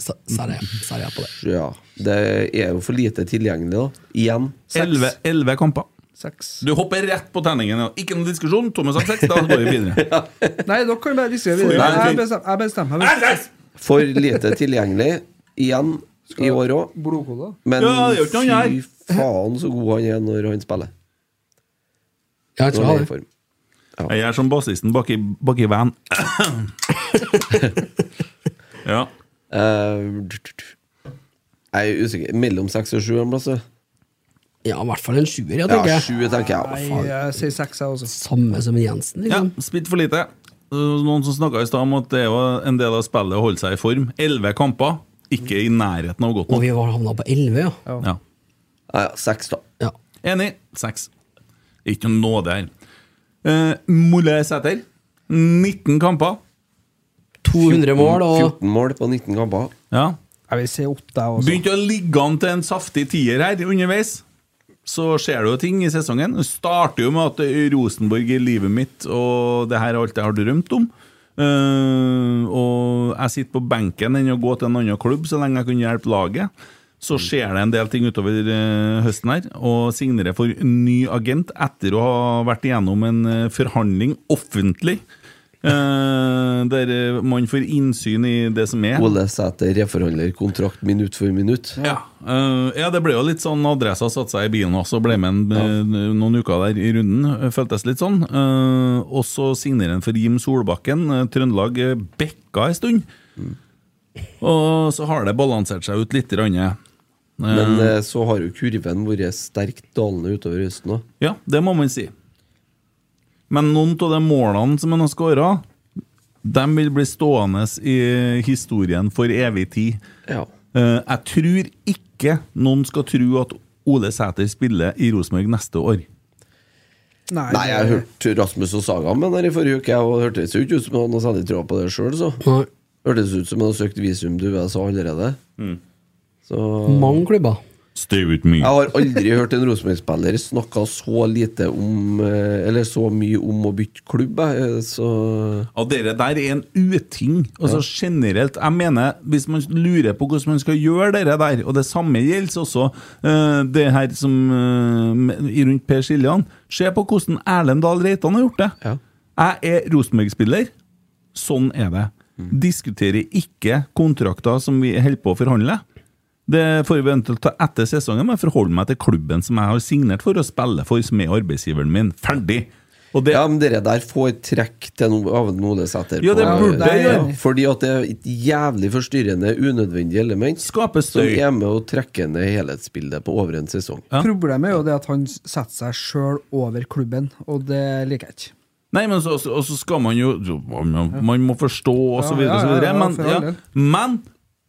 Speaker 6: Sa sa det. Sa det ja på det.
Speaker 1: ja. Det er jo for lite tilgjengelig, da. Igjen.
Speaker 5: Elleve elleve kamper.
Speaker 4: Seks.
Speaker 5: Du hopper rett på terningen. ja. Ikke noen diskusjon. Thomas har seks, da går vi <laughs> videre.
Speaker 4: Nei, dere kan bare diskutere videre.
Speaker 1: Nei,
Speaker 4: Jeg
Speaker 1: fint.
Speaker 4: bestem- Jeg bestemmer meg.
Speaker 1: For
Speaker 5: <laughs>
Speaker 1: lite tilgjengelig. Igjen. I år òg.
Speaker 4: Blodkode.
Speaker 1: Men
Speaker 5: Ja, det er jo ikke noe
Speaker 1: fy
Speaker 5: jeg-
Speaker 1: faen så god han er når han spiller.
Speaker 6: Ja,
Speaker 1: Når han
Speaker 6: jeg tror jeg
Speaker 1: er
Speaker 6: har
Speaker 1: i
Speaker 6: det.
Speaker 1: form.
Speaker 5: Jeg er som bassisten bak i, bak i <laughs> van. Ja.
Speaker 1: Eh, tut, tut, tut. jeg er usikker. Mellom seks og sju en plass? ja.
Speaker 6: Ja, i hvert fall en sjuer, ja, tenker
Speaker 1: Ja,
Speaker 6: jeg.
Speaker 1: sju, tenker jeg. Hva
Speaker 4: Nei,
Speaker 1: faen?
Speaker 4: jeg sier seks, jeg også.
Speaker 6: Samme som en Jensen,
Speaker 5: Ja,
Speaker 6: liksom.
Speaker 5: spilt for lite. Uh, Noen som snakka i stad om at det er jo en del av spillet å holde seg i form. Elleve kamper, ikke i nærheten av godt nok.
Speaker 6: Og vi var havna på 11, ja.
Speaker 5: Ja.
Speaker 1: Ja, ja, seks, da.
Speaker 6: ja.
Speaker 5: Enig. Seks. Ikke noe nåde her. Eh, Molle Sæter. 19 kamper.
Speaker 6: 200 mål og
Speaker 1: 14 mål på 19 kamper.
Speaker 5: Ja.
Speaker 4: Jeg vil si åtte, jeg også.
Speaker 5: Begynte å ligge an til en saftig tier her underveis. Så skjer det jo ting i sesongen. Det starter jo med at Rosenborg er livet mitt, og det her er alt jeg har drømt om. Eh, og jeg sitter på benken enn å gå til en annen klubb så lenge jeg kunne hjelpe laget. Så skjer det en del ting utover eh, høsten her, og signerer for ny agent etter å ha vært igjennom en eh, forhandling offentlig, eh, der eh, man får innsyn i det som er.
Speaker 1: Ole Sæter reforhandler kontrakt minutt for minutt.
Speaker 5: Ja. eh, ja, det ble jo litt sånn adressa satte seg i bilen også, og ble med en, eh, noen uker der i runden. eh, Føltes litt sånn. Eh, og så signerer han for Jim Solbakken. eh, Trøndelag eh, bekka en stund. Og så har det balansert seg ut litt. Rann,
Speaker 1: Men eh, så har jo kurven vært sterkt dalende utover høsten òg.
Speaker 5: Ja, det må man si. Men noen av de målene som han har skåra, de vil bli stående i historien for evig tid.
Speaker 1: Ja.
Speaker 5: Eh, jeg tror ikke noen skal tro at Ole Sæter spiller i Rosenborg neste år.
Speaker 1: Nei, jeg
Speaker 4: det-
Speaker 1: hørte Rasmus og Saga med den her i forrige uke, og hørtes jo ikke ut som han hadde særlig tråd på det sjøl, så.
Speaker 6: Nei,
Speaker 1: Hørtes ut som han hadde søkt visum til USA allerede.
Speaker 5: Mm.
Speaker 1: Så
Speaker 6: mange klubber.
Speaker 5: Stay with me.
Speaker 1: Jeg har aldri hørt en Rosenborg-spiller snakke så lite om eh, Eller så mye om å bytte klubb, jeg, eh, så
Speaker 5: Og dere der er en uting. Altså generelt, jeg mener Hvis man lurer på hvordan man skal gjøre dere der, og det samme gjelder også eh, det her som eh, med- rundt Per Siljan Se på hvordan Erlend Dahl Reitan har gjort det.
Speaker 1: Ja.
Speaker 5: Jeg er Rosenborg-spiller. Sånn er det.
Speaker 1: Mm.
Speaker 5: Diskuterer ikke kontrakter som vi holder på å forhandle. Det får vi eventuelt ta etter sesongen, men forholde meg til klubben som jeg har signert for å spille for, som er arbeidsgiveren min. Ferdig! Og det
Speaker 1: Ja, men dere der får trekk til noe av en Olesæter.
Speaker 5: Ja, det
Speaker 1: på-
Speaker 5: burde
Speaker 1: Ja,
Speaker 4: jeg gjøre.
Speaker 1: Fordi at det er et jævlig forstyrrende, unødvendig element
Speaker 5: skaper
Speaker 1: som
Speaker 5: støy.
Speaker 1: er med å trekke ned helhetsbildet på over en sesong.
Speaker 5: Ja.
Speaker 4: Problemet er jo det at han setter seg sjøl over klubben, og det liker jeg ikke.
Speaker 5: Nei, men så, og så skal man jo Man, man må forstå, og så
Speaker 4: Ja,
Speaker 5: videre, og så
Speaker 4: ja, ja,
Speaker 5: videre.
Speaker 4: ja,
Speaker 5: Men,
Speaker 4: for all
Speaker 5: ja,
Speaker 4: del.
Speaker 5: men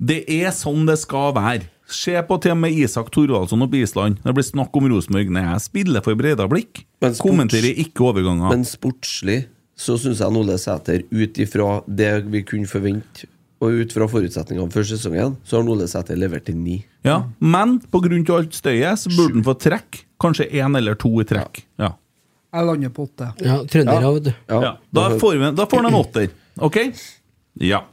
Speaker 5: det er sånn det skal være. Se på til og med Isak Thorvaldsson oppe i Island. Det blir snakk om Rosenborg. Nei, jeg spiller for Breidablikk.
Speaker 1: Men sports-
Speaker 5: Kommenterer ikke overganger.
Speaker 1: Men sportslig så syns jeg Ole Sæter, ut ifra det vi kunne forvente, og ut fra forutsetningene for sesongen, så har Ole Sæter levert til ni.
Speaker 5: ja, men pga. alt støyet så burde han få trekk. Kanskje én eller to i trekk. Ja.
Speaker 4: Jeg lander på åtte.
Speaker 6: Ja, trøndere, vet du.
Speaker 1: Ja,
Speaker 5: Ja, da, får vi, da får han en åtter, ok? Ja.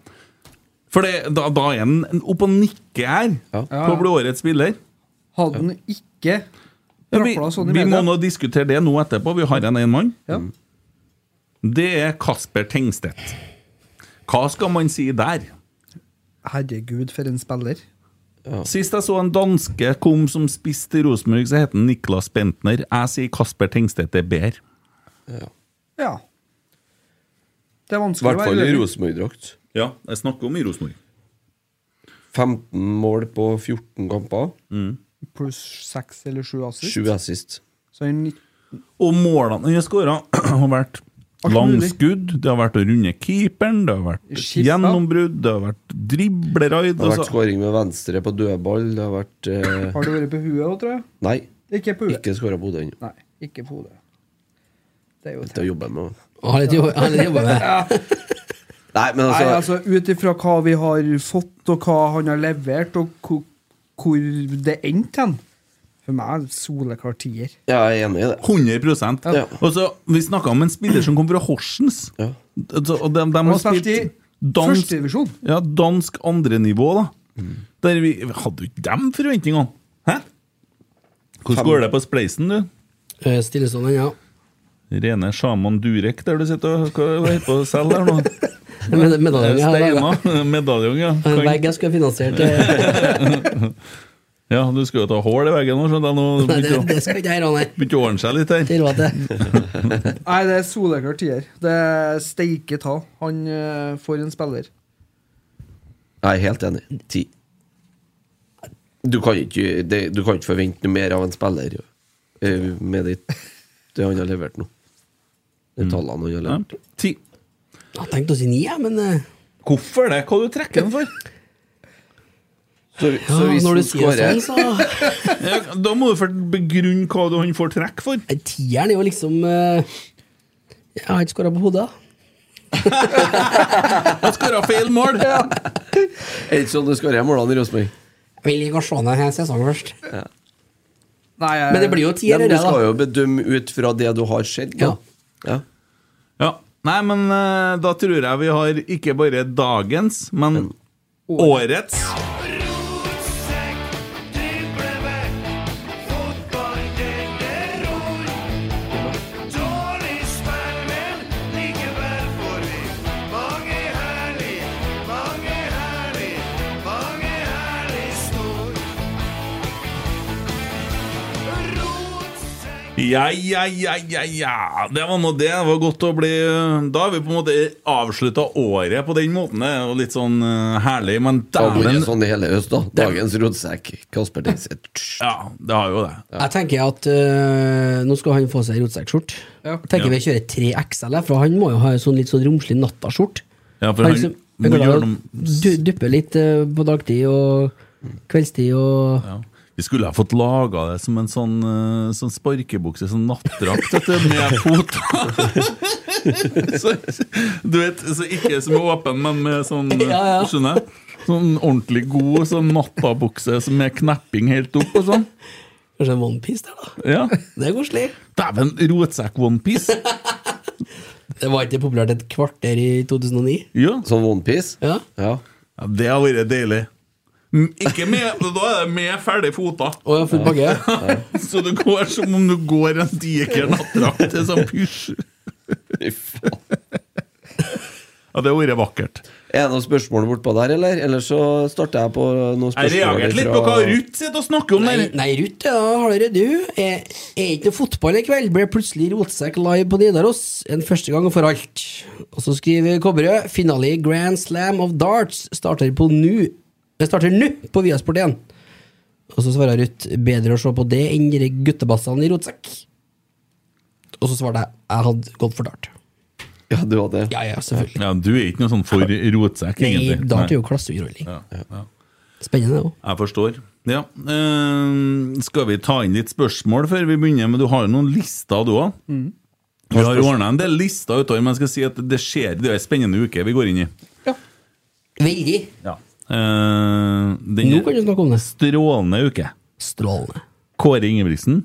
Speaker 5: For det, da, da er han oppe og nikker her
Speaker 1: Ja.
Speaker 5: på å bli årets spiller.
Speaker 4: Hadde han ikke
Speaker 5: Ja, vi,
Speaker 4: Brakla sånn i
Speaker 5: vi må
Speaker 4: media.
Speaker 5: nå diskutere det nå etterpå. Vi har en én mann.
Speaker 4: ja.
Speaker 1: Mm.
Speaker 5: Det er Kasper Tengstedt. Hva skal man si der?
Speaker 4: Herregud, for en spiller.
Speaker 5: Sist jeg så en danske kom som spiss til Rosenborg, så het han Niklas Bentner. Jeg sier Kasper Tengstedt er bedre.
Speaker 4: Ja. Det er
Speaker 1: I
Speaker 4: vanskelig
Speaker 1: hvert fall i
Speaker 4: uenig.
Speaker 1: Rosenborg-drakt.
Speaker 5: Ja, jeg snakker om i Rosenborg.
Speaker 1: 15 mål på 14 kamper.
Speaker 4: Pluss seks eller sju assist.
Speaker 1: 7 assist.
Speaker 4: Så er han nitt-
Speaker 5: Og målene han har skåra, <clears throat> har vært
Speaker 4: Alt mulig.
Speaker 5: langskudd, det har vært å runde keeperen, det har vært
Speaker 4: Skifta.
Speaker 5: gjennombrudd, det har vært dribleraid
Speaker 1: Det har vært
Speaker 5: altså.
Speaker 1: skåring med venstre på dødball. Det har vært eh,
Speaker 4: har det vært på huet òg, tror jeg.
Speaker 1: Nei,
Speaker 4: Ikke på huet.
Speaker 1: ikke skåra på hodet ennå.
Speaker 4: Nei, ikke på hodet. Det er jo
Speaker 1: Dette jobber jeg med.
Speaker 6: Har litt jobb- har litt jobba med.
Speaker 1: Nei, men
Speaker 4: Nei,
Speaker 1: altså,
Speaker 4: altså Ut ifra hva vi har fått, og hva han har levert, og hvor, hvor det endte hen For meg er det soleklar tier.
Speaker 1: jeg er enig i det.
Speaker 5: 100
Speaker 1: Ja.
Speaker 5: Og så, Vi snakka om en spiller som kom fra Horsens.
Speaker 1: Ja.
Speaker 5: Altså, Og de, de
Speaker 4: Han
Speaker 5: har
Speaker 4: har spilt i
Speaker 5: spilt dansk,
Speaker 4: førstedivisjon.
Speaker 5: ja, dansk andrenivå, da. Der vi vi Hadde jo ikke de forventningene! Hæ? Hvordan går det på spleisen, du?
Speaker 6: <laughs> Eh, Stillestående, <laughs> ja.
Speaker 5: Rene Sjaman Durek, der du sitter og hva- hva heter det på selv der nå?
Speaker 1: <laughs>
Speaker 6: Med, medaljen jeg har Eh,
Speaker 5: <laughs>
Speaker 6: laga.
Speaker 5: Steina. Medaljong, ja.
Speaker 6: En
Speaker 5: Kan-
Speaker 6: vegg jeg skulle ha finansiert. eh, <laughs>
Speaker 5: Ja, du skal jo ta hull i veggen nå, skjønner jeg. Nå
Speaker 1: <laughs>
Speaker 6: Nei, <laughs> det,
Speaker 5: begynte å-
Speaker 6: det skal ikke jeg gjøre, nei.
Speaker 5: begynte å ordne seg litt
Speaker 6: Det
Speaker 5: her.
Speaker 6: er råd til.
Speaker 4: Nei, det er soleklar tier. Det er steike ta. Han eh, for en spiller.
Speaker 1: Jeg er helt enig. Ti. Du kan ikke, det, du kan ikke forvente noe mer av en spiller eh, med det, det han har levert nå. De tallene han har
Speaker 5: Mm. Ja.
Speaker 1: levert.
Speaker 5: Ti.
Speaker 6: Jeg tenkte å si ni, jeg, men eh,
Speaker 5: Hvorfor det? Hva du trekker den for?
Speaker 1: Så,
Speaker 6: ja,
Speaker 1: så hvis
Speaker 6: når
Speaker 1: han
Speaker 6: du sier
Speaker 1: skårer
Speaker 6: sånn, så
Speaker 5: Ja, da må du for- begrunne hva du han får trekk for.
Speaker 6: Nei, Tieren er jo liksom eh, Jeg har ikke skåra på hodet.
Speaker 5: Han skåra feil mål!
Speaker 1: Er det ikke sånn du skårer målene i Rosenborg?
Speaker 6: Jeg vil ikke se ned hele sesongen først.
Speaker 4: Nei, jeg,
Speaker 6: Men det blir jo
Speaker 1: Ja,
Speaker 6: tier,
Speaker 1: men Du
Speaker 6: det, da.
Speaker 1: skal jo bedømme ut fra det du har sett. da. Ja.
Speaker 5: Ja. Nei, men eh, da tror jeg vi har ikke bare dagens, men årets. Ja, ja, ja, ja, ja. Det var nå det. Det var godt å bli eh, Da har vi på en måte avslutta året på den måten. Det er jo litt sånn eh, herlig, men
Speaker 1: Det har vært
Speaker 5: dæven
Speaker 1: sånn i hele høst, da. Dagens rotsekk. Kasper Tenseth.
Speaker 5: Ja, det har jo det.
Speaker 6: Jeg tenker at øh, nå skal han få seg rotsekkskjort.
Speaker 4: Ja.
Speaker 6: Jeg Tenker vi kjører 3XL, jeg, for han må jo ha en sånn litt sånn romslig nattaskjort.
Speaker 5: Ja, for han må gjøre noe-
Speaker 6: Duppe litt øh, på dagtid og kveldstid og
Speaker 5: Ja. Vi skulle ha fått laga det som en sånn, eh, sånn sparkebukse, sånn nattdrakt, vet du, med
Speaker 6: <laughs>
Speaker 5: foter. så, du vet, så ikke som er åpen, men med sånn eh,
Speaker 6: Ja, ja.
Speaker 5: Skjønner jeg? Sånn ordentlig god sånn nattabukse som er knepping helt opp og sånn.
Speaker 6: Kanskje en onepiece der, da.
Speaker 5: Ja.
Speaker 6: Det er koselig.
Speaker 5: Dæven, rotsekk onepiece!
Speaker 6: Det var ikke populært et kvarter i 2009.
Speaker 5: Ja.
Speaker 1: Sånn onepiece?
Speaker 6: Ja.
Speaker 1: Ja.
Speaker 5: Ja, det har vært deilig. Mm, Ikke med, da er det med ferdige foter.
Speaker 6: Og full
Speaker 5: <laughs>
Speaker 6: bakke.
Speaker 5: Så det går som om du går en diger nattdrakt til sånn pysj.
Speaker 1: Fy faen.
Speaker 5: Ja, det har vært vakkert.
Speaker 1: Er det noen spørsmål bortpå der, eller? Eller så starter jeg på noen spørsmål
Speaker 5: Jeg reagerte litt på hva
Speaker 1: fra-
Speaker 5: Ruth sitter og snakker om
Speaker 6: Nei,
Speaker 5: der.
Speaker 6: nei Ruth, ja, har dere du? Er, er ikke noe fotball i kveld? Ble plutselig rotsekk live på Nidaros. En første gang for alt. Og så skriver Kobberød finale i Grand Slam of Darts starter på nu. Det starter nå på Viasport1. Og så svarer Ruth bedre å se på det enn de guttebassene i rotsekk. Og så svarte jeg jeg hadde gått for dart.
Speaker 1: Ja, du hadde det.
Speaker 6: Ja, ja, selvfølgelig.
Speaker 5: Ja, Du er ikke noe sånn for rotsekk,
Speaker 6: Nei,
Speaker 5: egentlig.
Speaker 6: dart er
Speaker 5: Nei.
Speaker 6: jo klasseunderholdning.
Speaker 5: Ja, ja.
Speaker 6: Spennende, det òg.
Speaker 5: Jeg forstår. Ja. eh, skal vi ta inn litt spørsmål før vi begynner? Men du har jo noen lister, du òg.
Speaker 6: Mm.
Speaker 5: Vi har ordna en del lister utover, men jeg skal si at det skjer Det er en spennende uke vi går inn i.
Speaker 6: Veldig.
Speaker 5: Ja. Uh, den
Speaker 6: Nå kan du snakke om det.
Speaker 5: strålende uke.
Speaker 6: Strålende.
Speaker 5: Kåre Ingebrigtsen.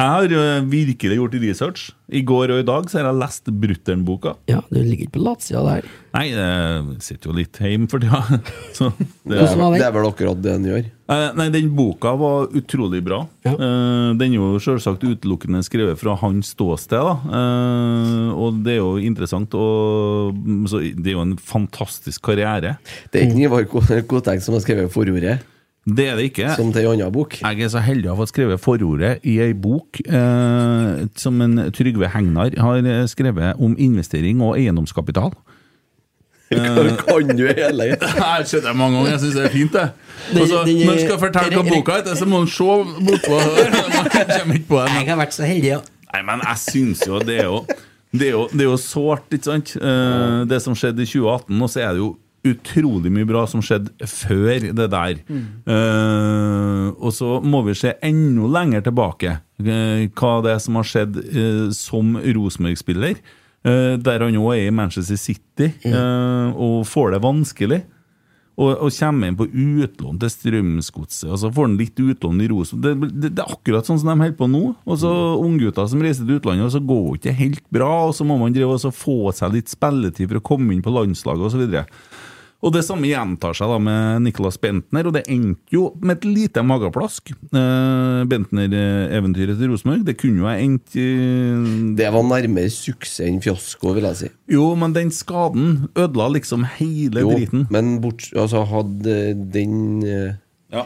Speaker 5: Jeg har eh, virkelig gjort research. I går og i dag så har jeg lest Brutter'n-boka.
Speaker 6: Ja, du ligger ikke på latsida der.
Speaker 5: Nei, jeg sitter jo litt hjemme for tida. <laughs> så det
Speaker 1: Det
Speaker 5: er-
Speaker 1: er,
Speaker 6: Hvordan var
Speaker 1: vel-
Speaker 6: det?
Speaker 1: det er vel akkurat det han gjør.
Speaker 5: Eh, Nei, den boka var utrolig bra.
Speaker 6: Ja.
Speaker 5: Eh, Den er jo selvsagt utelukkende skrevet fra hans ståsted, da. Eh, Og det er jo interessant. Og så det er jo en fantastisk karriere.
Speaker 1: Det er ikke Ivar Ko- Koteng som har skrevet forordet,
Speaker 5: Det er det ikke.
Speaker 1: som til en annen bok.
Speaker 5: Jeg er så heldig å ha fått skrevet forordet i ei bok eh, som en Trygve Hegnar har eh, skrevet om investering og eiendomskapital.
Speaker 1: Hva <laughs> kan du hele
Speaker 5: <laughs> Jeg skjønner det mange ganger, jeg syns det er fint, det.
Speaker 6: Den-
Speaker 5: Og så,
Speaker 6: den-
Speaker 5: når du skal fortelle hva boka heter, så må du se
Speaker 6: <laughs>
Speaker 5: bortpå. Man kommer ikke på det.
Speaker 6: Jeg
Speaker 5: men-
Speaker 6: har vært så heldig, ja.
Speaker 5: Nei, men jeg syns jo det er jo Det er jo, det er jo sårt, ikke sant? Eh, det som skjedde i 2018, og så er det jo utrolig mye bra som skjedde før det der.
Speaker 6: Mm.
Speaker 5: Eh, og så må vi se enda lenger tilbake eh, hva det er som har skjedd eh, som Rosenborg-spiller. eh, der han nå er i Manchester City eh, og får det vanskelig og, og kommer inn på utlån til Strømsgodset, og så får han litt utlån i Rosenborg. Det, det, det er akkurat sånn som de holder på nå. Og så Unggutter som reiser til utlandet, og så går det ikke helt bra, og så må man drive og så få seg litt spilletid for å komme inn på landslaget osv. videre og det samme gjentar seg da med Nicolas Bentner, og det endte jo med et lite mageplask. Eh, Bentner-eventyret til Rosenborg, det kunne jo ha endt i
Speaker 1: Det var nærmere suksess enn fiasko, vil jeg si.
Speaker 5: Jo, men den skaden ødela liksom hele
Speaker 1: Jo,
Speaker 5: driten.
Speaker 1: men bort, altså, hadde den eh,
Speaker 5: Ja.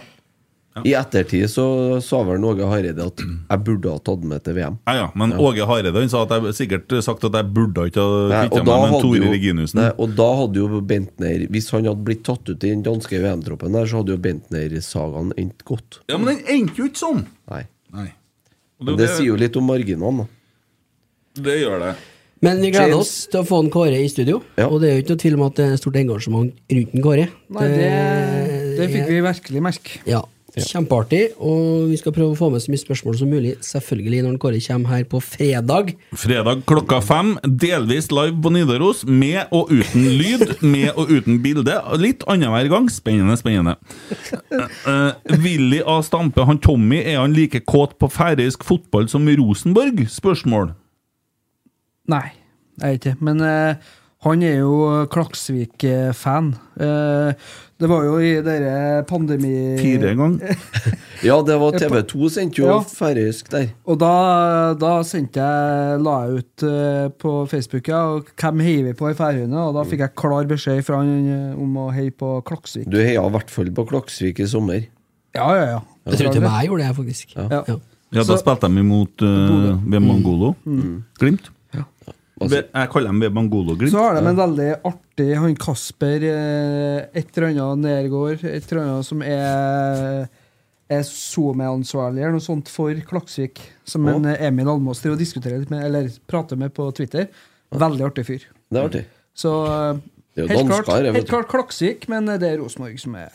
Speaker 1: I ettertid så sa vel Åge Hareide at jeg burde ha tatt med til VM.
Speaker 5: Ja, ja, men Åge Hareide han sa at jeg sikkert sagt at jeg burde ikke ha
Speaker 1: Nei,
Speaker 5: kvitta meg med Tore Reginussen.
Speaker 1: nei, og da hadde jo Bentner Hvis han hadde blitt tatt ut i den danske VM-troppen der, så hadde jo Bentner-sagaen endt godt.
Speaker 5: Ja, men den endte jo ikke sånn!
Speaker 1: Nei.
Speaker 5: Nei.
Speaker 1: Men det sier jo litt om marginene, da.
Speaker 5: det gjør det.
Speaker 6: Men vi gleder
Speaker 1: James.
Speaker 6: oss til å få en Kåre i studio.
Speaker 1: Ja.
Speaker 6: Og det er jo ikke noe tvil om at det er stort engasjement rundt en Kåre. Eh,
Speaker 4: Nei, det, det fikk vi virkelig merke.
Speaker 6: Ja, Kjempeartig, og vi skal prøve å få med så mye spørsmål som mulig, selvfølgelig, når Kåre kommer her på fredag.
Speaker 5: Fredag klokka fem, delvis live på Nidaros, med og uten lyd, med og uten bilde. Litt annenhver gang. Spennende, spennende. Eh, Willy A. Stampe, han Tommy, er han like kåt på færøysk fotball som Rosenborg? Spørsmål.
Speaker 4: Nei, jeg er ikke det. Men eh, han er jo Klaksvik-fan. Eh, det var jo i dere pandemi...
Speaker 5: Fire ganger.
Speaker 1: Ja, det var TV2 sendte jo
Speaker 4: Ja.
Speaker 1: færøysk der.
Speaker 4: Og da, da sendte jeg, la jeg ut eh, på Facebook ja, og hvem heier vi på i Færøyene, og da fikk jeg klar beskjed fra han eh, om å heie på Klaksvik.
Speaker 1: Du heia i hvert fall på Klaksvik i sommer.
Speaker 4: Ja, ja, ja.
Speaker 6: Jeg tror ikke jeg gjorde det, faktisk.
Speaker 4: Ja.
Speaker 6: Ja.
Speaker 5: Ja, da
Speaker 4: Så- Mm.
Speaker 5: spilte de imot uh, Mangolo. Glimt.
Speaker 1: Altså-
Speaker 5: Ve- Jeg kaller dem Ve Mangolo
Speaker 4: Så
Speaker 5: Glimt.
Speaker 4: har de en veldig artig han Kasper, eh, et eller annet Nergård, et eller annet som er er SoMe-ansvarlig eller noe sånt for Klaksvik, som en eh, Emil Almås driver og diskuterer litt med, eller prater med på Twitter. Veldig artig fyr.
Speaker 1: Det er artig.
Speaker 4: Så eh,
Speaker 1: Det er jo
Speaker 4: helt,
Speaker 1: dansker,
Speaker 4: klart,
Speaker 1: jeg vet Hmm.
Speaker 4: helt
Speaker 1: du.
Speaker 4: klart Klaksvik, men eh, det er Rosenborg som er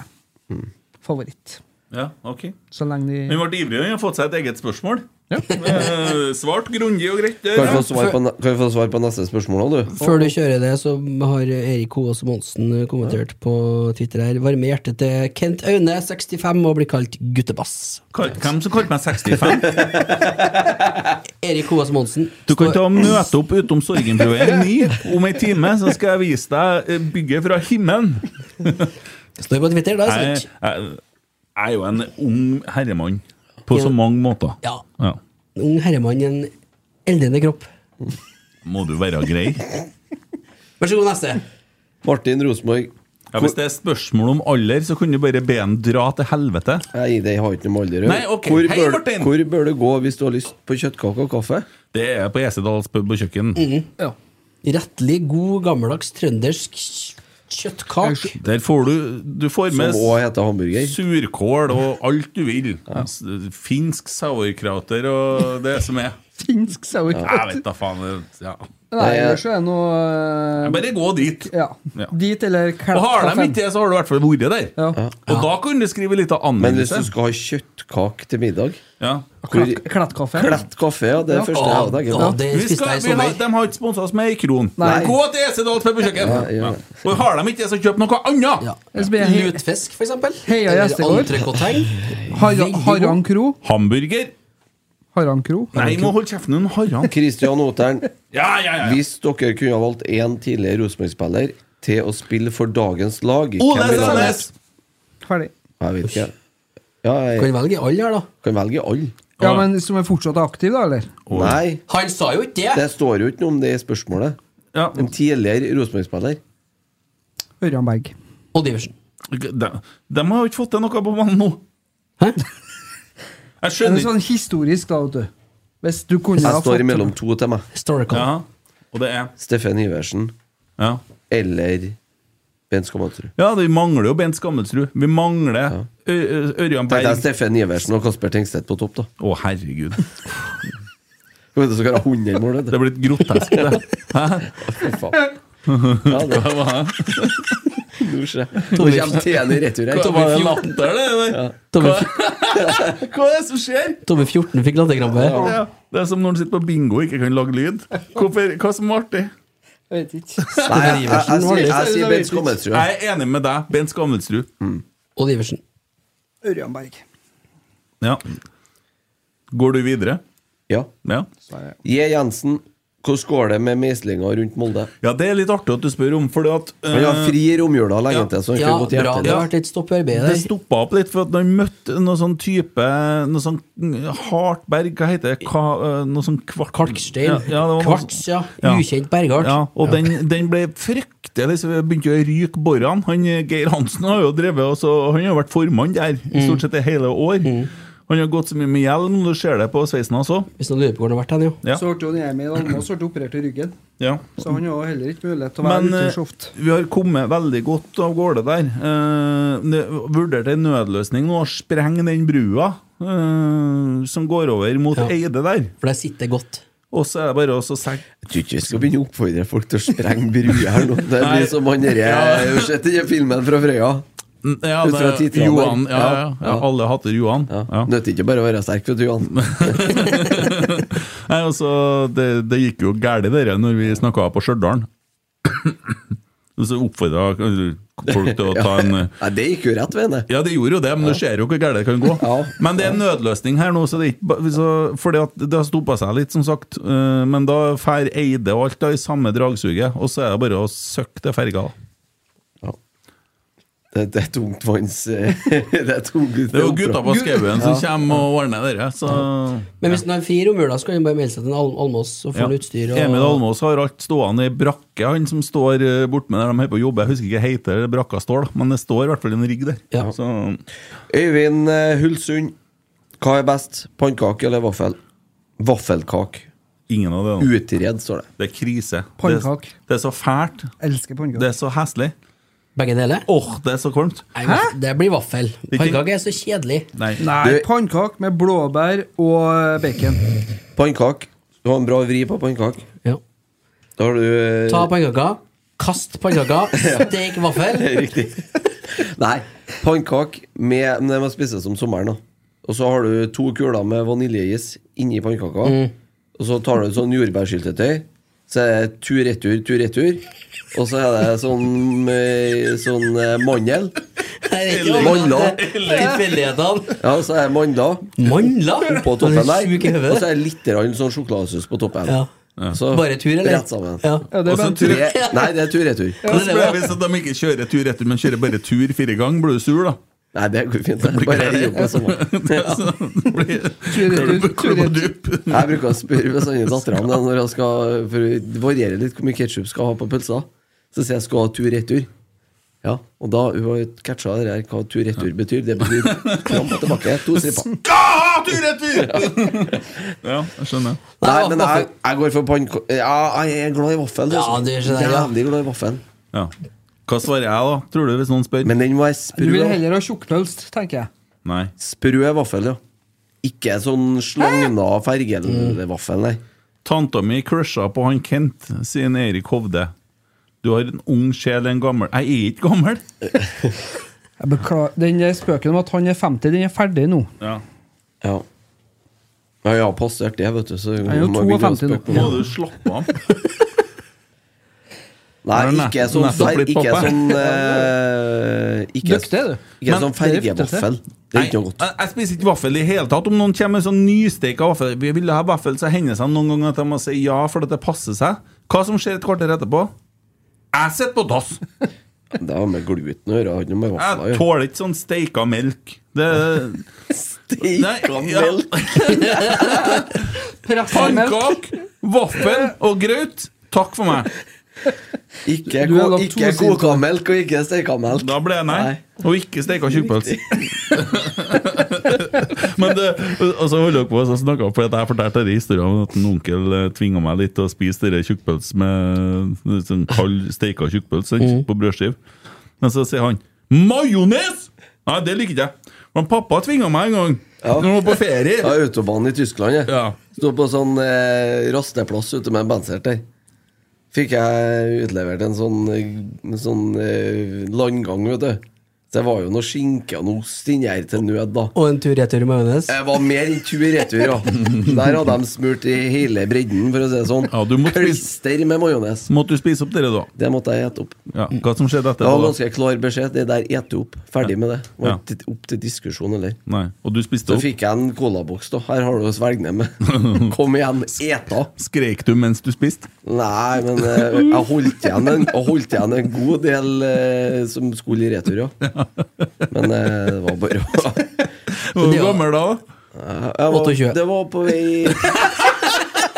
Speaker 4: favoritt.
Speaker 5: Ja, ok.
Speaker 4: Så lenge de
Speaker 5: Han ble ivrig, han har fått seg et eget spørsmål.
Speaker 4: Ja.
Speaker 5: Eh, Svart grundig og greit.
Speaker 1: Kan vi
Speaker 5: der,
Speaker 1: få svar på, ne- kan vi få svar på neste spørsmål da, du?
Speaker 6: Før du kjører det, så har Erik Hoas Monsen kommentert på Twitter her. Varme hjertet til Kent Aune, 65, og blir kalt guttebass.
Speaker 5: Kall- Hvem som kalte
Speaker 4: <laughs>
Speaker 5: meg 65?
Speaker 6: Erik Hoas Monsen.
Speaker 5: Du kan ta og møte opp utom Sorgenbrua 9 om ei time, så skal jeg vise deg eh, bygget fra
Speaker 4: <laughs>
Speaker 5: himmelen.
Speaker 6: Står på Twitter, da. er
Speaker 5: Jeg,
Speaker 4: Altså-
Speaker 6: det sant?
Speaker 5: jeg, jeg er jo en ung herremann på så mange måter.
Speaker 6: Ja. En ung herremann i en eldrende kropp.
Speaker 5: Må du være grei?
Speaker 6: Vær så god, neste.
Speaker 1: Martin Rosenborg.
Speaker 5: Ja, hvis det er spørsmål om alder, så kunne du bare be han dra til helvete.
Speaker 1: Nei, det har ikke noe med alder å gjøre.
Speaker 5: Nei, ok.
Speaker 1: Hvor,
Speaker 5: Hei,
Speaker 1: bør-
Speaker 5: Martin!
Speaker 1: hvor bør du gå hvis du har lyst på kjøttkake og kaffe?
Speaker 5: Det er på Esedals pub og kjøkken.
Speaker 1: Mhm.
Speaker 6: Rettelig god, gammeldags trøndersk kjøttkak.
Speaker 5: Der får du Du får
Speaker 1: Som
Speaker 5: med
Speaker 1: òg heter hamburger.
Speaker 5: surkål og alt du vil. S- Finsk sauerkrauter og det som er.
Speaker 4: Finsk sauer.
Speaker 5: Jeg vet da faen. det- Ja.
Speaker 4: Nei, ellers er det noe eh,
Speaker 5: Bare gå dit.
Speaker 4: ja.
Speaker 5: Ja.
Speaker 4: Dit eller
Speaker 5: Og
Speaker 4: klepp
Speaker 5: har de ikke det, så har du i hvert fall vært der.
Speaker 4: Ja.
Speaker 5: Og da kan du skrive litt av
Speaker 1: Men hvis du
Speaker 5: anmeldelse.
Speaker 1: skal ha kjøttkake til middag
Speaker 5: Ja.
Speaker 1: hvor,
Speaker 4: Klett- Klettkaffe.
Speaker 1: Klett kaffe, ja. Det er det første jeg hadde.
Speaker 6: Ja, det
Speaker 5: Vi
Speaker 6: spiste
Speaker 5: skal,
Speaker 6: jeg i
Speaker 5: vi har,
Speaker 6: sommer.
Speaker 5: de har ikke sponsa oss med ei kron.
Speaker 4: Nei.
Speaker 5: Gå til Esedals pub og kjøkken!
Speaker 1: ja.
Speaker 5: Ja. Og har de ikke det, så kjøp noe annet!
Speaker 6: Ja.
Speaker 4: Ellers blir jeg he-
Speaker 6: Lutfisk, for eksempel.
Speaker 4: Heia Gjestegård.
Speaker 6: entrecôteng.
Speaker 4: Har
Speaker 6: Veldig god.
Speaker 4: Harran Kro.
Speaker 5: Hamburger?
Speaker 4: Harran Kro.
Speaker 5: Nei, må holde kjeften din, Harran.
Speaker 1: Kristian Oteren,
Speaker 5: Ja, ja, ja.
Speaker 1: hvis dere kunne ha valgt én tidligere Rosenborg-spiller til å spille for dagens lag
Speaker 5: Ole
Speaker 1: hvem ville ha
Speaker 5: Sandnes!
Speaker 1: valgt?
Speaker 4: Ferdig.
Speaker 1: Jeg vet ikke. Ja, jeg
Speaker 6: Kan velge alle her, da.
Speaker 1: kan velge alle.
Speaker 4: Ja, men som er fortsatt aktiv, da, eller?
Speaker 1: Nei,
Speaker 6: Han sa jo ikke det!
Speaker 1: det står jo ikke noe om det i spørsmålet.
Speaker 5: Ja.
Speaker 1: En tidligere Rosenborg-spiller.
Speaker 4: Ørjan Berg.
Speaker 6: Odd Iversen.
Speaker 5: De, de har jo ikke fått til noe på banen nå.
Speaker 6: Hæ?
Speaker 5: Jeg
Speaker 4: Det
Speaker 5: skjønner
Speaker 4: er
Speaker 5: ikke.
Speaker 4: sånn historisk, da, vet du. Hvis du kunne ha
Speaker 1: Jeg
Speaker 4: fått
Speaker 1: står imellom to til meg.
Speaker 6: Står det hva?
Speaker 5: Ja, og det er
Speaker 1: Steffen Iversen
Speaker 5: Ja,
Speaker 1: eller Ben Skamantrud.
Speaker 5: ja vi mangler jo Bent Skammelsrud. Vi mangler Ø- Ø- Ørjan
Speaker 1: Tenk
Speaker 5: Berg.
Speaker 1: deg Steffen Iversen og Kasper Tengstedt på topp, da.
Speaker 5: Å, herregud.
Speaker 1: Hva er det som kan ha 100 mål? <laughs>
Speaker 5: Det
Speaker 1: vet
Speaker 5: er blitt grotesk, det.
Speaker 1: du? Faen. Ja, det Nå skjer det. Nå kommer T-en i retur her.
Speaker 6: Tommy Fjord-
Speaker 5: latter, det der?
Speaker 6: Tommy,
Speaker 5: Hva er det som skjer?
Speaker 6: Tommy 14 fikk latterkrampe.
Speaker 5: Ja, det er som når du sitter på bingo og ikke kan lage lyd. Hvorfor, hva som er artig?
Speaker 4: Jeg vet ikke.
Speaker 1: Nei, jeg, jeg, jeg, sier- jeg sier Ben Skamantrud.
Speaker 5: Jeg er enig med deg, Bent Skammelsrud.
Speaker 6: Odd Iversen.
Speaker 4: Ørjan Berg.
Speaker 5: Ja. Går du videre?
Speaker 1: Ja.
Speaker 5: Ja.
Speaker 1: J. Jensen, hvordan går det med meislinga rundt Molde?
Speaker 5: ja, det er litt artig at du spør om, fordi at
Speaker 1: Han har
Speaker 5: eh,
Speaker 1: fri i romjula lenge
Speaker 5: Ja.
Speaker 1: til, så han
Speaker 6: Ja,
Speaker 1: kunne gått
Speaker 6: bra.
Speaker 1: hjem
Speaker 6: Det
Speaker 1: til
Speaker 6: har vært litt stopp i arbeidet
Speaker 5: Det
Speaker 6: der.
Speaker 5: stoppa opp litt, for at når jeg møtte noe sånn type Noe sånn Hartberg, hva heter det? Ka, eh, noe sånn kvart...
Speaker 6: Kalkstein.
Speaker 5: det var noe
Speaker 6: Kvarts, ja. Ukjent bergart.
Speaker 5: Ja, og Den, den ble fryktelig så jeg begynte å ryke borene. Han, eh, Geir Hansen har jo drevet og så- Han har vært formann der i stort sett i hele år. Han har gått så mye med hjelm, du ser det på sveisen hans òg.
Speaker 6: Hvis noen lurer på hvor han har vært hen, jo.
Speaker 5: Ja.
Speaker 4: Så ble jo Emil Almås ble operert i ryggen,
Speaker 5: Ja.
Speaker 4: så han har heller ikke mulighet til å være
Speaker 5: Men
Speaker 4: ute
Speaker 5: eh,
Speaker 4: så ofte.
Speaker 5: vi har kommet veldig godt av gårde der. Eh, det- Vurderte en nødløsning nå, sprenge den brua eh, som går over mot
Speaker 6: Ja.
Speaker 5: Eide der.
Speaker 6: For der sitter det godt.
Speaker 5: Og så er det bare å så seg
Speaker 1: Jeg tror ikke vi skal begynne å oppfordre folk til å sprenge bruer her nå. Det
Speaker 5: Nei.
Speaker 1: blir som han derre Har du sett den filmen fra Frøya?
Speaker 5: Mm, Ja,
Speaker 1: Ut fra
Speaker 5: det-
Speaker 1: titlene der.
Speaker 5: Johan. Ja, ja, ja.
Speaker 1: Ja.
Speaker 5: Alle hater Johan.
Speaker 1: Ja.
Speaker 5: Ja.
Speaker 1: Nødte ikke bare å være sterk, vet du, Jan.
Speaker 5: Nei, altså, det, det gikk jo galt det der når vi snakka på Stjørdal. <coughs> Så oppfordra folk til å ta en eh,
Speaker 1: Nei, det gikk jo rett ved henne.
Speaker 5: Ja, det gjorde jo det, men du ser jo hvor galt det kan gå.
Speaker 1: Ja.
Speaker 5: Men det er en nødløsning her nå, så det er ikke ba- så, fordi at det har stoppa seg litt, som sagt. Eh, Men da fer Eide og alt da i samme dragsuget, og så er det bare å søkke til ferga.
Speaker 1: Det, det er tungt vanns <laughs> eh, Det er tungt
Speaker 5: Det er jo gutta på skauen som kommer og ordner det, så
Speaker 6: Men hvis han har fri i romjula, så kan han bare melde seg til en Al Almås og få
Speaker 5: Ja.
Speaker 6: han utstyr. Og...
Speaker 5: Emil Almås har alt stående i brakke, han som står eh, bortmed der de er på jobb. Jeg husker ikke hva heter det brakka står, da, men det står i hvert fall en rigg der.
Speaker 6: Ja.
Speaker 5: Så,
Speaker 1: Øyvind eh, Hulsund, hva er best? Pannkake eller vaffel? Vaffelkake.
Speaker 5: ingen av det. nå.
Speaker 1: Utred, står det.
Speaker 5: Det er krise. Det-
Speaker 4: Pannkak.
Speaker 5: Det er så fælt.
Speaker 4: Elsker
Speaker 5: Det er
Speaker 4: pannekaker.
Speaker 5: så heslig.
Speaker 6: Begge deler?
Speaker 5: Åh, det er så kvalmt.
Speaker 6: Nei, vaff- Det blir vaffel. Pannekake er så kjedelig.
Speaker 5: Nei.
Speaker 4: Nei,
Speaker 1: Du-
Speaker 4: pannkak med blåbær og eh, bacon.
Speaker 1: Pannkake. Du har en bra vri på pannkake.
Speaker 6: Ja.
Speaker 1: Da har du eh,
Speaker 6: Ta pannekaka, kast <laughs> pannekaka, stek vaffel.
Speaker 1: Riktig. <laughs> Nei. Pannkake med Men det må spises om sommeren, da. Og så har du to kuler med vaniljeis inni pannkaka.
Speaker 6: Mm.
Speaker 1: Og så tar du sånn jordbærsyltetøy. Så er det tur-retur, tur-retur. Og så er det sånn, eh, sånn eh, mandel.
Speaker 6: Det er ikke
Speaker 1: Mandler.
Speaker 6: overlatt til tilfeldighetene.
Speaker 1: Ja, og så er det mandler
Speaker 6: Mandler?
Speaker 1: på toppen
Speaker 6: Er du
Speaker 1: der.
Speaker 6: sjuk i hodet?
Speaker 1: Og så er det litt grann sånn sjokoladesaus på toppen.
Speaker 6: Ja.
Speaker 1: Så
Speaker 6: Bare tur, eller?
Speaker 1: Rett sammen.
Speaker 6: Ja.
Speaker 4: Ja, det er
Speaker 5: Og så
Speaker 4: bare en
Speaker 5: tror
Speaker 4: tur.
Speaker 5: jeg-
Speaker 1: Tre, nei, det er tur-retur.
Speaker 6: Ja,
Speaker 5: Og så
Speaker 6: det er
Speaker 5: ble
Speaker 6: det.
Speaker 5: jeg hvis at de ikke kjører tur-retur, men kjører bare tur fire ganger, blir du sur, da?
Speaker 1: Nei, det går fint. det.
Speaker 5: blir
Speaker 1: Bare
Speaker 5: greit.
Speaker 1: jobb på sommeren.
Speaker 6: <laughs>
Speaker 5: Så blir-
Speaker 4: Tur-retur,
Speaker 5: klubba
Speaker 4: tur-retur.
Speaker 5: dupp.
Speaker 1: Jeg bruker å spørre bestandig dattera om det når jeg skal For det varierer litt hvor mye ketsjup skal ha på pølsa. Så sier jeg skal ha tur-retur. Ja, og da hun har catcha det her, hva tur-retur betyr. Det betyr fram og tilbake. To stripper.
Speaker 5: Ja, tur-retur! Ja, jeg skjønner.
Speaker 1: Nei,
Speaker 6: Nei,
Speaker 1: men jeg,
Speaker 6: vaffel.
Speaker 1: jeg går for pannkake. Ja, jeg er glad i vaffel.
Speaker 6: Ja,
Speaker 1: altså.
Speaker 6: du er sånn der, ja.
Speaker 1: Jævlig glad i vaffel.
Speaker 5: Ja. Hva svarer jeg, da? Tror du, hvis noen spør?
Speaker 1: Men den må være
Speaker 4: Du
Speaker 1: sprø.
Speaker 4: vil heller ha tjukkpølst, tenker jeg.
Speaker 5: Nei.
Speaker 1: Sprø vaffel, ja. Ikke sånn slagna fergelvaffel, nei.
Speaker 5: Tanta mi crusha på han Kent, sier Erik Hovde. Du har en ung sjel, en gammel Jeg er ikke gammel!
Speaker 4: jeg beklager. Den der spøken om at han er 50, den er ferdig nå.
Speaker 5: Ja.
Speaker 1: Ja. Ja, jeg har passert det, vet du. Så
Speaker 4: er jo
Speaker 1: man begynner å
Speaker 4: 52 nå.
Speaker 1: spøke på
Speaker 5: Må
Speaker 1: det.
Speaker 5: du slappe av?
Speaker 1: Nei,
Speaker 5: Har du
Speaker 1: ikke
Speaker 5: nett-
Speaker 1: sånn,
Speaker 5: nettopp
Speaker 1: fer,
Speaker 5: blitt
Speaker 1: ikke
Speaker 5: pappa?
Speaker 1: sånn
Speaker 4: <laughs>
Speaker 1: eh, Ikke,
Speaker 4: Døkt er du.
Speaker 1: ikke
Speaker 5: Men-
Speaker 1: sånn fergevaffel. Det er
Speaker 5: Nei,
Speaker 1: ikke noe
Speaker 5: jeg,
Speaker 1: godt.
Speaker 5: jeg spiser ikke vaffel i hele tatt. Om noen kommer med sånn nysteika vaffel Vi ville ha vaffel, så hender det seg noen ganger at de må si ja fordi det passer seg. Hva som skjer et kvarter etterpå? Jeg sitter på dass!
Speaker 1: Det har med gluten å gjøre. Har ikke noe med vaffel å
Speaker 5: Jeg
Speaker 1: gjøre.
Speaker 5: tåler ikke sånn steika melk. Det Nei, ja. Pannkake, vaffel og grøt. Takk for meg.
Speaker 1: Ikke,
Speaker 4: Du har
Speaker 1: ko-
Speaker 4: lagt
Speaker 1: ikke
Speaker 4: to
Speaker 1: koka melk og ikke steika melk.
Speaker 5: Da ble jeg nei.
Speaker 1: Nei.
Speaker 5: Og ikke steika tjukkpølse. <laughs> Men det, og så holder dere på å snakke om for at jeg fortalte denne historien om at en onkel eh, tvinga meg litt til å spise denne tjukkpølse med eh, sånn kald steika tjukkpølse
Speaker 1: Mm.
Speaker 5: sant, på brødskive. Men så sier han 'majones'! Nei, det liker ikke jeg. Men pappa tvinga meg en gang. Når han var på
Speaker 1: Ja,
Speaker 5: ferie.
Speaker 1: autobanen i Tyskland, jeg.
Speaker 5: Ja.
Speaker 1: Sto på sånn eh, rasteplass ute med en bensert der. Fikk jeg utlevert en sånn, eh, sånn eh, landgang, vet du. Så det var jo noe skinke og noe ost inni her til nød, da.
Speaker 6: Og en tur-retur i majones.
Speaker 1: Jeg var mer enn tur-retur, ja. Der hadde de smurt i hele bredden, for å si det sånn.
Speaker 5: Ja, du måtte spise-
Speaker 1: Klister med majones.
Speaker 5: Så måtte du spise opp dere da.
Speaker 1: Det måtte jeg ete opp.
Speaker 5: Ja, hva som
Speaker 1: Det
Speaker 5: skjedde
Speaker 1: var
Speaker 5: etterpå? da?
Speaker 1: ganske klar beskjed. Det der eter du opp. Ferdig med det. Var
Speaker 5: Ja.
Speaker 1: ikke opp til diskusjon, eller.
Speaker 5: Nei, og du spiste
Speaker 1: Så
Speaker 5: opp?
Speaker 1: fikk jeg en colaboks, da. Her har du å svelge
Speaker 5: <laughs>
Speaker 1: ned med. Kom igjen, eta!
Speaker 5: Skrek du mens du spiste?
Speaker 1: Nei, men eh, jeg holdt igjen en, jeg holdt igjen en god del eh, som skulle i retur,
Speaker 5: <laughs>
Speaker 1: ja. Men eh, det var bare å
Speaker 5: Hvor
Speaker 6: det var-
Speaker 5: gammel da?
Speaker 1: Jeg var,
Speaker 6: 28.
Speaker 1: Det var på vei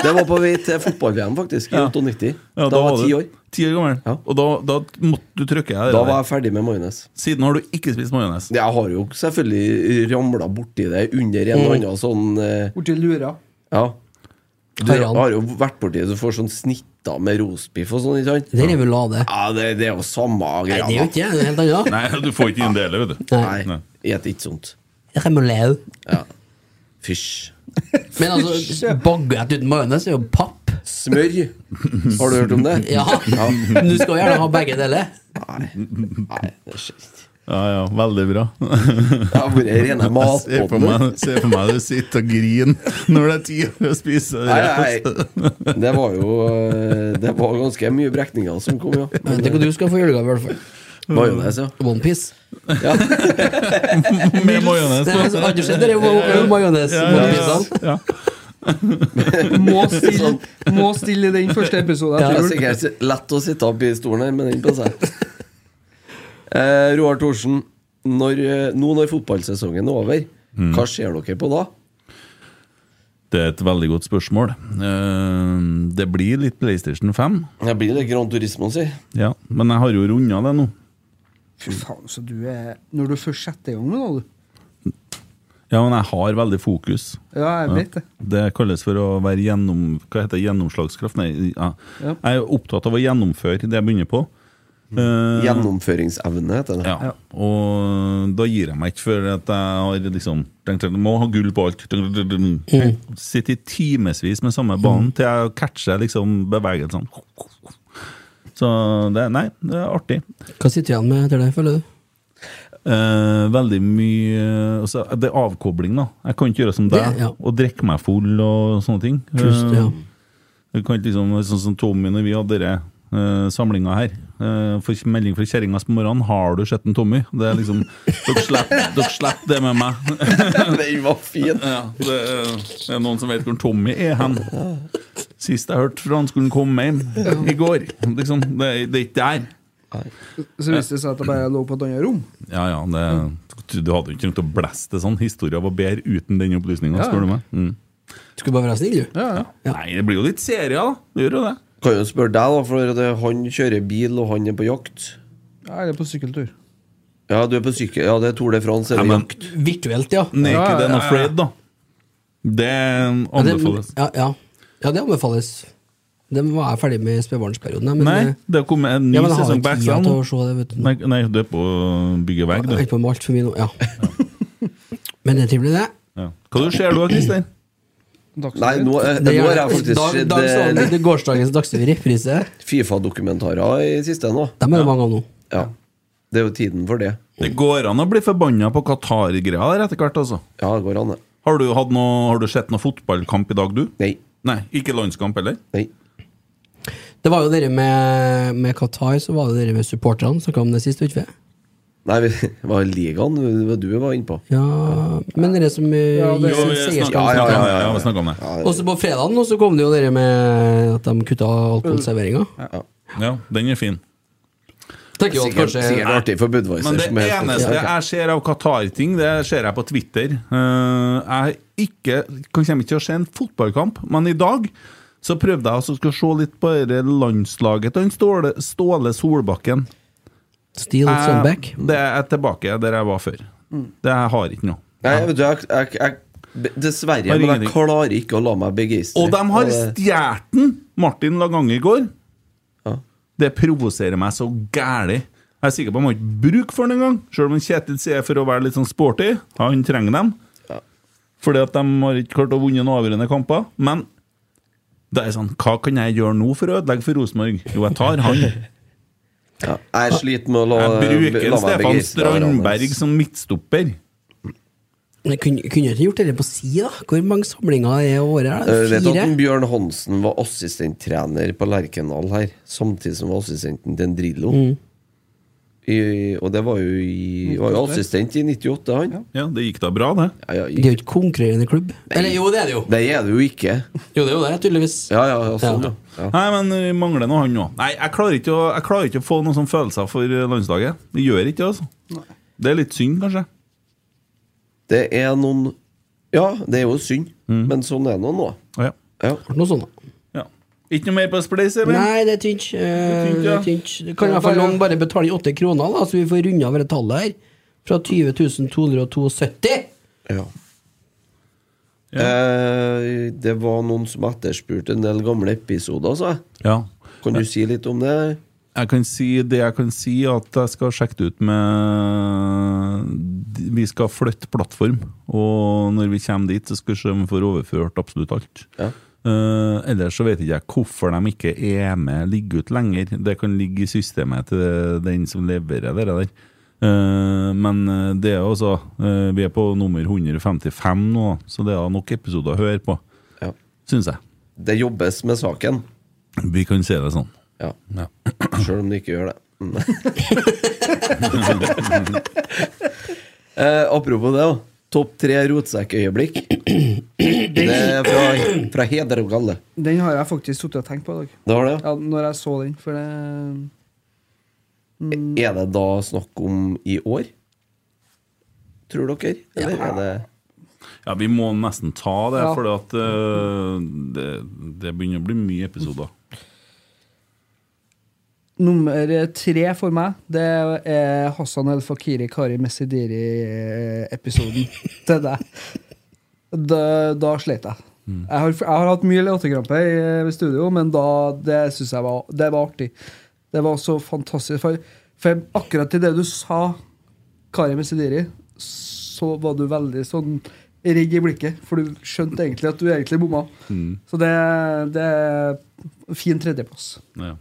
Speaker 1: Det var på vei til fotball-VM, faktisk, i
Speaker 5: Ja.
Speaker 1: 98.
Speaker 5: Ja,
Speaker 1: da var jeg
Speaker 5: var
Speaker 1: ti
Speaker 5: du
Speaker 1: år.
Speaker 5: Ti år gammel.
Speaker 1: Ja.
Speaker 5: Og da, da måtte du trykke her.
Speaker 1: Da var jeg ferdig med majones.
Speaker 5: Siden har du ikke spist majones.
Speaker 1: Jeg har jo selvfølgelig ramla borti det under en eller annen sånn eh,
Speaker 4: Borti lura.
Speaker 1: Ja. Du
Speaker 6: Harald.
Speaker 1: har jo vært borti det, du får sånn snitter med roastbiff og sånn, ikke sant?
Speaker 6: Det er revelade.
Speaker 1: Ja, det, det er jo samme
Speaker 6: Nei,
Speaker 1: greia.
Speaker 6: det er jo
Speaker 1: da.
Speaker 6: ikke det. Det er helt annet.
Speaker 5: Nei, du får ikke inn det heller, vet du.
Speaker 6: Nei.
Speaker 1: Nei, et ikke sånt.
Speaker 6: Remoulade.
Speaker 1: Ja. Fysj.
Speaker 6: Men altså, baguett uten majones er jo papp.
Speaker 1: Smør. Har du hørt om det?
Speaker 6: Ja. Men du skal jo gjerne ha begge deler.
Speaker 1: Nei. Nei, det skjer ikke.
Speaker 5: Ja, ja, veldig bra.
Speaker 1: Det har vært rene
Speaker 5: <laughs> Jeg ser for meg,
Speaker 1: matbåten.
Speaker 5: ser for meg du sitter og griner når det er tid for å spise.
Speaker 1: Nei, nei. Det var jo eh, Det var ganske mye brekninger som kom, ja. Men
Speaker 6: Tenk hva du skal få i julegave, i hvert fall.
Speaker 1: det var jo det, så.
Speaker 6: Onepiece.
Speaker 1: <laughs> Ja.
Speaker 5: Med majones.
Speaker 6: Det har aldri skjedd, det er jo majones. Onepiece-ene.
Speaker 5: Ja.
Speaker 4: <laughs> Må stille, må stille i den første episoden
Speaker 1: Det
Speaker 4: etter
Speaker 1: er
Speaker 4: jul.
Speaker 1: sikkert lett å sitte opp i stolen her med den på seg. Eh, Roar Thorsen, når, eh, nå når fotballsesongen er over, hva ser dere på da?
Speaker 5: Det er et veldig godt spørsmål. Eh, Det blir litt PlayStation 5,
Speaker 1: Det blir det Grand Turismo, si.
Speaker 5: ja. men jeg har jo runda det nå.
Speaker 4: Fy faen, så du er Når du først setter i gang med noe, du.
Speaker 5: Ja, men jeg har veldig fokus.
Speaker 4: Ja, jeg vet det.
Speaker 5: Det kalles for å være gjennom, hva heter det, gjennomslagskraft. Nei, ja.
Speaker 4: Ja.
Speaker 5: Jeg er opptatt av å gjennomføre det jeg begynner på.
Speaker 6: Mm.
Speaker 5: Eh,
Speaker 1: Gjennomføringsevne, heter det.
Speaker 5: Ja. Og da gir jeg meg ikke før at jeg har liksom tenkt at jeg må ha gull på alt.
Speaker 6: Mm.
Speaker 5: Sitter i timevis med samme banen til jeg catcher liksom bevegelsene. Så det, nei, det er artig.
Speaker 6: Hva sitter du igjen med etter det, føler du?
Speaker 5: Eh, veldig mye altså, Det er avkobling, da. Jeg kan ikke gjøre som deg
Speaker 6: Det, ja.
Speaker 5: og drikke meg full og sånne ting.
Speaker 6: Pust,
Speaker 5: Eh,
Speaker 6: ja.
Speaker 5: Du kan ikke liksom, sånn som Tommy når vi hadde denne eh, samlinga her. eh, får melding fra kjerringa på morgenen 'Har du sett en Tommy?' Det er liksom Dere slipper dere slipper det med meg.
Speaker 1: <laughs> Den var fin!
Speaker 5: ja, det er noen som vet hvor Tommy er hen. Sist jeg hørte fra han skulle han komme hjem. I går. Liksom, det, er- det er ikke der.
Speaker 4: Så viste det seg at jeg bare lå på et annet rom.
Speaker 5: Ja, ja, det, Du hadde jo ikke trengt å blæste det sånn. Historien var bedre uten den opplysninga,
Speaker 4: Ja, ja.
Speaker 5: spør du meg. Mm.
Speaker 6: Skulle bare være snill, du.
Speaker 5: Nei, det blir jo litt serier, da. Det gjør jo det.
Speaker 1: Kan jo spørre deg, da, for det, han kjører bil, og han er på jakt.
Speaker 4: Ja, eller på sykkeltur.
Speaker 1: Ja, du er på sykkel... Ja, det er Tour de France.
Speaker 5: Ja,
Speaker 1: Eller
Speaker 5: men-
Speaker 1: jakt.
Speaker 6: Virtuelt, ja.
Speaker 5: Naked
Speaker 4: Ja, ja,
Speaker 5: and
Speaker 4: ja, ja.
Speaker 5: afraid, da. Det
Speaker 6: Ja, det-
Speaker 5: anbefales.
Speaker 6: Ja, ja. ja, det anbefales. Den var jeg ferdig med i spedbarnsperioden. jeg, Men,
Speaker 5: Nei,
Speaker 6: eh,
Speaker 5: det har kommet en ny
Speaker 6: ja, men jeg har
Speaker 5: sesong
Speaker 6: ikke
Speaker 5: på
Speaker 6: tida
Speaker 5: Exxon.
Speaker 6: til å se det, vet du.
Speaker 5: Nei, nei, du er på å bygge vegg,
Speaker 6: Jeg
Speaker 5: du.
Speaker 6: holder på med alt for mye nå. Ja. Men det er trivelig, det.
Speaker 5: Ja. Hva du ser du, da, Christer?
Speaker 1: Nei, nå, eh,
Speaker 6: Det
Speaker 1: nå har
Speaker 6: gjør-
Speaker 1: jeg faktisk
Speaker 6: Dag- dag-
Speaker 1: sett eh,
Speaker 6: sånn, det- Gårsdagens Dagsrevy reprise.
Speaker 1: Fifa-dokumentarer i siste nå.
Speaker 6: Dem er det mange av nå.
Speaker 1: Ja. Det er jo tiden for det.
Speaker 5: Det går an å bli forbanna på Qatar-greia der etter hvert, altså.
Speaker 1: Ja, det går an, det.
Speaker 5: Har du, hatt noe, har du sett noe fotballkamp i dag, du?
Speaker 1: Nei.
Speaker 5: Nei, ikke landskamp heller?
Speaker 1: Nei.
Speaker 6: Det var jo dere med, med Qatar, så var det dere med supporterne. Snakka om det sist, vet ikke jeg.
Speaker 1: Nei, vi- <laughs> det var ligaen det var du var inne på.
Speaker 6: Ja, men dere som eh,
Speaker 4: Ja, det-
Speaker 6: gir sin
Speaker 5: snakket
Speaker 6: seierskap
Speaker 1: Ja, ja, ja, ja, ja.
Speaker 5: vi snakket om det.
Speaker 6: Også på fredagen nå så kom det jo dere med at de kutta alkoholserveringa.
Speaker 5: Ja, den er fin.
Speaker 6: Tenker jo at
Speaker 1: Sikkert,
Speaker 6: kanskje
Speaker 1: sikkert artig for
Speaker 5: Men
Speaker 1: Budwiser.
Speaker 5: det
Speaker 1: som er-
Speaker 5: eneste jeg ser av Qatar-ting, det ser jeg på Twitter. Eh, Jeg er ikke, kan kommer ikke til å se en fotballkamp, men i dag så prøvde jeg også å se litt på det landslaget til han Ståle, Ståle Solbakken.
Speaker 6: Steal
Speaker 5: Eh.
Speaker 6: Sunback.
Speaker 5: Jeg, det er tilbake der jeg var før. Det jeg har ikke noe.
Speaker 1: Nei, vet du, jeg, jeg, jeg Dessverre,
Speaker 5: Har
Speaker 1: men jeg
Speaker 5: ingenting.
Speaker 1: klarer ikke å la meg begeistre.
Speaker 5: Og de har
Speaker 1: det-
Speaker 5: stjålet den! Martin Lagange i går.
Speaker 1: Ja.
Speaker 5: Det provoserer meg så gæli. Jeg er sikker på at man ikke bruker for den engang, sjøl om Kjetil sier for å være litt sånn sporty. Han trenger dem. Fordi at de har ikke klart å vinne noen avgjørende kamper. Men det er sånn, hva kan jeg gjøre nå for å ødelegge for Rosenborg? Jo, jeg tar
Speaker 1: <laughs>
Speaker 5: han.
Speaker 1: ja, Jeg sliter med å la,
Speaker 5: Jeg bruker
Speaker 1: eh, la meg
Speaker 5: Stefan
Speaker 1: begeistre av hverandre.
Speaker 5: Strandberg som midtstopper.
Speaker 6: Men Kunne kunne dere ikke gjort dette på si, da? Hvor mange samlinger er i året? her, da?
Speaker 1: Jeg Eh, vet
Speaker 6: Fire?
Speaker 1: at Bjørn Hansen var assistenttrener på Lerkendal her, samtidig som var assistenten til en Drillo. I, og det var jo, i, var jo assistent i 98, han.
Speaker 5: Ja, det gikk da bra, det.
Speaker 1: Ja, ja,
Speaker 6: Det er jo ikke konkurrerende klubb. Eller jo, det er det jo.
Speaker 1: det er det jo ikke.
Speaker 6: Jo, det er jo det, tydeligvis.
Speaker 1: Ja, ja, ja, sånn, ja. ja.
Speaker 5: Nei, men vi mangler noe han nå. Nei, jeg klarer, ikke å, jeg klarer ikke å få noen sånne følelser for eh, landslaget. Det gjør ikke det, altså. Det er litt synd, kanskje.
Speaker 1: Det er noen Ja, det er jo synd,
Speaker 5: Mm.
Speaker 1: men sånn er det nå.
Speaker 5: Ja.
Speaker 1: Ja.
Speaker 6: Ble Noe sånt, da.
Speaker 5: ja. Ikke noe mer på Splice, eller?
Speaker 6: Nei, det er tynt. eh,
Speaker 5: tynt,
Speaker 6: det
Speaker 5: ja.
Speaker 6: er tynt. Det Kan i hvert fall noen bare betale inn åtte kroner, da, så vi får runda over det tallet her? Fra 20 272.
Speaker 1: ja. Eh, det var noen som etterspurte en del gamle episoder, sa jeg.
Speaker 5: Ja.
Speaker 1: Kan du si litt om det?
Speaker 5: Jeg kan si det jeg kan si, at jeg skal sjekke det ut med Vi skal flytte plattform, og når vi kommer dit, så skal vi se om vi får overført absolutt alt.
Speaker 1: Ja.
Speaker 5: Eh, ellers så vet ikke jeg hvorfor de ikke er med ligge ut lenger. Det kan ligge i systemet til den som leverer det der. Eh, men eh, det er altså eh, Vi er på nummer 155 nå, så det er nok episoder å høre på,
Speaker 1: Ja.
Speaker 5: syns jeg.
Speaker 1: Det jobbes med saken.
Speaker 5: Vi kan si det sånn.
Speaker 1: Ja.
Speaker 5: Ja.
Speaker 1: Sjøl om det ikke gjør det. Mm. <laughs> eh, apropos det, da. Topp tre rotsekkøyeblikk. Det er fra, fra Heder og Galle.
Speaker 4: Den har jeg faktisk sittet og tenkt på i dag.
Speaker 1: Det var det.
Speaker 4: Ja, når jeg så den, for det
Speaker 1: Er det da snakk om i år? Tror dere? Eller er det
Speaker 5: Ja, vi må nesten ta det,
Speaker 4: Ja.
Speaker 5: for det, det begynner å bli mye episoder.
Speaker 4: Nummer eh, tre for meg, det er Hassan El Fakiri Kari Messidiri-episoden til deg. Da, da slet jeg. Jeg, har, jeg har hatt mye latterkrampe i i studio, men da, det syns jeg var, det var artig. Det var så fantastisk. For, for akkurat til det du sa, Kari Messidiri, så var du veldig sånn rigg i blikket, for du skjønte egentlig at du egentlig bomma. Så det, det er fin tredjeplass.
Speaker 5: Ja.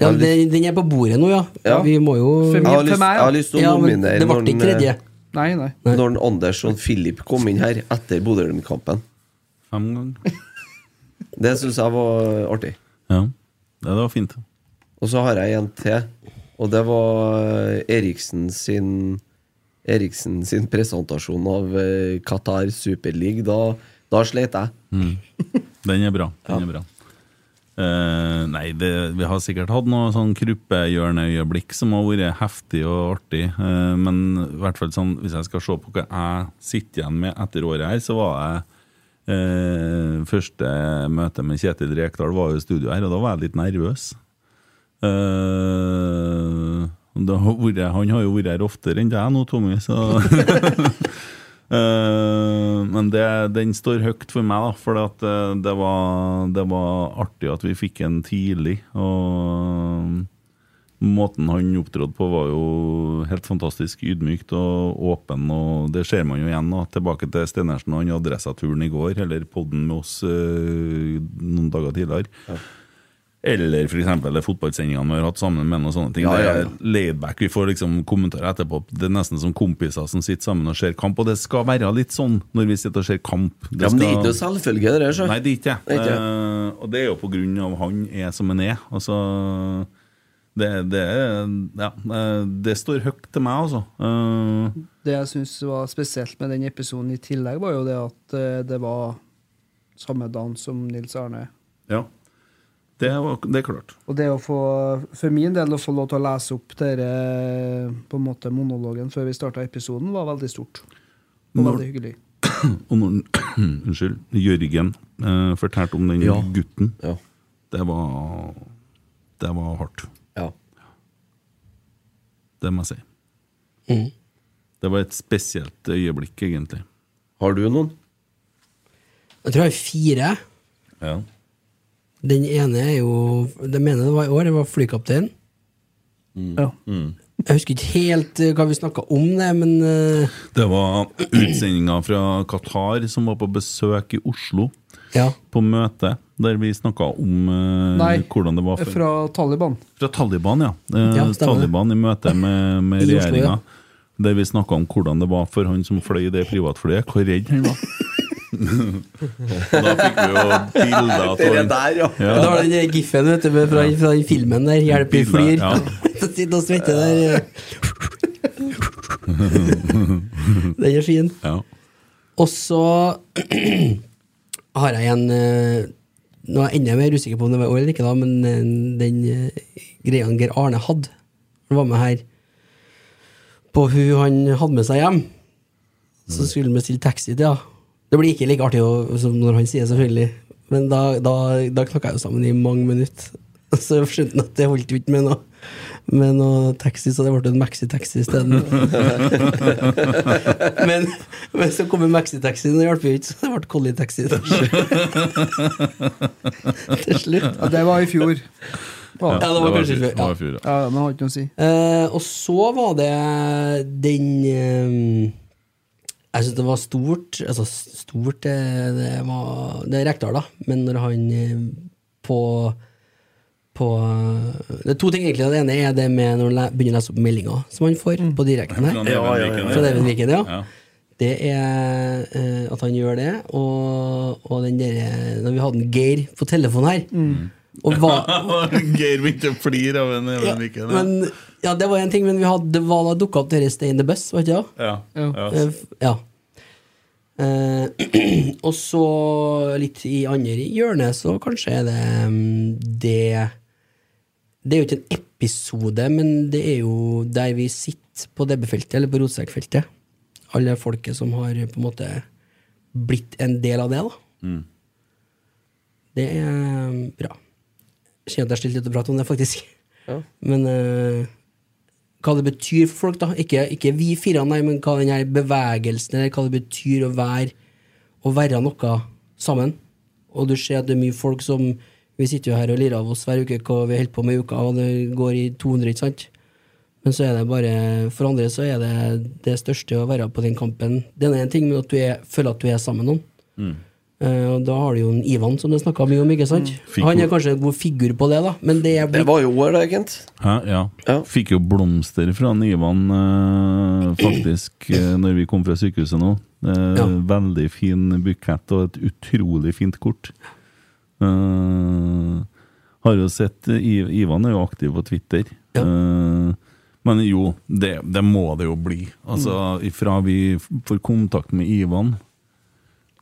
Speaker 6: Ja, den, den er på bordet nå, ja.
Speaker 1: Ja.
Speaker 6: Vi må jo
Speaker 4: For
Speaker 1: Jeg
Speaker 4: min-
Speaker 1: har
Speaker 4: for
Speaker 1: lyst,
Speaker 4: meg,
Speaker 1: jeg har lyst til å
Speaker 6: Ja, men
Speaker 1: nominere
Speaker 6: det ble ikke tredje.
Speaker 4: Nei, nei.
Speaker 1: når, når Anders og Philip kom inn her etter Bodø-Glimt-kampen.
Speaker 5: Fem ganger.
Speaker 1: Det syns jeg var artig.
Speaker 5: Ja. ja, det var fint.
Speaker 1: Og så har jeg en til, og det var eh, Eriksen sin Eriksen sin presentasjon av eh, Qatar Super League. Da, da slet jeg.
Speaker 5: Den er bra. Den er bra. Eh, nei, det, vi har sikkert hatt noe sånn kruppehjørneøyeblikk som har vært heftig og artig, eh, men i hvert fall sånn, hvis jeg skal se på hva jeg sitter igjen med etter året her, så var jeg eh, Første møte med Kjetil Rekdal var jo i studio her, og da var jeg litt nervøs. Eh, da har vært, han har jo vært her oftere enn deg nå, Tommy, så <laughs> Eh, men det, den står høyt for meg, da, for at, eh, det, var, det var artig at vi fikk en tidlig. Og måten han opptrådte på, var jo helt fantastisk ydmykt og åpen. Og det ser man jo igjen. Da. Tilbake til Stenersen og han adressaturen i går, eller podden med oss eh, noen dager tidligere. Eller for eksempel de fotballsendingene vi har hatt sammen med noen sånne ting.
Speaker 1: Ja, ja, ja.
Speaker 5: Det er laidback. Vi får liksom kommentarer etterpå. Det er nesten som kompiser som sitter sammen og ser kamp. Og det skal være litt sånn når vi sitter og ser kamp.
Speaker 1: Ja, men det er
Speaker 5: skal-
Speaker 1: ikke noe selvfølge, det der. så.
Speaker 5: Nei, det er ikke
Speaker 1: Det er
Speaker 5: jeg.
Speaker 1: ikke
Speaker 5: Eh, og det er jo på grunn av han er som han er. Altså, det, det, er- ja, eh, det står høyt til meg, altså. Eh,
Speaker 4: Det jeg syns var spesielt med den episoden i tillegg, var jo det at eh, det var samme dagen som Nils Arne.
Speaker 5: ja. Det, var, det er klart.
Speaker 4: Og det å få, for min del, å få lov til å lese opp dere, eh, på en måte monologen før vi starta episoden, var veldig stort. Og
Speaker 5: Når-
Speaker 4: veldig hyggelig.
Speaker 5: Og når <clears throat> Unnskyld. Jørgen eh, fortalte om den
Speaker 1: Ja.
Speaker 5: gutten.
Speaker 1: Ja.
Speaker 5: Det var Det var hardt.
Speaker 1: Ja.
Speaker 5: Det må jeg si.
Speaker 1: Mm.
Speaker 5: Det var et spesielt øyeblikk, egentlig.
Speaker 1: Har du noen?
Speaker 6: Jeg tror jeg har fire.
Speaker 5: Ja.
Speaker 6: Den ene er jo Det mener jeg det var i år, det var flykaptein.
Speaker 4: Ja.
Speaker 6: Jeg husker ikke helt eh, hva vi snakka om, det, men eh,
Speaker 5: Det var utsendinga fra Qatar som var på besøk i Oslo.
Speaker 6: ja.
Speaker 5: på møte der vi snakka om eh,
Speaker 4: Nei,
Speaker 5: hvordan det var før. Fra,
Speaker 4: Fra Taliban.
Speaker 5: Taliban, ja. Eh,
Speaker 6: Ja, stemmer det.
Speaker 5: Taliban i møte med, med
Speaker 6: I Oslo, ja.
Speaker 5: regjeringa. Der vi snakka om hvordan det var for han som fløy det privatflyet, hvor redd han var. Og da fikk vi jo bilder av
Speaker 1: Det
Speaker 5: han-
Speaker 1: der, ja.
Speaker 6: Ja, Da var den der giffen vet du, med- fra, fra den filmen der. 'Hjelp, vi
Speaker 5: Bildet,
Speaker 6: flyr'. <laughs>
Speaker 5: ja.
Speaker 6: Så Sitter og svetter der.
Speaker 5: <laughs>
Speaker 6: eh. Den er fin.
Speaker 5: ja.
Speaker 6: Og så <clears throat> har jeg en eh, Nå er jeg enda mer usikker på om det var i år eller ikke, da, men eh, den eh, greia han Geir Arne hadde Han var med her på hun han hadde med seg hjem. Så skulle han bestille taxi til henne. Det blir ikke like artig å- som når han sier det, selvfølgelig. Men da, da, da knakka jeg jo sammen i mange minutter. <laughs> Så skjønte han at det holdt jo ikke med noe, med noe taxi, så det ble en maxitaxi isteden. Men, men så kom en maxitaxi, og det hjalp jo ikke, så det ble kollitaxi til slutt. til slutt.
Speaker 4: Ja, det var i fjor.
Speaker 6: Ja,
Speaker 4: Ja.
Speaker 6: det var kanskje
Speaker 5: i fjor,
Speaker 6: før. Ja.
Speaker 5: det var i fjor, ja.
Speaker 4: Ja, men jeg har ikke noe å si.
Speaker 6: Eh, og så var det den eh, Jeg syns det var stort Altså, stort eh, Det var Det er Rekdal, da. Men når han eh, på på Det er to ting, egentlig. Det ene er det med når han le- begynner å lese opp meldinger som han får på direkten her.
Speaker 5: Fra Nevenviken, Mm. ja.
Speaker 6: Fra Even Viken, ja.
Speaker 5: Ja.
Speaker 6: Det er eh, at han gjør det, og, og den derre Når vi hadde en Geir på telefonen her og
Speaker 5: <laughs>
Speaker 6: hva,
Speaker 5: Geir begynte å flire av en Even Viken. ja.
Speaker 6: men, ja, det var en ting, men vi hadde, det var da dukka opp dere Stay in the Bus, var ikke det?
Speaker 5: Ja. Ja.
Speaker 6: Eh, f- Ja. Eh, <clears throat> og så litt i andre hjørnet, så kanskje er det mm, det Det er jo ikke en episode, men det er jo der vi sitter på DB-feltet, eller på rotsekkfeltet. Alle folket som har på en måte blitt en del av det, da. Det er mm, bra. Kjenner at jeg har stilt litt å prate om det, faktisk. Men eh, hva det betyr for folk, da. Ikke, ikke vi fire, nei, men hva den her bevegelsen eller hva det betyr å være, å være noe sammen. Og du ser at det er mye folk som Vi sitter jo her og lirer av oss hver uke hva vi holder på med i uka, og det går i 200, ikke sant? Men så er det bare For andre så er det det største å være på den kampen. Det er én ting, men at du er, føler at du er sammen med noen. Eh, og da har du jo en Ivan som det snakka mye om, ikke sant?
Speaker 5: Fikk
Speaker 6: Han
Speaker 5: jo-
Speaker 6: er kanskje en god figur på det, da, men det er
Speaker 1: Det
Speaker 6: blitt
Speaker 1: var jo år, det, Kent.
Speaker 5: Hæ? Ja.
Speaker 1: Ja.
Speaker 5: Fikk jo blomster fra han Ivan eh, faktisk eh, når vi kom fra sykehuset nå. Eh,
Speaker 6: Ja.
Speaker 5: Veldig fin bukett og et utrolig fint kort. Eh, har jo sett eh, I- Ivan er jo aktiv på Twitter.
Speaker 6: Ja.
Speaker 5: Eh, men jo, det, det må det jo bli. Altså, Fra vi f- får kontakt med Ivan,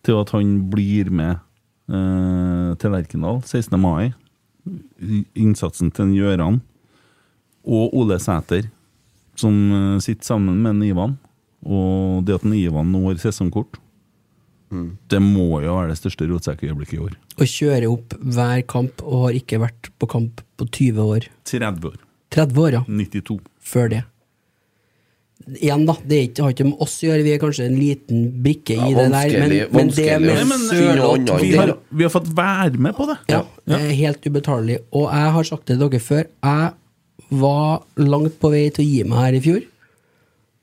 Speaker 5: til at han blir med eh, til Lerkendal 16. mai. I- Innsatsen til en Gjøran og Ole Sæter, som eh, sitter sammen med en Ivan. Og det at en Ivan nå har sesongkort, det må jo være det største rotsekkøyeblikket i år.
Speaker 6: og kjører opp hver kamp og har ikke vært på kamp på 20 år.
Speaker 5: 30 år.
Speaker 6: 30 år, ja.
Speaker 5: 92.
Speaker 6: Før det. Igjen, da. Det er ikke, har ikke med oss å gjøre, vi er kanskje en liten brikke i
Speaker 1: Ja,
Speaker 6: det der. Men,
Speaker 1: vanskelig-
Speaker 6: men det
Speaker 1: vanskelig å
Speaker 6: med
Speaker 5: finne
Speaker 6: Sørloth
Speaker 1: annet enn
Speaker 5: Vi
Speaker 1: det.
Speaker 5: har, vi har fått være med på det!
Speaker 6: ja, det er eh, helt ubetalelig. Og jeg har sagt det til dere før, jeg var langt på vei til å gi meg her i fjor.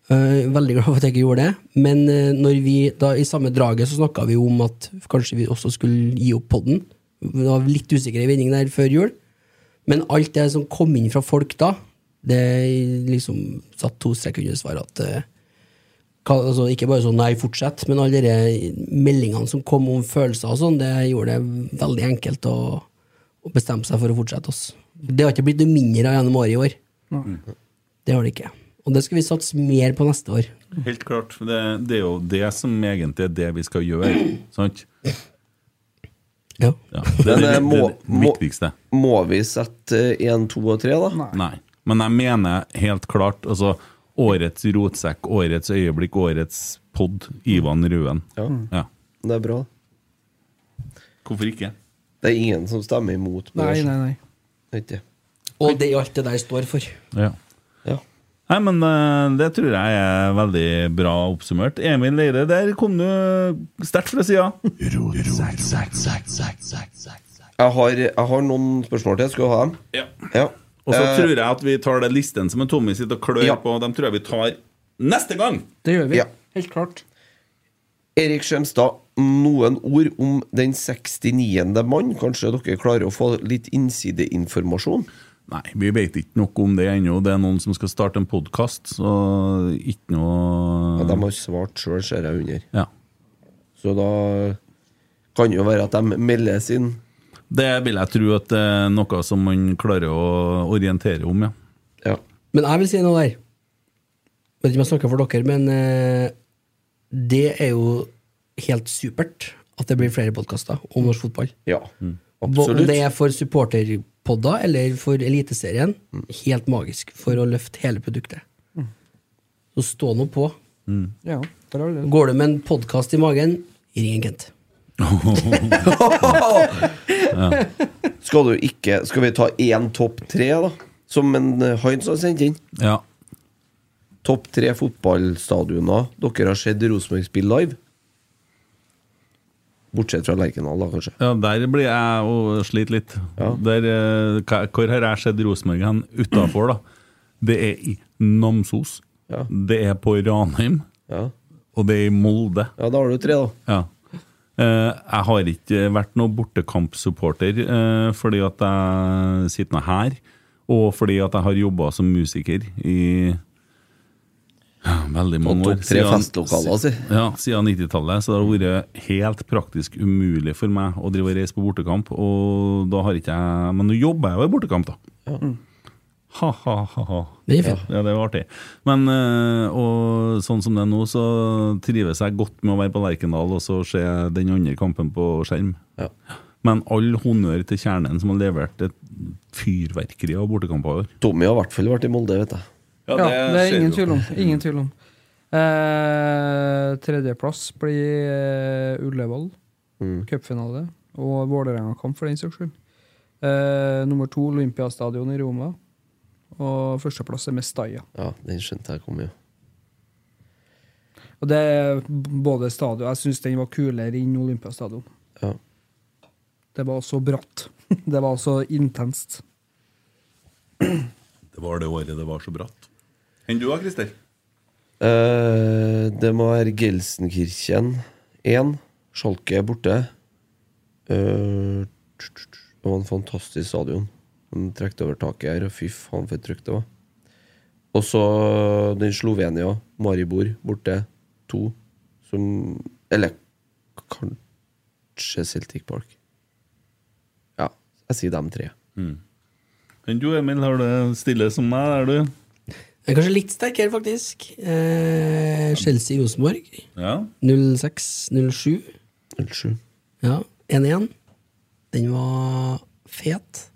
Speaker 6: Eh, veldig glad for at jeg ikke gjorde det. Men eh, når vi, da, i samme draget så snakka vi om at kanskje vi også skulle gi opp podden. Det var litt usikker i vending der før jul. Men alt det som kom inn fra folk da, det liksom satt to strek under svaret at eh, hva- altså, ikke bare sånn 'nei, fortsett', men alle de meldingene som kom om følelser og sånn, det gjorde det veldig enkelt å, å bestemme seg for å fortsette. Oss. Det har ikke blitt noe mindre av gjennom året i år. Det har det ikke. Og det skal vi satse mer på neste år.
Speaker 5: Helt klart. Det, det er jo det som egentlig er det vi skal gjøre. Sant?
Speaker 6: Ja.
Speaker 5: Ja, det
Speaker 1: Men,
Speaker 5: er det,
Speaker 1: eh,
Speaker 5: vi-
Speaker 1: må-
Speaker 5: det, er det
Speaker 1: må-
Speaker 5: viktigste.
Speaker 1: Må vi sette én, to og tre, da?
Speaker 5: Nei. Men jeg mener helt klart altså, Årets rotsekk, årets øyeblikk, årets pod, Ivan Røen.
Speaker 1: Ja.
Speaker 5: Ja.
Speaker 1: Det er bra.
Speaker 5: Hvorfor ikke?
Speaker 1: Det er ingen som stemmer imot. på
Speaker 4: Nei,
Speaker 1: det,
Speaker 4: nei, nei.
Speaker 1: Ikke?
Speaker 6: Og det er alt det der står for.
Speaker 5: Ja.
Speaker 1: Ja.
Speaker 5: Nei, men eh, det tror jeg er veldig bra oppsummert. Emil Leire, der kom du sterkt fra sida.
Speaker 1: Jeg har, jeg har noen spørsmål til. Skal du ha dem?
Speaker 5: Ja.
Speaker 1: Ja.
Speaker 5: Og så
Speaker 1: Eh,
Speaker 5: tror jeg at vi tar den listen som en Tommy sitter og klør
Speaker 1: Ja.
Speaker 5: på, og dem tror jeg vi tar neste gang.
Speaker 4: Det gjør vi.
Speaker 1: Ja.
Speaker 4: Helt klart.
Speaker 1: Erik Skjemstad, noen ord om den 69. mann? Kanskje dere klarer å få litt innsideinformasjon?
Speaker 5: Nei, vi vet ikke noe om det ennå. Det er noen som skal starte en podkast, så ikke
Speaker 1: Ja,
Speaker 5: noe
Speaker 1: de har svart sjøl, ser jeg under.
Speaker 5: Ja.
Speaker 1: Så da kan jo være at de meldes inn.
Speaker 5: Det vil jeg tro at det er noe som man klarer å orientere
Speaker 1: <laughs>
Speaker 5: om, ja.
Speaker 1: Ja.
Speaker 6: Men jeg vil si noe der. Vet ikke om jeg snakker for dere, men eh, det er jo helt supert at det blir flere podkaster om norsk fotball.
Speaker 1: ja.
Speaker 6: Om det
Speaker 1: Absolutt.
Speaker 6: er for supporterpodder eller for Eliteserien, helt magisk for å løfte hele produktet. Så stå nå på.
Speaker 4: Ja, der har du det.
Speaker 6: Går du med en podkast i magen, ring en Kent.
Speaker 1: Skal, du ikke, skal vi ta én topp tre, da? Som en eh, Heinz har sendt inn.
Speaker 5: ja.
Speaker 1: Topp tre fotballstadioner dere har sett Rosenborg spille live? Bortsett fra Lerkendal, da, kanskje.
Speaker 5: Ja, der blir jeg og sliter litt. Der, eh, hva- hvor har jeg sett Rosenborg hen? Utafor, da. Det er i Namsos.
Speaker 1: Ja.
Speaker 5: Det er på Ranheim.
Speaker 1: Ja.
Speaker 5: Og det er i Molde.
Speaker 1: ja, da har du tre, da.
Speaker 5: Ja. Eh, Jeg har ikke vært noen bortekampsupporter eh, fordi at jeg sitter nå her, og fordi at jeg har jobba som musiker i ja, veldig mange år.
Speaker 1: topp tre festlokaler, altså. si.
Speaker 5: Ja, siden 90-tallet. Så det har vært helt praktisk umulig for meg å drive og reise på bortekamp. Og da har ikke jeg Men nå jobber jeg jo i bortekamp, da. Ha-ha-ha.
Speaker 6: Det er fint.
Speaker 5: Ja, det var artig. Men eh, og sånn som det er nå, så trives jeg godt med å være på Lerkendal og så se den andre kampen på skjerm.
Speaker 1: Ja.
Speaker 5: Men all honnør til kjernen som har levert et fyrverkeri av bortekamper i år.
Speaker 1: Tommy har i hvert fall vært i Molde, vet jeg.
Speaker 4: Ja, det er ingen tvil om. Ingen tvil om. Eh, tredjeplass blir eh, Ullevål, Mm. cupfinale, og Vålerenga-kamp for den saks skyld. Eh, nummer to Olympiastadion i Roma, og førsteplass er Mestalla.
Speaker 1: Ja, den skjønte jeg kom jo.
Speaker 4: Og det er b- både stadion Jeg syns den var kulere enn Olympiastadion.
Speaker 1: Ja.
Speaker 4: Det var så bratt. <laughs> Det var så intenst.
Speaker 5: Det var det året det var så bratt. Enn du da, Christer?
Speaker 1: Eh, det må være Gelsenkirchen 1. Skjalke er borte. Eh, tsk, tsk, tsk. det var en fantastisk stadion. De trekte over taket her, og fy faen for et trykk det var. Og så den Slovenia, Maribor, borte. To. Som Eller kanskje Celtic Park. Ja, jeg sier dem tre.
Speaker 5: Enn du, Emil? Har det stille som meg, er du?
Speaker 6: Jeg er kanskje litt sterkere, faktisk. Eh, Chelsea-Rosenborg.
Speaker 5: Ja.
Speaker 6: 06-07.
Speaker 1: 07.
Speaker 6: Ja, 1-1. Den var fet.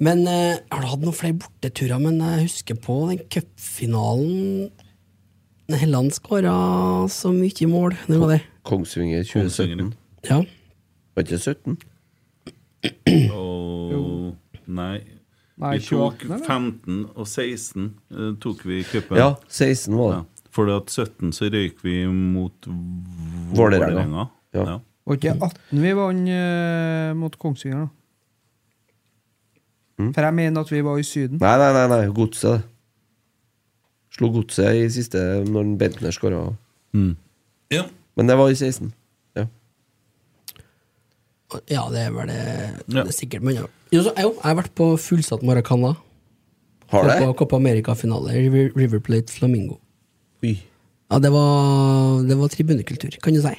Speaker 6: Men eh, jeg har hatt noen flere borteturer, men jeg husker på den cupfinalen. Helland skåra så mye mål. Når var det?
Speaker 1: Kongsvinger 2017.
Speaker 6: Ja.
Speaker 1: Var ikke 17?
Speaker 5: Og Nei.
Speaker 4: Nei,
Speaker 5: vi tok
Speaker 4: 28, eller?
Speaker 5: 15 og 16 eh, tok vi cupen.
Speaker 1: Ja, 16 var det.
Speaker 5: Ja. Fordi at 17 så røyk vi mot
Speaker 1: Vålerenga.
Speaker 5: Vålerenga.
Speaker 1: Ja.
Speaker 5: Ja.
Speaker 4: Var ikke 18 vi vant eh, mot Kongsvinger, da? For jeg mener at vi var i Syden.
Speaker 1: Nei, nei, nei, nei godset. Slo godset i siste når Bentner skåra.
Speaker 6: Mm.
Speaker 5: Ja.
Speaker 1: Men det var i 16. Ja.
Speaker 6: ja, det er vel det,
Speaker 5: Ja.
Speaker 6: det er sikkert. Men ja. jo, så, jo, jeg har vært på fullsatt Maracana.
Speaker 1: Har det?
Speaker 6: På Copa America-finale. River, River Plate Flamingo.
Speaker 1: Oi.
Speaker 6: Ja, det var, det var tribunekultur, kan du si.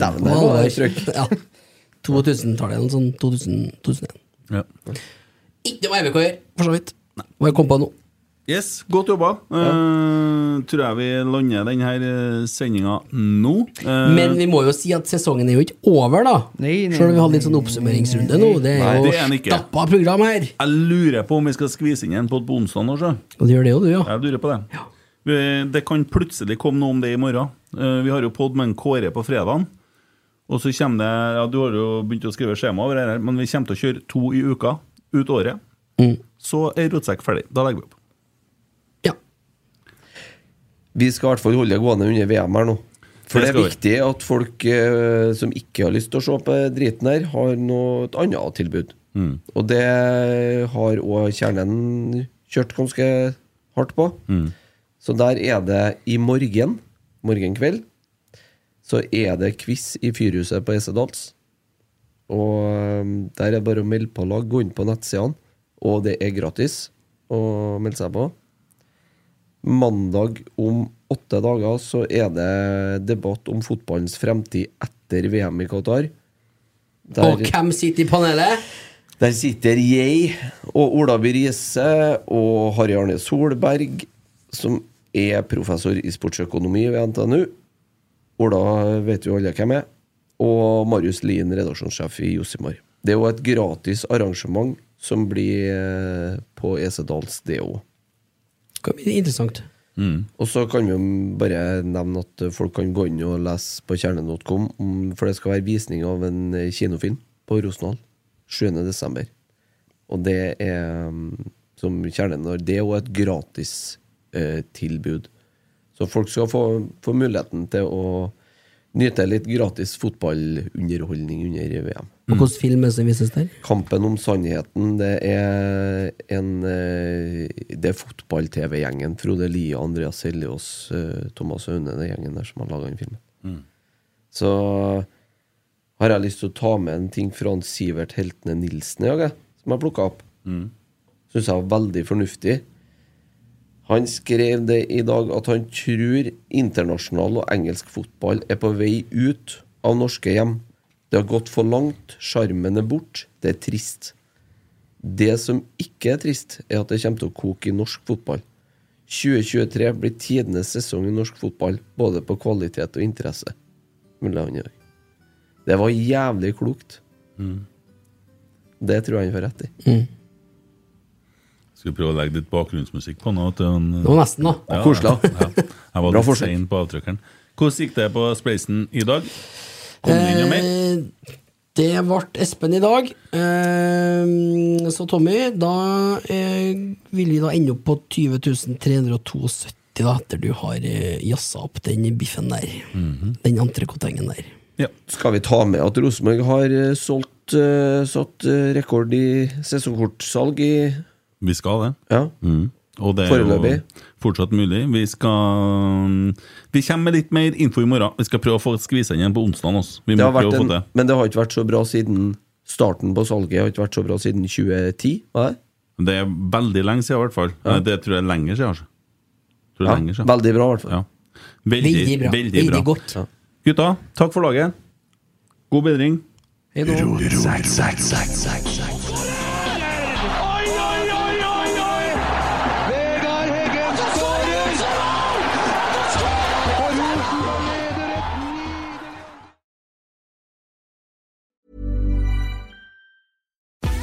Speaker 1: Dæven, der var det trykk.
Speaker 6: ja. 2000-tallet, eller sånn 2000, 2001.
Speaker 5: Ja.
Speaker 6: Ikke noe RBK å gjøre, for så vidt. Og jeg kom på noe.
Speaker 5: Yes, godt jobba. Eh, tror jeg vi lander denne sendinga nå. Eh,
Speaker 6: Men vi må jo si at sesongen er jo ikke over, da.
Speaker 4: Nei, nei,
Speaker 6: Selv om vi hadde litt sånn oppsummeringsrunde nå. Det
Speaker 5: Nei,
Speaker 6: er
Speaker 5: det er den
Speaker 6: jo
Speaker 5: ikke.
Speaker 6: stappa program her.
Speaker 5: jeg lurer på om vi skal skvise inn en podd på onsdag nå, sjø.
Speaker 6: Og det gjør det jo, du, ja.
Speaker 5: Jeg lurer på det. Vi- Det kan plutselig komme noe om det i morgen. Eh, Vi har jo podd med en Kåre på fredagen. Og så kommer det ja, Du har jo begynt å skrive skjema over det her, men vi kommer til å kjøre to i uka ut året.
Speaker 6: Mm.
Speaker 5: Så er Rotsekk ferdig. Da legger vi opp.
Speaker 6: ja.
Speaker 1: Vi skal i hvert fall holde det gående under VM her nå. For
Speaker 5: Det
Speaker 1: det er
Speaker 5: skal vi.
Speaker 1: viktig at folk eh, som ikke har lyst til å se på driten her, har noe, et annet tilbud.
Speaker 5: Mm.
Speaker 1: Og det har òg kjernen kjørt ganske hardt på.
Speaker 5: Mm.
Speaker 1: Så der er det i morgen, morgen kveld, så er det quiz i Fyrhuset på Esedals. Og eh, der er det bare å melde på lag, gå inn på nettsidene, og det er gratis å melde seg på. Mandag om åtte dager så er det debatt om fotballens fremtid etter VM i Qatar.
Speaker 6: Og hvem sitter i panelet?
Speaker 1: Der sitter jeg og Ola By Riise og Harry Arne Solberg, som er professor i sportsøkonomi ved NTNU. Ola vet jo alle hvem er. Og Marius Lien, redaksjonssjef i Josimar. Det er jo et gratis arrangement som blir eh, på Esedals, det òg.
Speaker 6: Det kan bli interessant.
Speaker 1: Og så kan vi jo bare nevne at folk kan gå inn og lese på kjernen.com, om- for det skal være visning av en eh, kinofilm på Rosendal 7.12. Og det er mm, som kjernen har, det er jo et gratis eh, tilbud. Så folk skal få, få muligheten til å nyte litt gratis fotballunderholdning under VM.
Speaker 5: Mm.
Speaker 6: Og hvilken film er det som vises der?
Speaker 1: Kampen om sannheten, det er en eh, Det er fotball-TV-gjengen. Frode Lie, Andreas Seljås, eh, Thomas Aune, den gjengen der som har laga den filmen. Så har jeg lyst til å ta med en ting fra han Sivert Heltene Nilsen i dag, jeg, som jeg plukka opp. Syns jeg var veldig fornuftig. Han skrev det i dag at han tror internasjonal og engelsk fotball er på vei ut av norske hjem. Det har gått for langt, sjarmen er bort, det er trist. Det som ikke er trist, er at det kommer til å koke i norsk fotball. 2023 blir tidenes sesong i norsk fotball, både på kvalitet og interesse. Mulla han gjør. Det var jævlig klokt. Det tror jeg han får rett i.
Speaker 5: Skal vi prøve å legge litt bakgrunnsmusikk på nå? Til en,
Speaker 6: Det var nesten, da.
Speaker 5: Ja,
Speaker 1: Koselig.
Speaker 5: Ja. Jeg var
Speaker 1: Bra
Speaker 5: litt
Speaker 1: forsøk.
Speaker 5: sein på avtrykkeren. Hvordan gikk det på spleisen i dag? Kom det inn noe mer?
Speaker 6: Eh, Det ble Espen i dag. Eh, Så Tommy, da eh, vil vi da ende opp på 20 372, da, etter du har eh, jazza opp den biffen der. Den entrecôtengen der.
Speaker 5: Ja.
Speaker 1: Skal vi ta med at Rosenborg har eh, solgt eh, satt eh, rekord i sesongkortsalg i
Speaker 5: Vi skal det.
Speaker 1: Ja.
Speaker 5: Og det er jo
Speaker 1: Mm. Foreløpig.
Speaker 5: fortsatt mulig. Vi skal mm, Vi kommer med litt mer info i morgen. Vi skal prøve å få skvise den igjen på onsdag. Også. Vi
Speaker 1: Det
Speaker 5: må
Speaker 1: har vært
Speaker 5: prøve å
Speaker 1: en,
Speaker 5: få det.
Speaker 1: men det har ikke vært så bra siden starten på salget. Har ikke vært så bra siden 2010. Var det?
Speaker 5: Det er veldig lenge siden, i hvert fall. Det tror jeg er lenger siden. Altså. Tror det
Speaker 1: Ja,
Speaker 5: er lenger siden.
Speaker 1: veldig bra, i hvert fall.
Speaker 5: Ja. Veldig,
Speaker 6: Veldig bra. Veldig, godt.
Speaker 1: Ja.
Speaker 5: Gutta, takk for laget. God bedring.
Speaker 6: Hei da.
Speaker 2: Oi, oi, oi, oi, oi! Vegard Heggen skårer! Og Rosenborg leder et